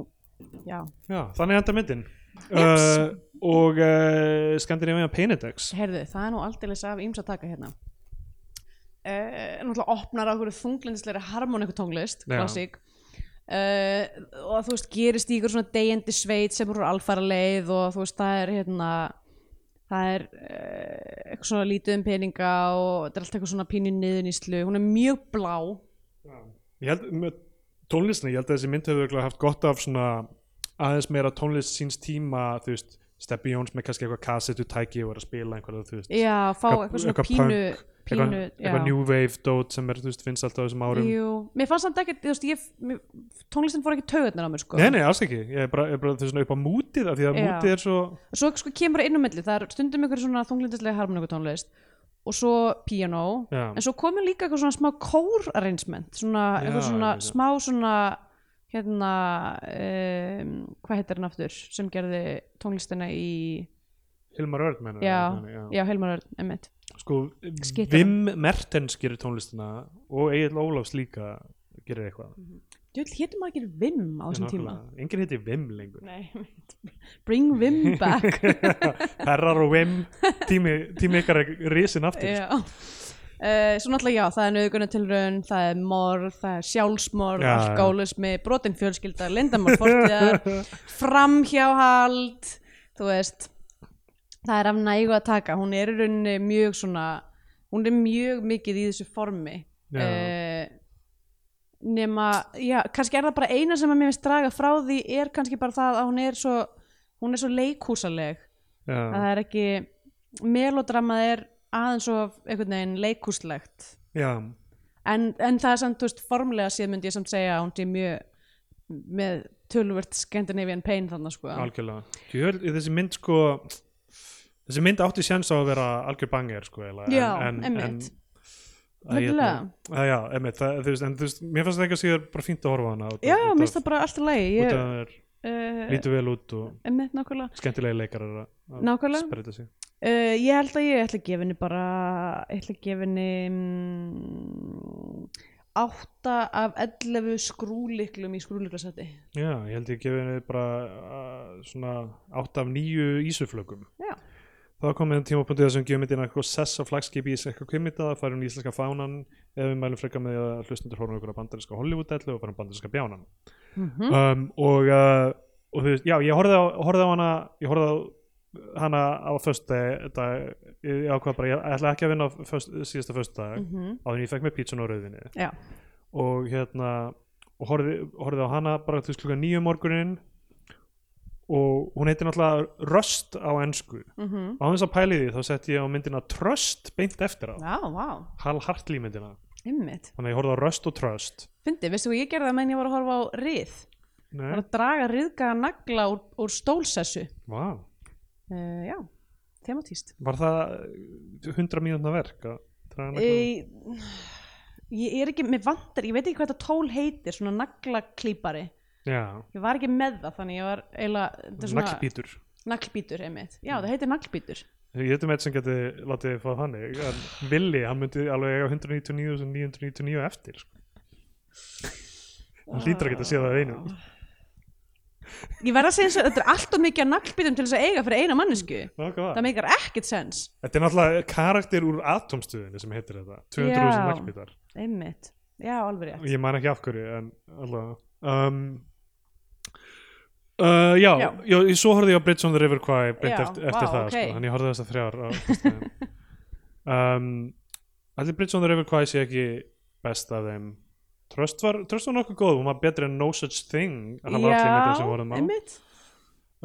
Speaker 3: já,
Speaker 1: já, þannig enda myndin uh, og uh, Scandinavian Penedex
Speaker 3: heyrðu, það er nú aldeilis af ímsa taka hérna uh, náttúrulega opnar á hverju þunglindisleiri harmoniku tónglist
Speaker 1: Já.
Speaker 3: klassík uh, og þú veist, gerist í ykkur svona deyjandi sveit sem eru alfara leið og þú veist, það er hérna það er uh, eitthvað svona lítið um peninga og þetta er allt eitthvað svona pínu niðuníslu hún er mjög blá
Speaker 1: ég held, með tónlistinni, ég held að þessi mynd hefur örugglega haft gott af svona aðeins meira tónlist síns tíma þú veist, Steppi Jóns með kannski eitthvað kassetu tæki og er að spila einhverja, þú veist
Speaker 3: já, fá
Speaker 1: Eitthvað-
Speaker 3: eitthvað svona
Speaker 1: eitthvað
Speaker 3: pínu,
Speaker 1: punk,
Speaker 3: pínu
Speaker 1: eitthvað, eitthvað
Speaker 3: já.
Speaker 1: New Wave dót sem er, þú veist, finnst alltaf á þessum árum
Speaker 3: Jú, mér fannst samt ekkert, þú veist, ég, mér- tónlistin fór ekki taugarnar á mér sko.
Speaker 1: Nei, nei, alls ekki, ég er bara, ég er bara þú veist, svona upp á mútið af því að
Speaker 3: Já.
Speaker 1: mútið er svo
Speaker 3: svo sko kemur inn á milli það er stundum ykkur svona þunglindislega harmonikutónlist og svo piano
Speaker 1: Já.
Speaker 3: en svo komur líka eitthvað svona smá kór arrangement, svona
Speaker 1: Já,
Speaker 3: eitthvað svona
Speaker 1: já, já.
Speaker 3: smá svona hérna um, hvað heitir hann aftur sem gerði tónlistina í
Speaker 1: Hilmar Örn menur
Speaker 3: já, já, Helmar Örn, emmitt
Speaker 1: Sko,
Speaker 3: Skittan.
Speaker 1: Vim Mertens gerir tónlistina og Egil Ólafs líka gerir eitthvað
Speaker 3: Jöll, hétum maður ekki Vim á þessum tíma
Speaker 1: Engin heiti Vim lengur (laughs)
Speaker 3: Nei, einmitt. bring Vim back
Speaker 1: Herrar og Vim, tími, tími ykkar er risin aftur
Speaker 3: Já Uh, svo náttúrulega já, það er nöðgunatilraun, það er morð, það er sjálfsmorð,
Speaker 1: Já, já.
Speaker 3: alkoholismi, brotin fjölskylda, lindamál
Speaker 1: (laughs)
Speaker 3: fortíðar, framhjáhald, þú veist, það er af nægu að taka, hún er í rauninni mjög svona, hún er mjög mikið í þessu formi,
Speaker 1: Já.
Speaker 3: uh, nema, já, kannski er það bara eina sem að mér finnst draga frá því er kannski bara það að hún er svo, hún er svo leikhúsaleg að
Speaker 1: Já,
Speaker 3: það er ekki melodramað er aðeins of einhvern veginn leikúslegt
Speaker 1: já,
Speaker 3: en, en það er samt, þú veist, formlega séð myndi ég samt segja að hún sé mjög með tölvört Scandinavian pain þannig sko
Speaker 1: algjörlega Jöl, Þessi mynd sko Þessi mynd átti séns á að vera algjör banger sko, eiginlega,
Speaker 3: Já,
Speaker 1: en, en, en
Speaker 3: einmitt.
Speaker 1: að ég-
Speaker 3: Nefnilega.
Speaker 1: að Já, einmitt, það, þú veist, en þú veist, mér fannst það ekki að síður bara fínt að horfa á hana út af-
Speaker 3: Já,
Speaker 1: út
Speaker 3: mér
Speaker 1: af-
Speaker 3: finnst það bara allt í lagi
Speaker 1: út af
Speaker 3: ég,
Speaker 1: það er,
Speaker 3: uh,
Speaker 1: lítur vel út og
Speaker 3: einmitt nákvæmlega
Speaker 1: skemmtilegi leikar er að að
Speaker 3: Nákvæmlega.
Speaker 1: spreita sig
Speaker 3: uh, ég held að ég ætla að gefa henni bara ég ætla að gefa henni mm, átta af 11 skrúliklum í skrúliklasæti
Speaker 1: Já, ég held ég gefið henni bara uh, svona átt af nýju ísuflögum
Speaker 3: Já.
Speaker 1: Þá komið en tímapunktið þessum gefum myndina eitthvað sess á flagskip í eitthvað kvimmita, það færum í íslenska fánan eða við mælum frekar með því að hlustundur horfum ykkur að bandarinska Hollywood-ellu og færum bandarinska bjánan um, og, uh, og þú veist, já, ég horfði á, horfði á hana ég horfði á hana á föstu dag, ég ákvað bara, ég ætla ekki að vinna á föst, síðasta föstu dag,
Speaker 3: Mhm.
Speaker 1: á því ég fekk með pítsun og rauðinni
Speaker 3: Já,
Speaker 1: og hérna og horfði, horfði á hana bara þú veist klukka nýju morgunin um og hún heitir náttúrulega Röst á ensku
Speaker 3: mm -hmm.
Speaker 1: á þess að pæli því þá sett ég á myndina Tröst beint eftir á
Speaker 3: Já, vá,
Speaker 1: Hal Hartley myndina
Speaker 3: ymmit
Speaker 1: þannig að ég horfði á Röst og Tröst
Speaker 3: Fyndi, veistu hvað ég gerði að menn ég var að horfa á rið
Speaker 1: Nei,
Speaker 3: Það var að draga riðgaða nagla úr, úr stólsessu
Speaker 1: vá,
Speaker 3: uh, Já, tematíst
Speaker 1: var það hundra mínútna verk að draga naglann?
Speaker 3: e, Ég er ekki, mér vantar, ég veit ekki hvað þetta tól heitir, svona naglaklípari
Speaker 1: Já,
Speaker 3: Ég var ekki með það, þannig ég var eiginlega þetta er svona-
Speaker 1: naglbítur
Speaker 3: Naglbítur, einmitt. Já, það heitir naglbítur.
Speaker 1: Ég veit um eitt sem geti látið þið fá þannig en Willi, hann myndi alveg eiga 199.999 eftir sko. Hann hlýtur að geta séð það af einum
Speaker 3: Ég verð að segja eins og þetta er allt of mikið af naglbítum til þess að eiga fyrir eina mannesku. Það
Speaker 1: Nákvæmlega.
Speaker 3: meikar ekkert sens.
Speaker 1: Þetta er náttúrulega karakter úr atomstöðinu sem heitir þetta 200.000
Speaker 3: Já.
Speaker 1: naglbítar
Speaker 3: Einmitt. Já, alveg rétt.
Speaker 1: Ég man ekki af hverju en allavega um, uh, já, já.
Speaker 3: Já.
Speaker 1: ég svo horfði ég á Bridge on the River Kwai beint
Speaker 3: Já,
Speaker 1: eftir, eftir
Speaker 3: vá,
Speaker 1: það
Speaker 3: ok.
Speaker 1: sko, þannig ég horfði á þessar þrjár á föstudaginn. um, Allir Bridge on the River Kwai sé ekki best af þeim Tröst var, Tröst var nokkuð góð, hún var betri en No Such Thing hann var allir myndir sem vorum á Um,
Speaker 3: einmitt.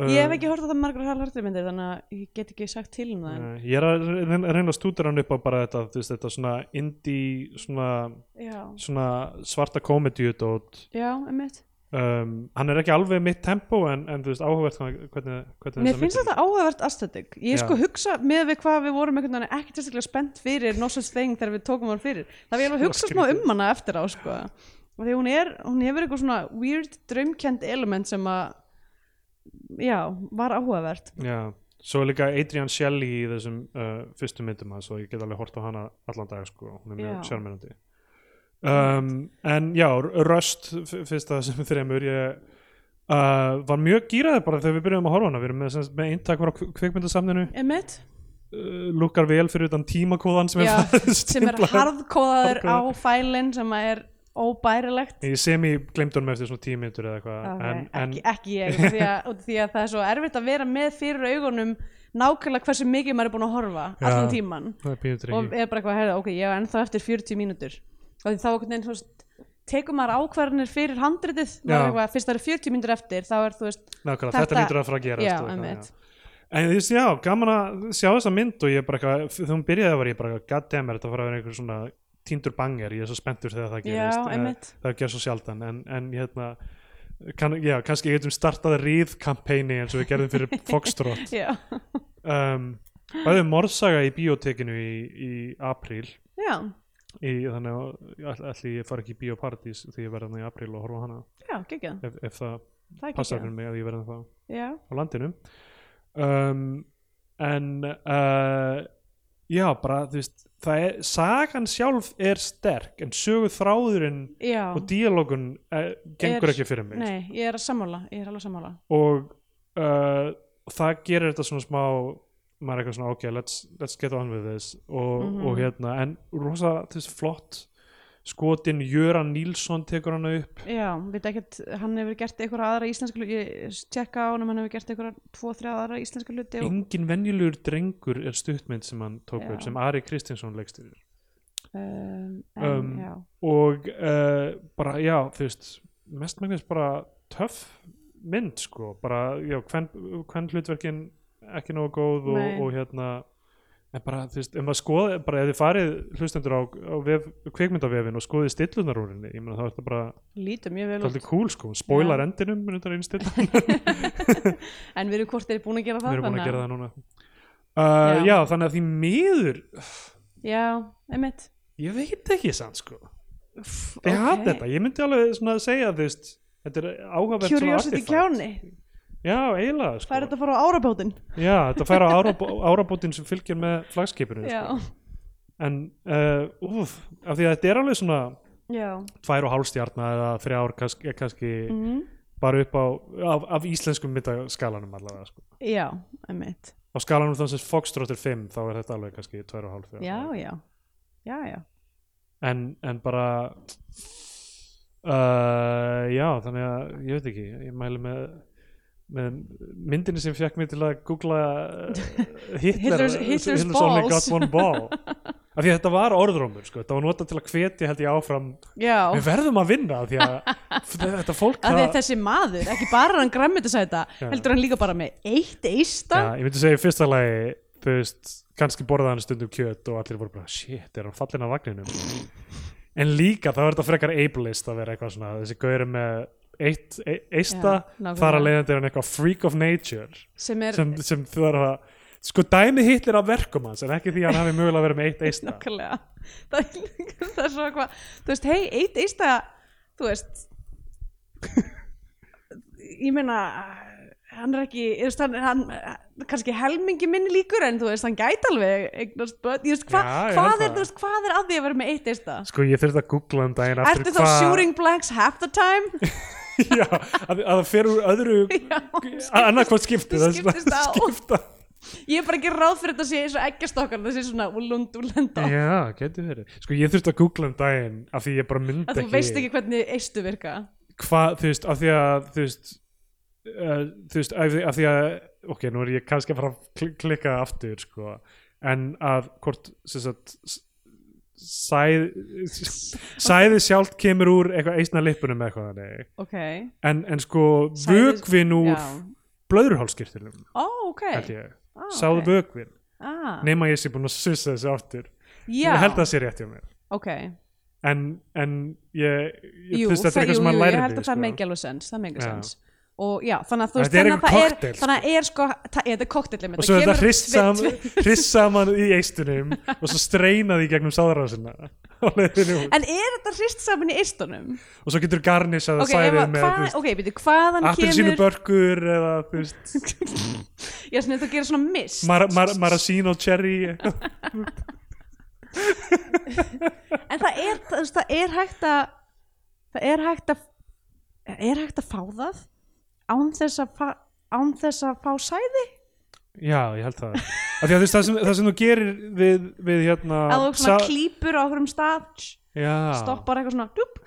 Speaker 3: Ég hef ekki horfð á það margar halvartir myndir, þannig að ég get ekki sagt til um það. en-
Speaker 1: Nei, eh, Ég er að reyna- reyna að stútur hann upp á bara þetta, þú veist, þetta svona indie, svona,
Speaker 3: Já,
Speaker 1: svona svarta komediudót
Speaker 3: já, einmitt.
Speaker 1: um, hann er ekki alveg mitt tempo en, en þú veist áhugavert hvað- hvernig, hvernig
Speaker 3: Mér
Speaker 1: þessar
Speaker 3: finnst
Speaker 1: myndir-
Speaker 3: þetta áhugavert aesthetic. Ég
Speaker 1: Já.
Speaker 3: sko hugsa með við hvað við vorum einhvern veginn ekki sérstaklega spennt fyrir No Such Thing þegar við tókum hann fyrir. Það við alveg
Speaker 1: Svo
Speaker 3: hugsa smá
Speaker 1: skrítið.
Speaker 3: um hana eftir á sko. Og því hún er, hún hefur eitthvað svona weird draumkend element sem að, já, var áhugavert.
Speaker 1: já, svo er líka Adrian Shelley í þessum uh, fyrstu myndum hans og ég get alveg hort á hana allan dag sko, hún er mjög
Speaker 3: Já.
Speaker 1: sjálfmennandi um, en já, Röst fyrst að þessum (laughs) þremur ég Uh, var mjög gýraði bara þegar við byrjuðum að horfa á hana við erum með, sem, sagt með eintak frá kvikmyndasamninu uh,
Speaker 3: Einmitt,
Speaker 1: lukkar vel fyrir utan tímakóðan sem
Speaker 3: Já,
Speaker 1: er
Speaker 3: sem er
Speaker 1: stimplaður.
Speaker 3: harðkóðaður á
Speaker 1: Harðkóðaður.
Speaker 3: fælinn sem að er óbærilegt.
Speaker 1: ég semi glemt honum eftir svona tíu myndur eða eitthvað
Speaker 3: Ok,
Speaker 1: en, en
Speaker 3: ekki, ekki ég, út af því, að, út af því að það er svo erfitt að vera með fyrir augunum nákvæmlega hversu mikið maður er búin að horfa
Speaker 1: Já.
Speaker 3: allan tíman
Speaker 1: það er pínu
Speaker 3: og
Speaker 1: drengi
Speaker 3: er bara eitthvað að herða, ok, ég er ennþá eftir 40 mínútur og því þá einhvern veginn, þú veist, tekur maður ákvarðanir fyrir handritið, maður
Speaker 1: Já.
Speaker 3: er eitthvað, fyrst það eru 40 mínútur eftir, þá er, þú veist, (laughs)
Speaker 1: Nákvæmlega,
Speaker 3: Þetta-
Speaker 1: þetta lítur að fara að gera
Speaker 3: Já, einmitt.
Speaker 1: En þú veist, já, gaman að sjá þessa mynd og ég bara eitthvað, þegar hún byrjaði var ég bara eitthvað, goddammit, þetta fara að vera einhver svona tíndur banger, ég er svo spenntur þegar það
Speaker 3: já,
Speaker 1: gerist Eh,
Speaker 3: einmitt,
Speaker 1: það gerist svo sjaldan, en, en hérna kann, já, kannski getum startað ríðkampæni eins og við gerðum
Speaker 3: (laughs)
Speaker 1: fyrir Foxtrot
Speaker 3: já,
Speaker 1: um, Bæðið morðsaga í biotekinu í, í apríl
Speaker 3: já,
Speaker 1: í, þannig að all- allir ég fara ekki í biopartís því ég verði hann í apríl og horfa á hana
Speaker 3: já, geggjað,
Speaker 1: ef, ef það
Speaker 3: það er
Speaker 1: passar
Speaker 3: geggjað,
Speaker 1: fyrir mig að ég verði það
Speaker 3: já,
Speaker 1: á landinu um, en uh, já bara þú veist það er, sagan sjálf er sterk en sögu þráðurinn
Speaker 3: já,
Speaker 1: og díalógun uh, gengur ekki fyrir mig
Speaker 3: nei, ég er að sammála, ég er alveg að sammála,
Speaker 1: og uh, það gerir þetta svona smá maður er eitthvað svona ok, let's, let's get on with this og,
Speaker 3: Mhm.
Speaker 1: og hérna, en rosa þú veist, flott skotin Jöran Nílsson tekur hana upp
Speaker 3: já, veit ekkert, hann hefur gert einhverja aðra íslenska hluti, ég tjekka á hann, hann hefur gert einhverja tvo, þrjá aðra íslenska hluti og,
Speaker 1: engin venjulegur drengur er stuttmynd sem hann tók
Speaker 3: Já.
Speaker 1: upp sem Ari Kristinsson leikstýrir
Speaker 3: um, en,
Speaker 1: Um,
Speaker 3: já,
Speaker 1: og uh, bara, já, þú veist mestmægnis bara töff mynd, sko, bara, já, hvern hlutverkin ekki nógu góð og,
Speaker 3: Nei.
Speaker 1: og hérna en bara, þú veist, ef maður skoði, bara ef þið farið hlustendur á, á vef, kvikmyndavefin og skoðið stillunar úr henni, ég meina þá er þetta bara
Speaker 3: lítur mjög vel út,
Speaker 1: alltaf cool, sko, hún spoilar
Speaker 3: Já.
Speaker 1: endinum en þetta er
Speaker 3: (laughs)
Speaker 1: einstillan,
Speaker 3: en við erum hvort þeir búin að gera
Speaker 1: við
Speaker 3: það,
Speaker 1: erum búin
Speaker 3: þannig
Speaker 1: að
Speaker 3: að-
Speaker 1: gera það núna uh,
Speaker 3: Já.
Speaker 1: já, þannig að því miður
Speaker 3: Já, einmitt
Speaker 1: ég veit ekki sann, sko
Speaker 3: Uff,
Speaker 1: þið okay.
Speaker 3: ok.
Speaker 1: þetta, ég myndi alveg svona að segja, þú veist þetta er áhugavert svona
Speaker 3: Curiosity
Speaker 1: artifact.
Speaker 3: kjáni,
Speaker 1: Já, eiginlega sko.
Speaker 3: hvað er þetta að fara á árabótin?
Speaker 1: Já, þetta fær á árabó- (laughs) árabótin sem fylgir með flagskipinu
Speaker 3: Já,
Speaker 1: sko. En, uh, úf, af því að þetta er alveg svona
Speaker 3: já
Speaker 1: tvær og hálfstjarna eða þrjár kannski, eh, kannski
Speaker 3: mm.
Speaker 1: bara upp á af, af íslenskum myndaskalanum allavega sko.
Speaker 3: Já, einmitt
Speaker 1: Á skalanum þannig sem Foxtrot er 5 þá er þetta alveg kannski tvær og hálf þrjár.
Speaker 3: Já, já, já, já
Speaker 1: En, en bara uh, Já, þannig að ég veit ekki, ég mæli með með myndinni sem
Speaker 3: (laughs)
Speaker 1: fekk mig til að googla uh, Hitler
Speaker 3: Hitler's- Hitler's
Speaker 1: only
Speaker 3: balls. (laughs)
Speaker 1: got one ball af því að þetta var orðrómur sko. þetta var notað til að hvetja held ég áfram
Speaker 3: Já,
Speaker 1: við verðum að vinna af því
Speaker 3: (laughs)
Speaker 1: að f- þetta fólk
Speaker 3: af því að
Speaker 1: það-
Speaker 3: þessi maður, ekki bara er hann græmmetisæta, heldur hann líka bara með eitt eista.
Speaker 1: Já, ég myndi segja í fyrsta lagi þú veist, kannski borðaði hann stundum kjöt og allir voru bara, shit, er hann fallin af vagninum en líka þá er þetta frekar ableist að vera eitthvað svona þessi gauri með eitt, e, eista
Speaker 3: Já, nákvæmlega.
Speaker 1: þar að leiðandi er hann eitthvað freak of nature
Speaker 3: sem er
Speaker 1: sem, sem þú þarf að sko dæmi hitlir af verkum hans en ekki því að hann hafi mögulega verið með eitt eista
Speaker 3: nákvæmlega (laughs) það, er- það er svo eitthvað þú veist, hei, eitt eista þú veist (laughs) ég meina hann er ekki, þú veist, hann, hann kannski helmingi minni líkur en þú veist, hann gæti alveg eignast börn, ég veist, hva,
Speaker 1: Já, ég held
Speaker 3: hvað, er,
Speaker 1: það.
Speaker 3: þú veist, hvað er að því að vera með eitt eista?
Speaker 1: sko ég þurfti að googla um daginn aftur
Speaker 3: Ertu þá shooting blanks half the time?
Speaker 1: (laughs)
Speaker 3: (laughs)
Speaker 1: Já, að, að það fer úr öðru
Speaker 3: Já,
Speaker 1: annarkvæmt skipti það er svona-
Speaker 3: skiptist á.
Speaker 1: (laughs) skipta
Speaker 3: ég er bara ekki ráð fyrir þetta sé eins og eggjastokkar, það sé svona úlund úlenda
Speaker 1: Já, getur verið Sko ég þurfti að googla um daginn af því ég bara myndi
Speaker 3: að þú veist ekki hvernig eistu virka
Speaker 1: hvað, þú veist, af því að þú veist, uh, þú veist af, því, af því að, ok, nú er ég kannski að fara að kl- klikka aftur, sko en að hvort, sem sagt s- sæð sæði sjálft kemur úr eitthvað eisna lippunum eða eitthvað þannig
Speaker 3: ok,
Speaker 1: en, en sko
Speaker 3: Sæðið-
Speaker 1: vökvin úr
Speaker 3: já
Speaker 1: blöðurhálskirtilum
Speaker 3: ó, ok
Speaker 1: held ég,
Speaker 3: Ah,
Speaker 1: sáðu
Speaker 3: ok.
Speaker 1: vökvin
Speaker 3: ah,
Speaker 1: nema ég sé búin að sussa þessu aftur
Speaker 3: já,
Speaker 1: ég held að það sé rétt hjá mér
Speaker 3: ok
Speaker 1: en, en ég, ég
Speaker 3: jú,
Speaker 1: þú veist, þetta er
Speaker 3: það-
Speaker 1: eitthvað sem
Speaker 3: jú,
Speaker 1: maður
Speaker 3: jú,
Speaker 1: lærir
Speaker 3: ég held að
Speaker 1: við,
Speaker 3: það
Speaker 1: sko.
Speaker 3: make alveg sens það make
Speaker 1: Já.
Speaker 3: sense og já, þannig að þú
Speaker 1: Þetta
Speaker 3: veist
Speaker 1: er
Speaker 3: þannig að
Speaker 1: eitthvað
Speaker 3: það
Speaker 1: kokteil,
Speaker 3: er
Speaker 1: sko.
Speaker 3: þannig að er sko, það, þetta er kokteil
Speaker 1: og svo er þetta hrist saman, hrist saman í eistunum og svo streyna því gegnum sáðarásina og leiðinu út
Speaker 3: en er þetta hrist saman í eistunum
Speaker 1: og svo getur garnisað
Speaker 3: ok,
Speaker 1: okay, sæðið
Speaker 3: ef að-
Speaker 1: með
Speaker 3: hvað- ok, byrju, hvaðan
Speaker 1: appelsínu
Speaker 3: kemur
Speaker 1: börkur eða þú veist,
Speaker 3: (laughs) já, svona þetta gerir svona mist
Speaker 1: mar, mar, maraschino cherry
Speaker 3: en það er, það, þú veist, það er hægt að það er hægt að er hægt að fá það án þess að fá, án þess að fá sæði
Speaker 1: já, ég held það af því að þú veist, það sem, það sem þú gerir við, við hérna
Speaker 3: að þú svona
Speaker 1: sa-
Speaker 3: klípur á okkur um stað
Speaker 1: já,
Speaker 3: stoppar eitthvað svona dúp,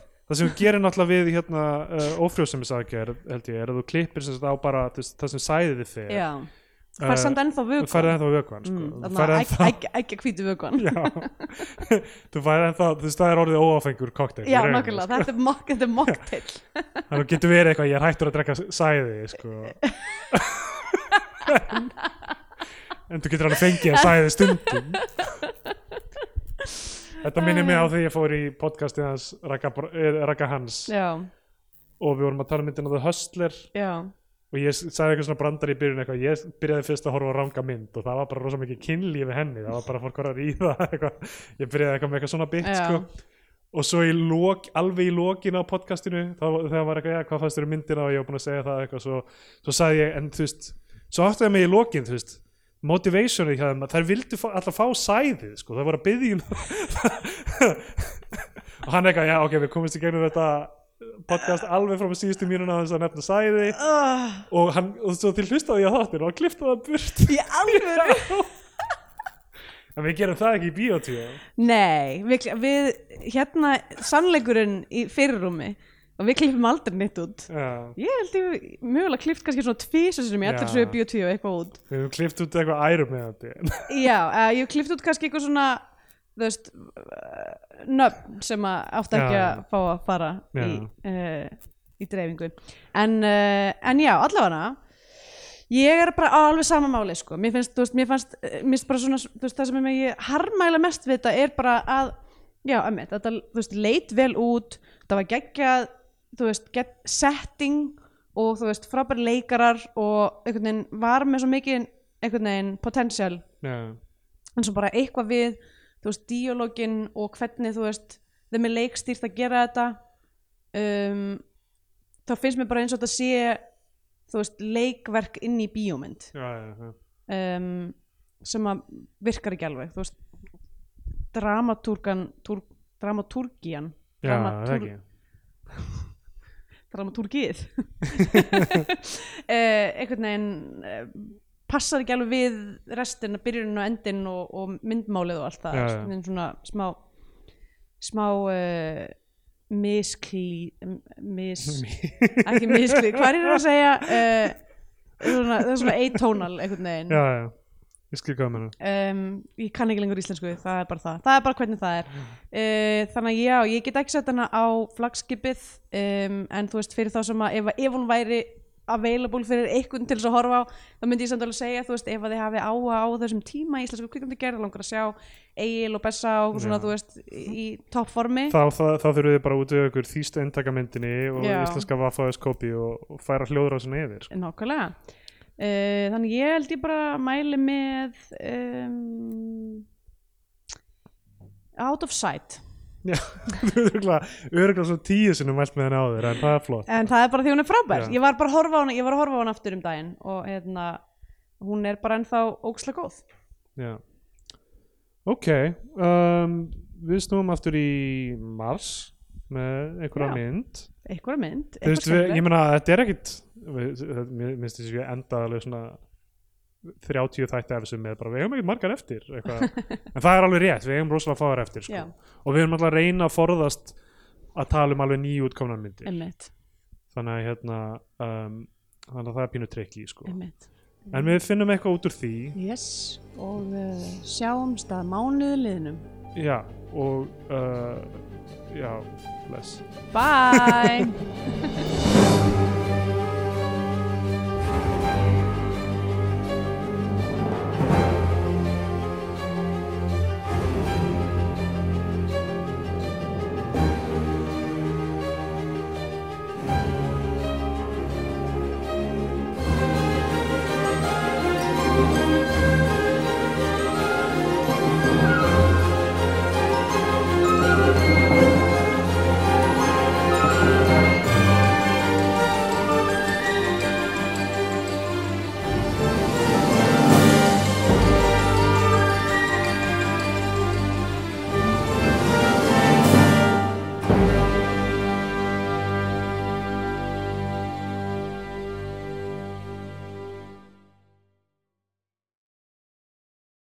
Speaker 1: það sem þú gerir náttúrulega við hérna uh, ófrjósemis held ég, er að þú klippir sem þetta á bara þú veist, það sem sæðið þið fer
Speaker 3: Já, þú fær
Speaker 1: Eh,
Speaker 3: samt ennþá
Speaker 1: þú færði
Speaker 3: vökvann
Speaker 1: ennþá vökvann sko.
Speaker 3: Mm,
Speaker 1: þú
Speaker 3: þarna
Speaker 1: færði
Speaker 3: egg-
Speaker 1: ennþá
Speaker 3: egg- Ekki að hvítu vökvann
Speaker 1: (laughs) Já, þú væri ennþá, þú veist það er orðið óáfengur kokteil
Speaker 3: (laughs) Já, nokkulega, þetta er mock- þetta er mocktail
Speaker 1: Þannig getur verið eitthvað, ég er hættur að drekka sæði sko.
Speaker 3: (laughs)
Speaker 1: en, en þú getur alveg fengið að sæði stundum Þetta minnir mig á því ég fór í podcastið hans Raka, eh, Raka Hans
Speaker 3: Já,
Speaker 1: og við vorum að tala um myndina The Hustler
Speaker 3: já
Speaker 1: og ég sagði eitthvað svona brandar í byrjun eitthvað ég byrjaði fyrst að horfa á ranga mynd og það var bara rosa mikið kynlíf við henni það var bara fólk var að ríða (laughs) eitthvað ég byrjaði eitthvað með eitthvað svona bit
Speaker 3: Já.
Speaker 1: sko. og svo í lok, alveg í lokinu á podcastinu þá, þegar var eitthvað, já, hvað fannst þér um myndina og ég var búin að segja það eitthvað svo, svo sagði ég, en þú veist svo átti ég mig í lokin, þú veist motivationið hjá þeim, að þær vildu fá, alltaf fá sæðið, sko, það voru að byggja (laughs) og hann eitthvað, já, ok, við komumst í gegnum þetta podcast alveg frá síðustu mínuna þess að nefna sæði
Speaker 3: uh,
Speaker 1: og, hann, og svo til hlustaði ég á þáttir og hann klifta það burt
Speaker 3: Í alvöru
Speaker 1: (laughs) en við gerum það ekki í bíotíu
Speaker 3: Nei, við, kli- við hérna sannleikurinn í fyrirrúmi og við klippum aldrei neitt út
Speaker 1: Já,
Speaker 3: Ég held ég mögulega klippt kannski svona tvísa sem ég
Speaker 1: Já.
Speaker 3: allir svo biotíu og eitthvað út
Speaker 1: við hefum klift út eitthvað ærum með (laughs) þetta
Speaker 3: Já, uh, ég hef klippt út kannski eitthvað svona þú veist uh, nöfn sem að átt ekki
Speaker 1: Já.
Speaker 3: að fá að fara
Speaker 1: Já.
Speaker 3: í, uh, í dreifingu en, uh, en já, allavega ég er bara á alveg sama máli sko. mér finnst, þú veist, mér fannst eh, mér finnst bara svona, þú veist, það sem er ég harmæla mest við þetta er bara að já, emmi, þetta, þú veist, leit vel út það var geggjað, þú veist get, setting og þú veist frábæri leikarar og einhvern veginn var með svo mikið einhvern veginn potential en svo bara eitthvað við þú veist, díológin og hvernig þú veist, þeim er leikstýrt að gera þetta um, þá finnst mér bara eins og þetta sé þú veist, leikverk inn í bíómynd
Speaker 1: Já, já, já
Speaker 3: um, sem að virkar ekki alveg þú veist, dramatúrgan túr, dramatúrgían
Speaker 1: Já, það ekki (laughs)
Speaker 3: (laughs) dramatúrgið uh, einhvern veginn uh, passar ekki alveg við restin að byrjun og endin og, og myndmálið og allt það
Speaker 1: Já, já.
Speaker 3: Einhvern veginn svona smá smá uh, miskli m-
Speaker 1: (laughs)
Speaker 3: mis, ekki Eh, miskli, hvað er það að segja uh, svona, það er svona eitónal einhvern veginn
Speaker 1: Já, já, ég skil hvað með
Speaker 3: um, ég kann ekki lengur íslensku, það er bara það það er bara hvernig það er uh, þannig að já, ég get ekki sett hana á flagskipið um, en þú veist fyrir þá sem að ef, ef hún væri available fyrir einhvern til þess að horfa á þá myndi ég samt alveg segja, þú veist, ef að þið hafi áhuga á þessum tíma í íslensku kvikmyndi gerð langar að sjá Egil og Bessa og svona,
Speaker 1: Já.
Speaker 3: þú veist, í toppformi
Speaker 1: Þá, þá, þá þurfum við bara út við okkur þýst endtakamyndinni og
Speaker 3: Já.
Speaker 1: íslenska vafaðis kopi og, og færa hljóðrásinni yfir sko.
Speaker 3: Nákvæmlega uh, Þannig ég held ég bara mæli með um, Out of Sight
Speaker 1: (laughs) Öruglega, öruglega svo tíu sinnum mælt með henni áður en það er flott
Speaker 3: En það er bara því hún er frábær
Speaker 1: Já.
Speaker 3: Ég var bara að horfa á hana, ég var að horfa á hana aftur um daginn og hérna, hún er bara ennþá ókslega góð
Speaker 1: Já. Ok um, Við snúum aftur í Mars með einhverja
Speaker 3: Já.
Speaker 1: mynd
Speaker 3: Eitthvað
Speaker 1: Þú veist,
Speaker 3: mynd, eitthvað
Speaker 1: við, ég
Speaker 3: skemmtilegt.
Speaker 1: meina, þetta er ekkit við- þetta- mér mér finnst þess að ég enda alveg svona 30 þætti af þessu með bara, við eigum ekkert margar eftir eitthvað. en það er alveg rétt, við eigum rosalega fáar eftir
Speaker 3: Já.
Speaker 1: sko. og við erum alltaf að reyna að forðast að tala um alveg nýjútkomnar myndir
Speaker 3: Einmitt,
Speaker 1: þannig að hérna um, þannig að það er pínu trikki sko.
Speaker 3: einmitt
Speaker 1: en við finnum eitthvað út úr því
Speaker 3: Yes, og uh, sjáumst að mánuðu liðnum
Speaker 1: já, og uh, já, bless
Speaker 3: Bye
Speaker 1: (laughs)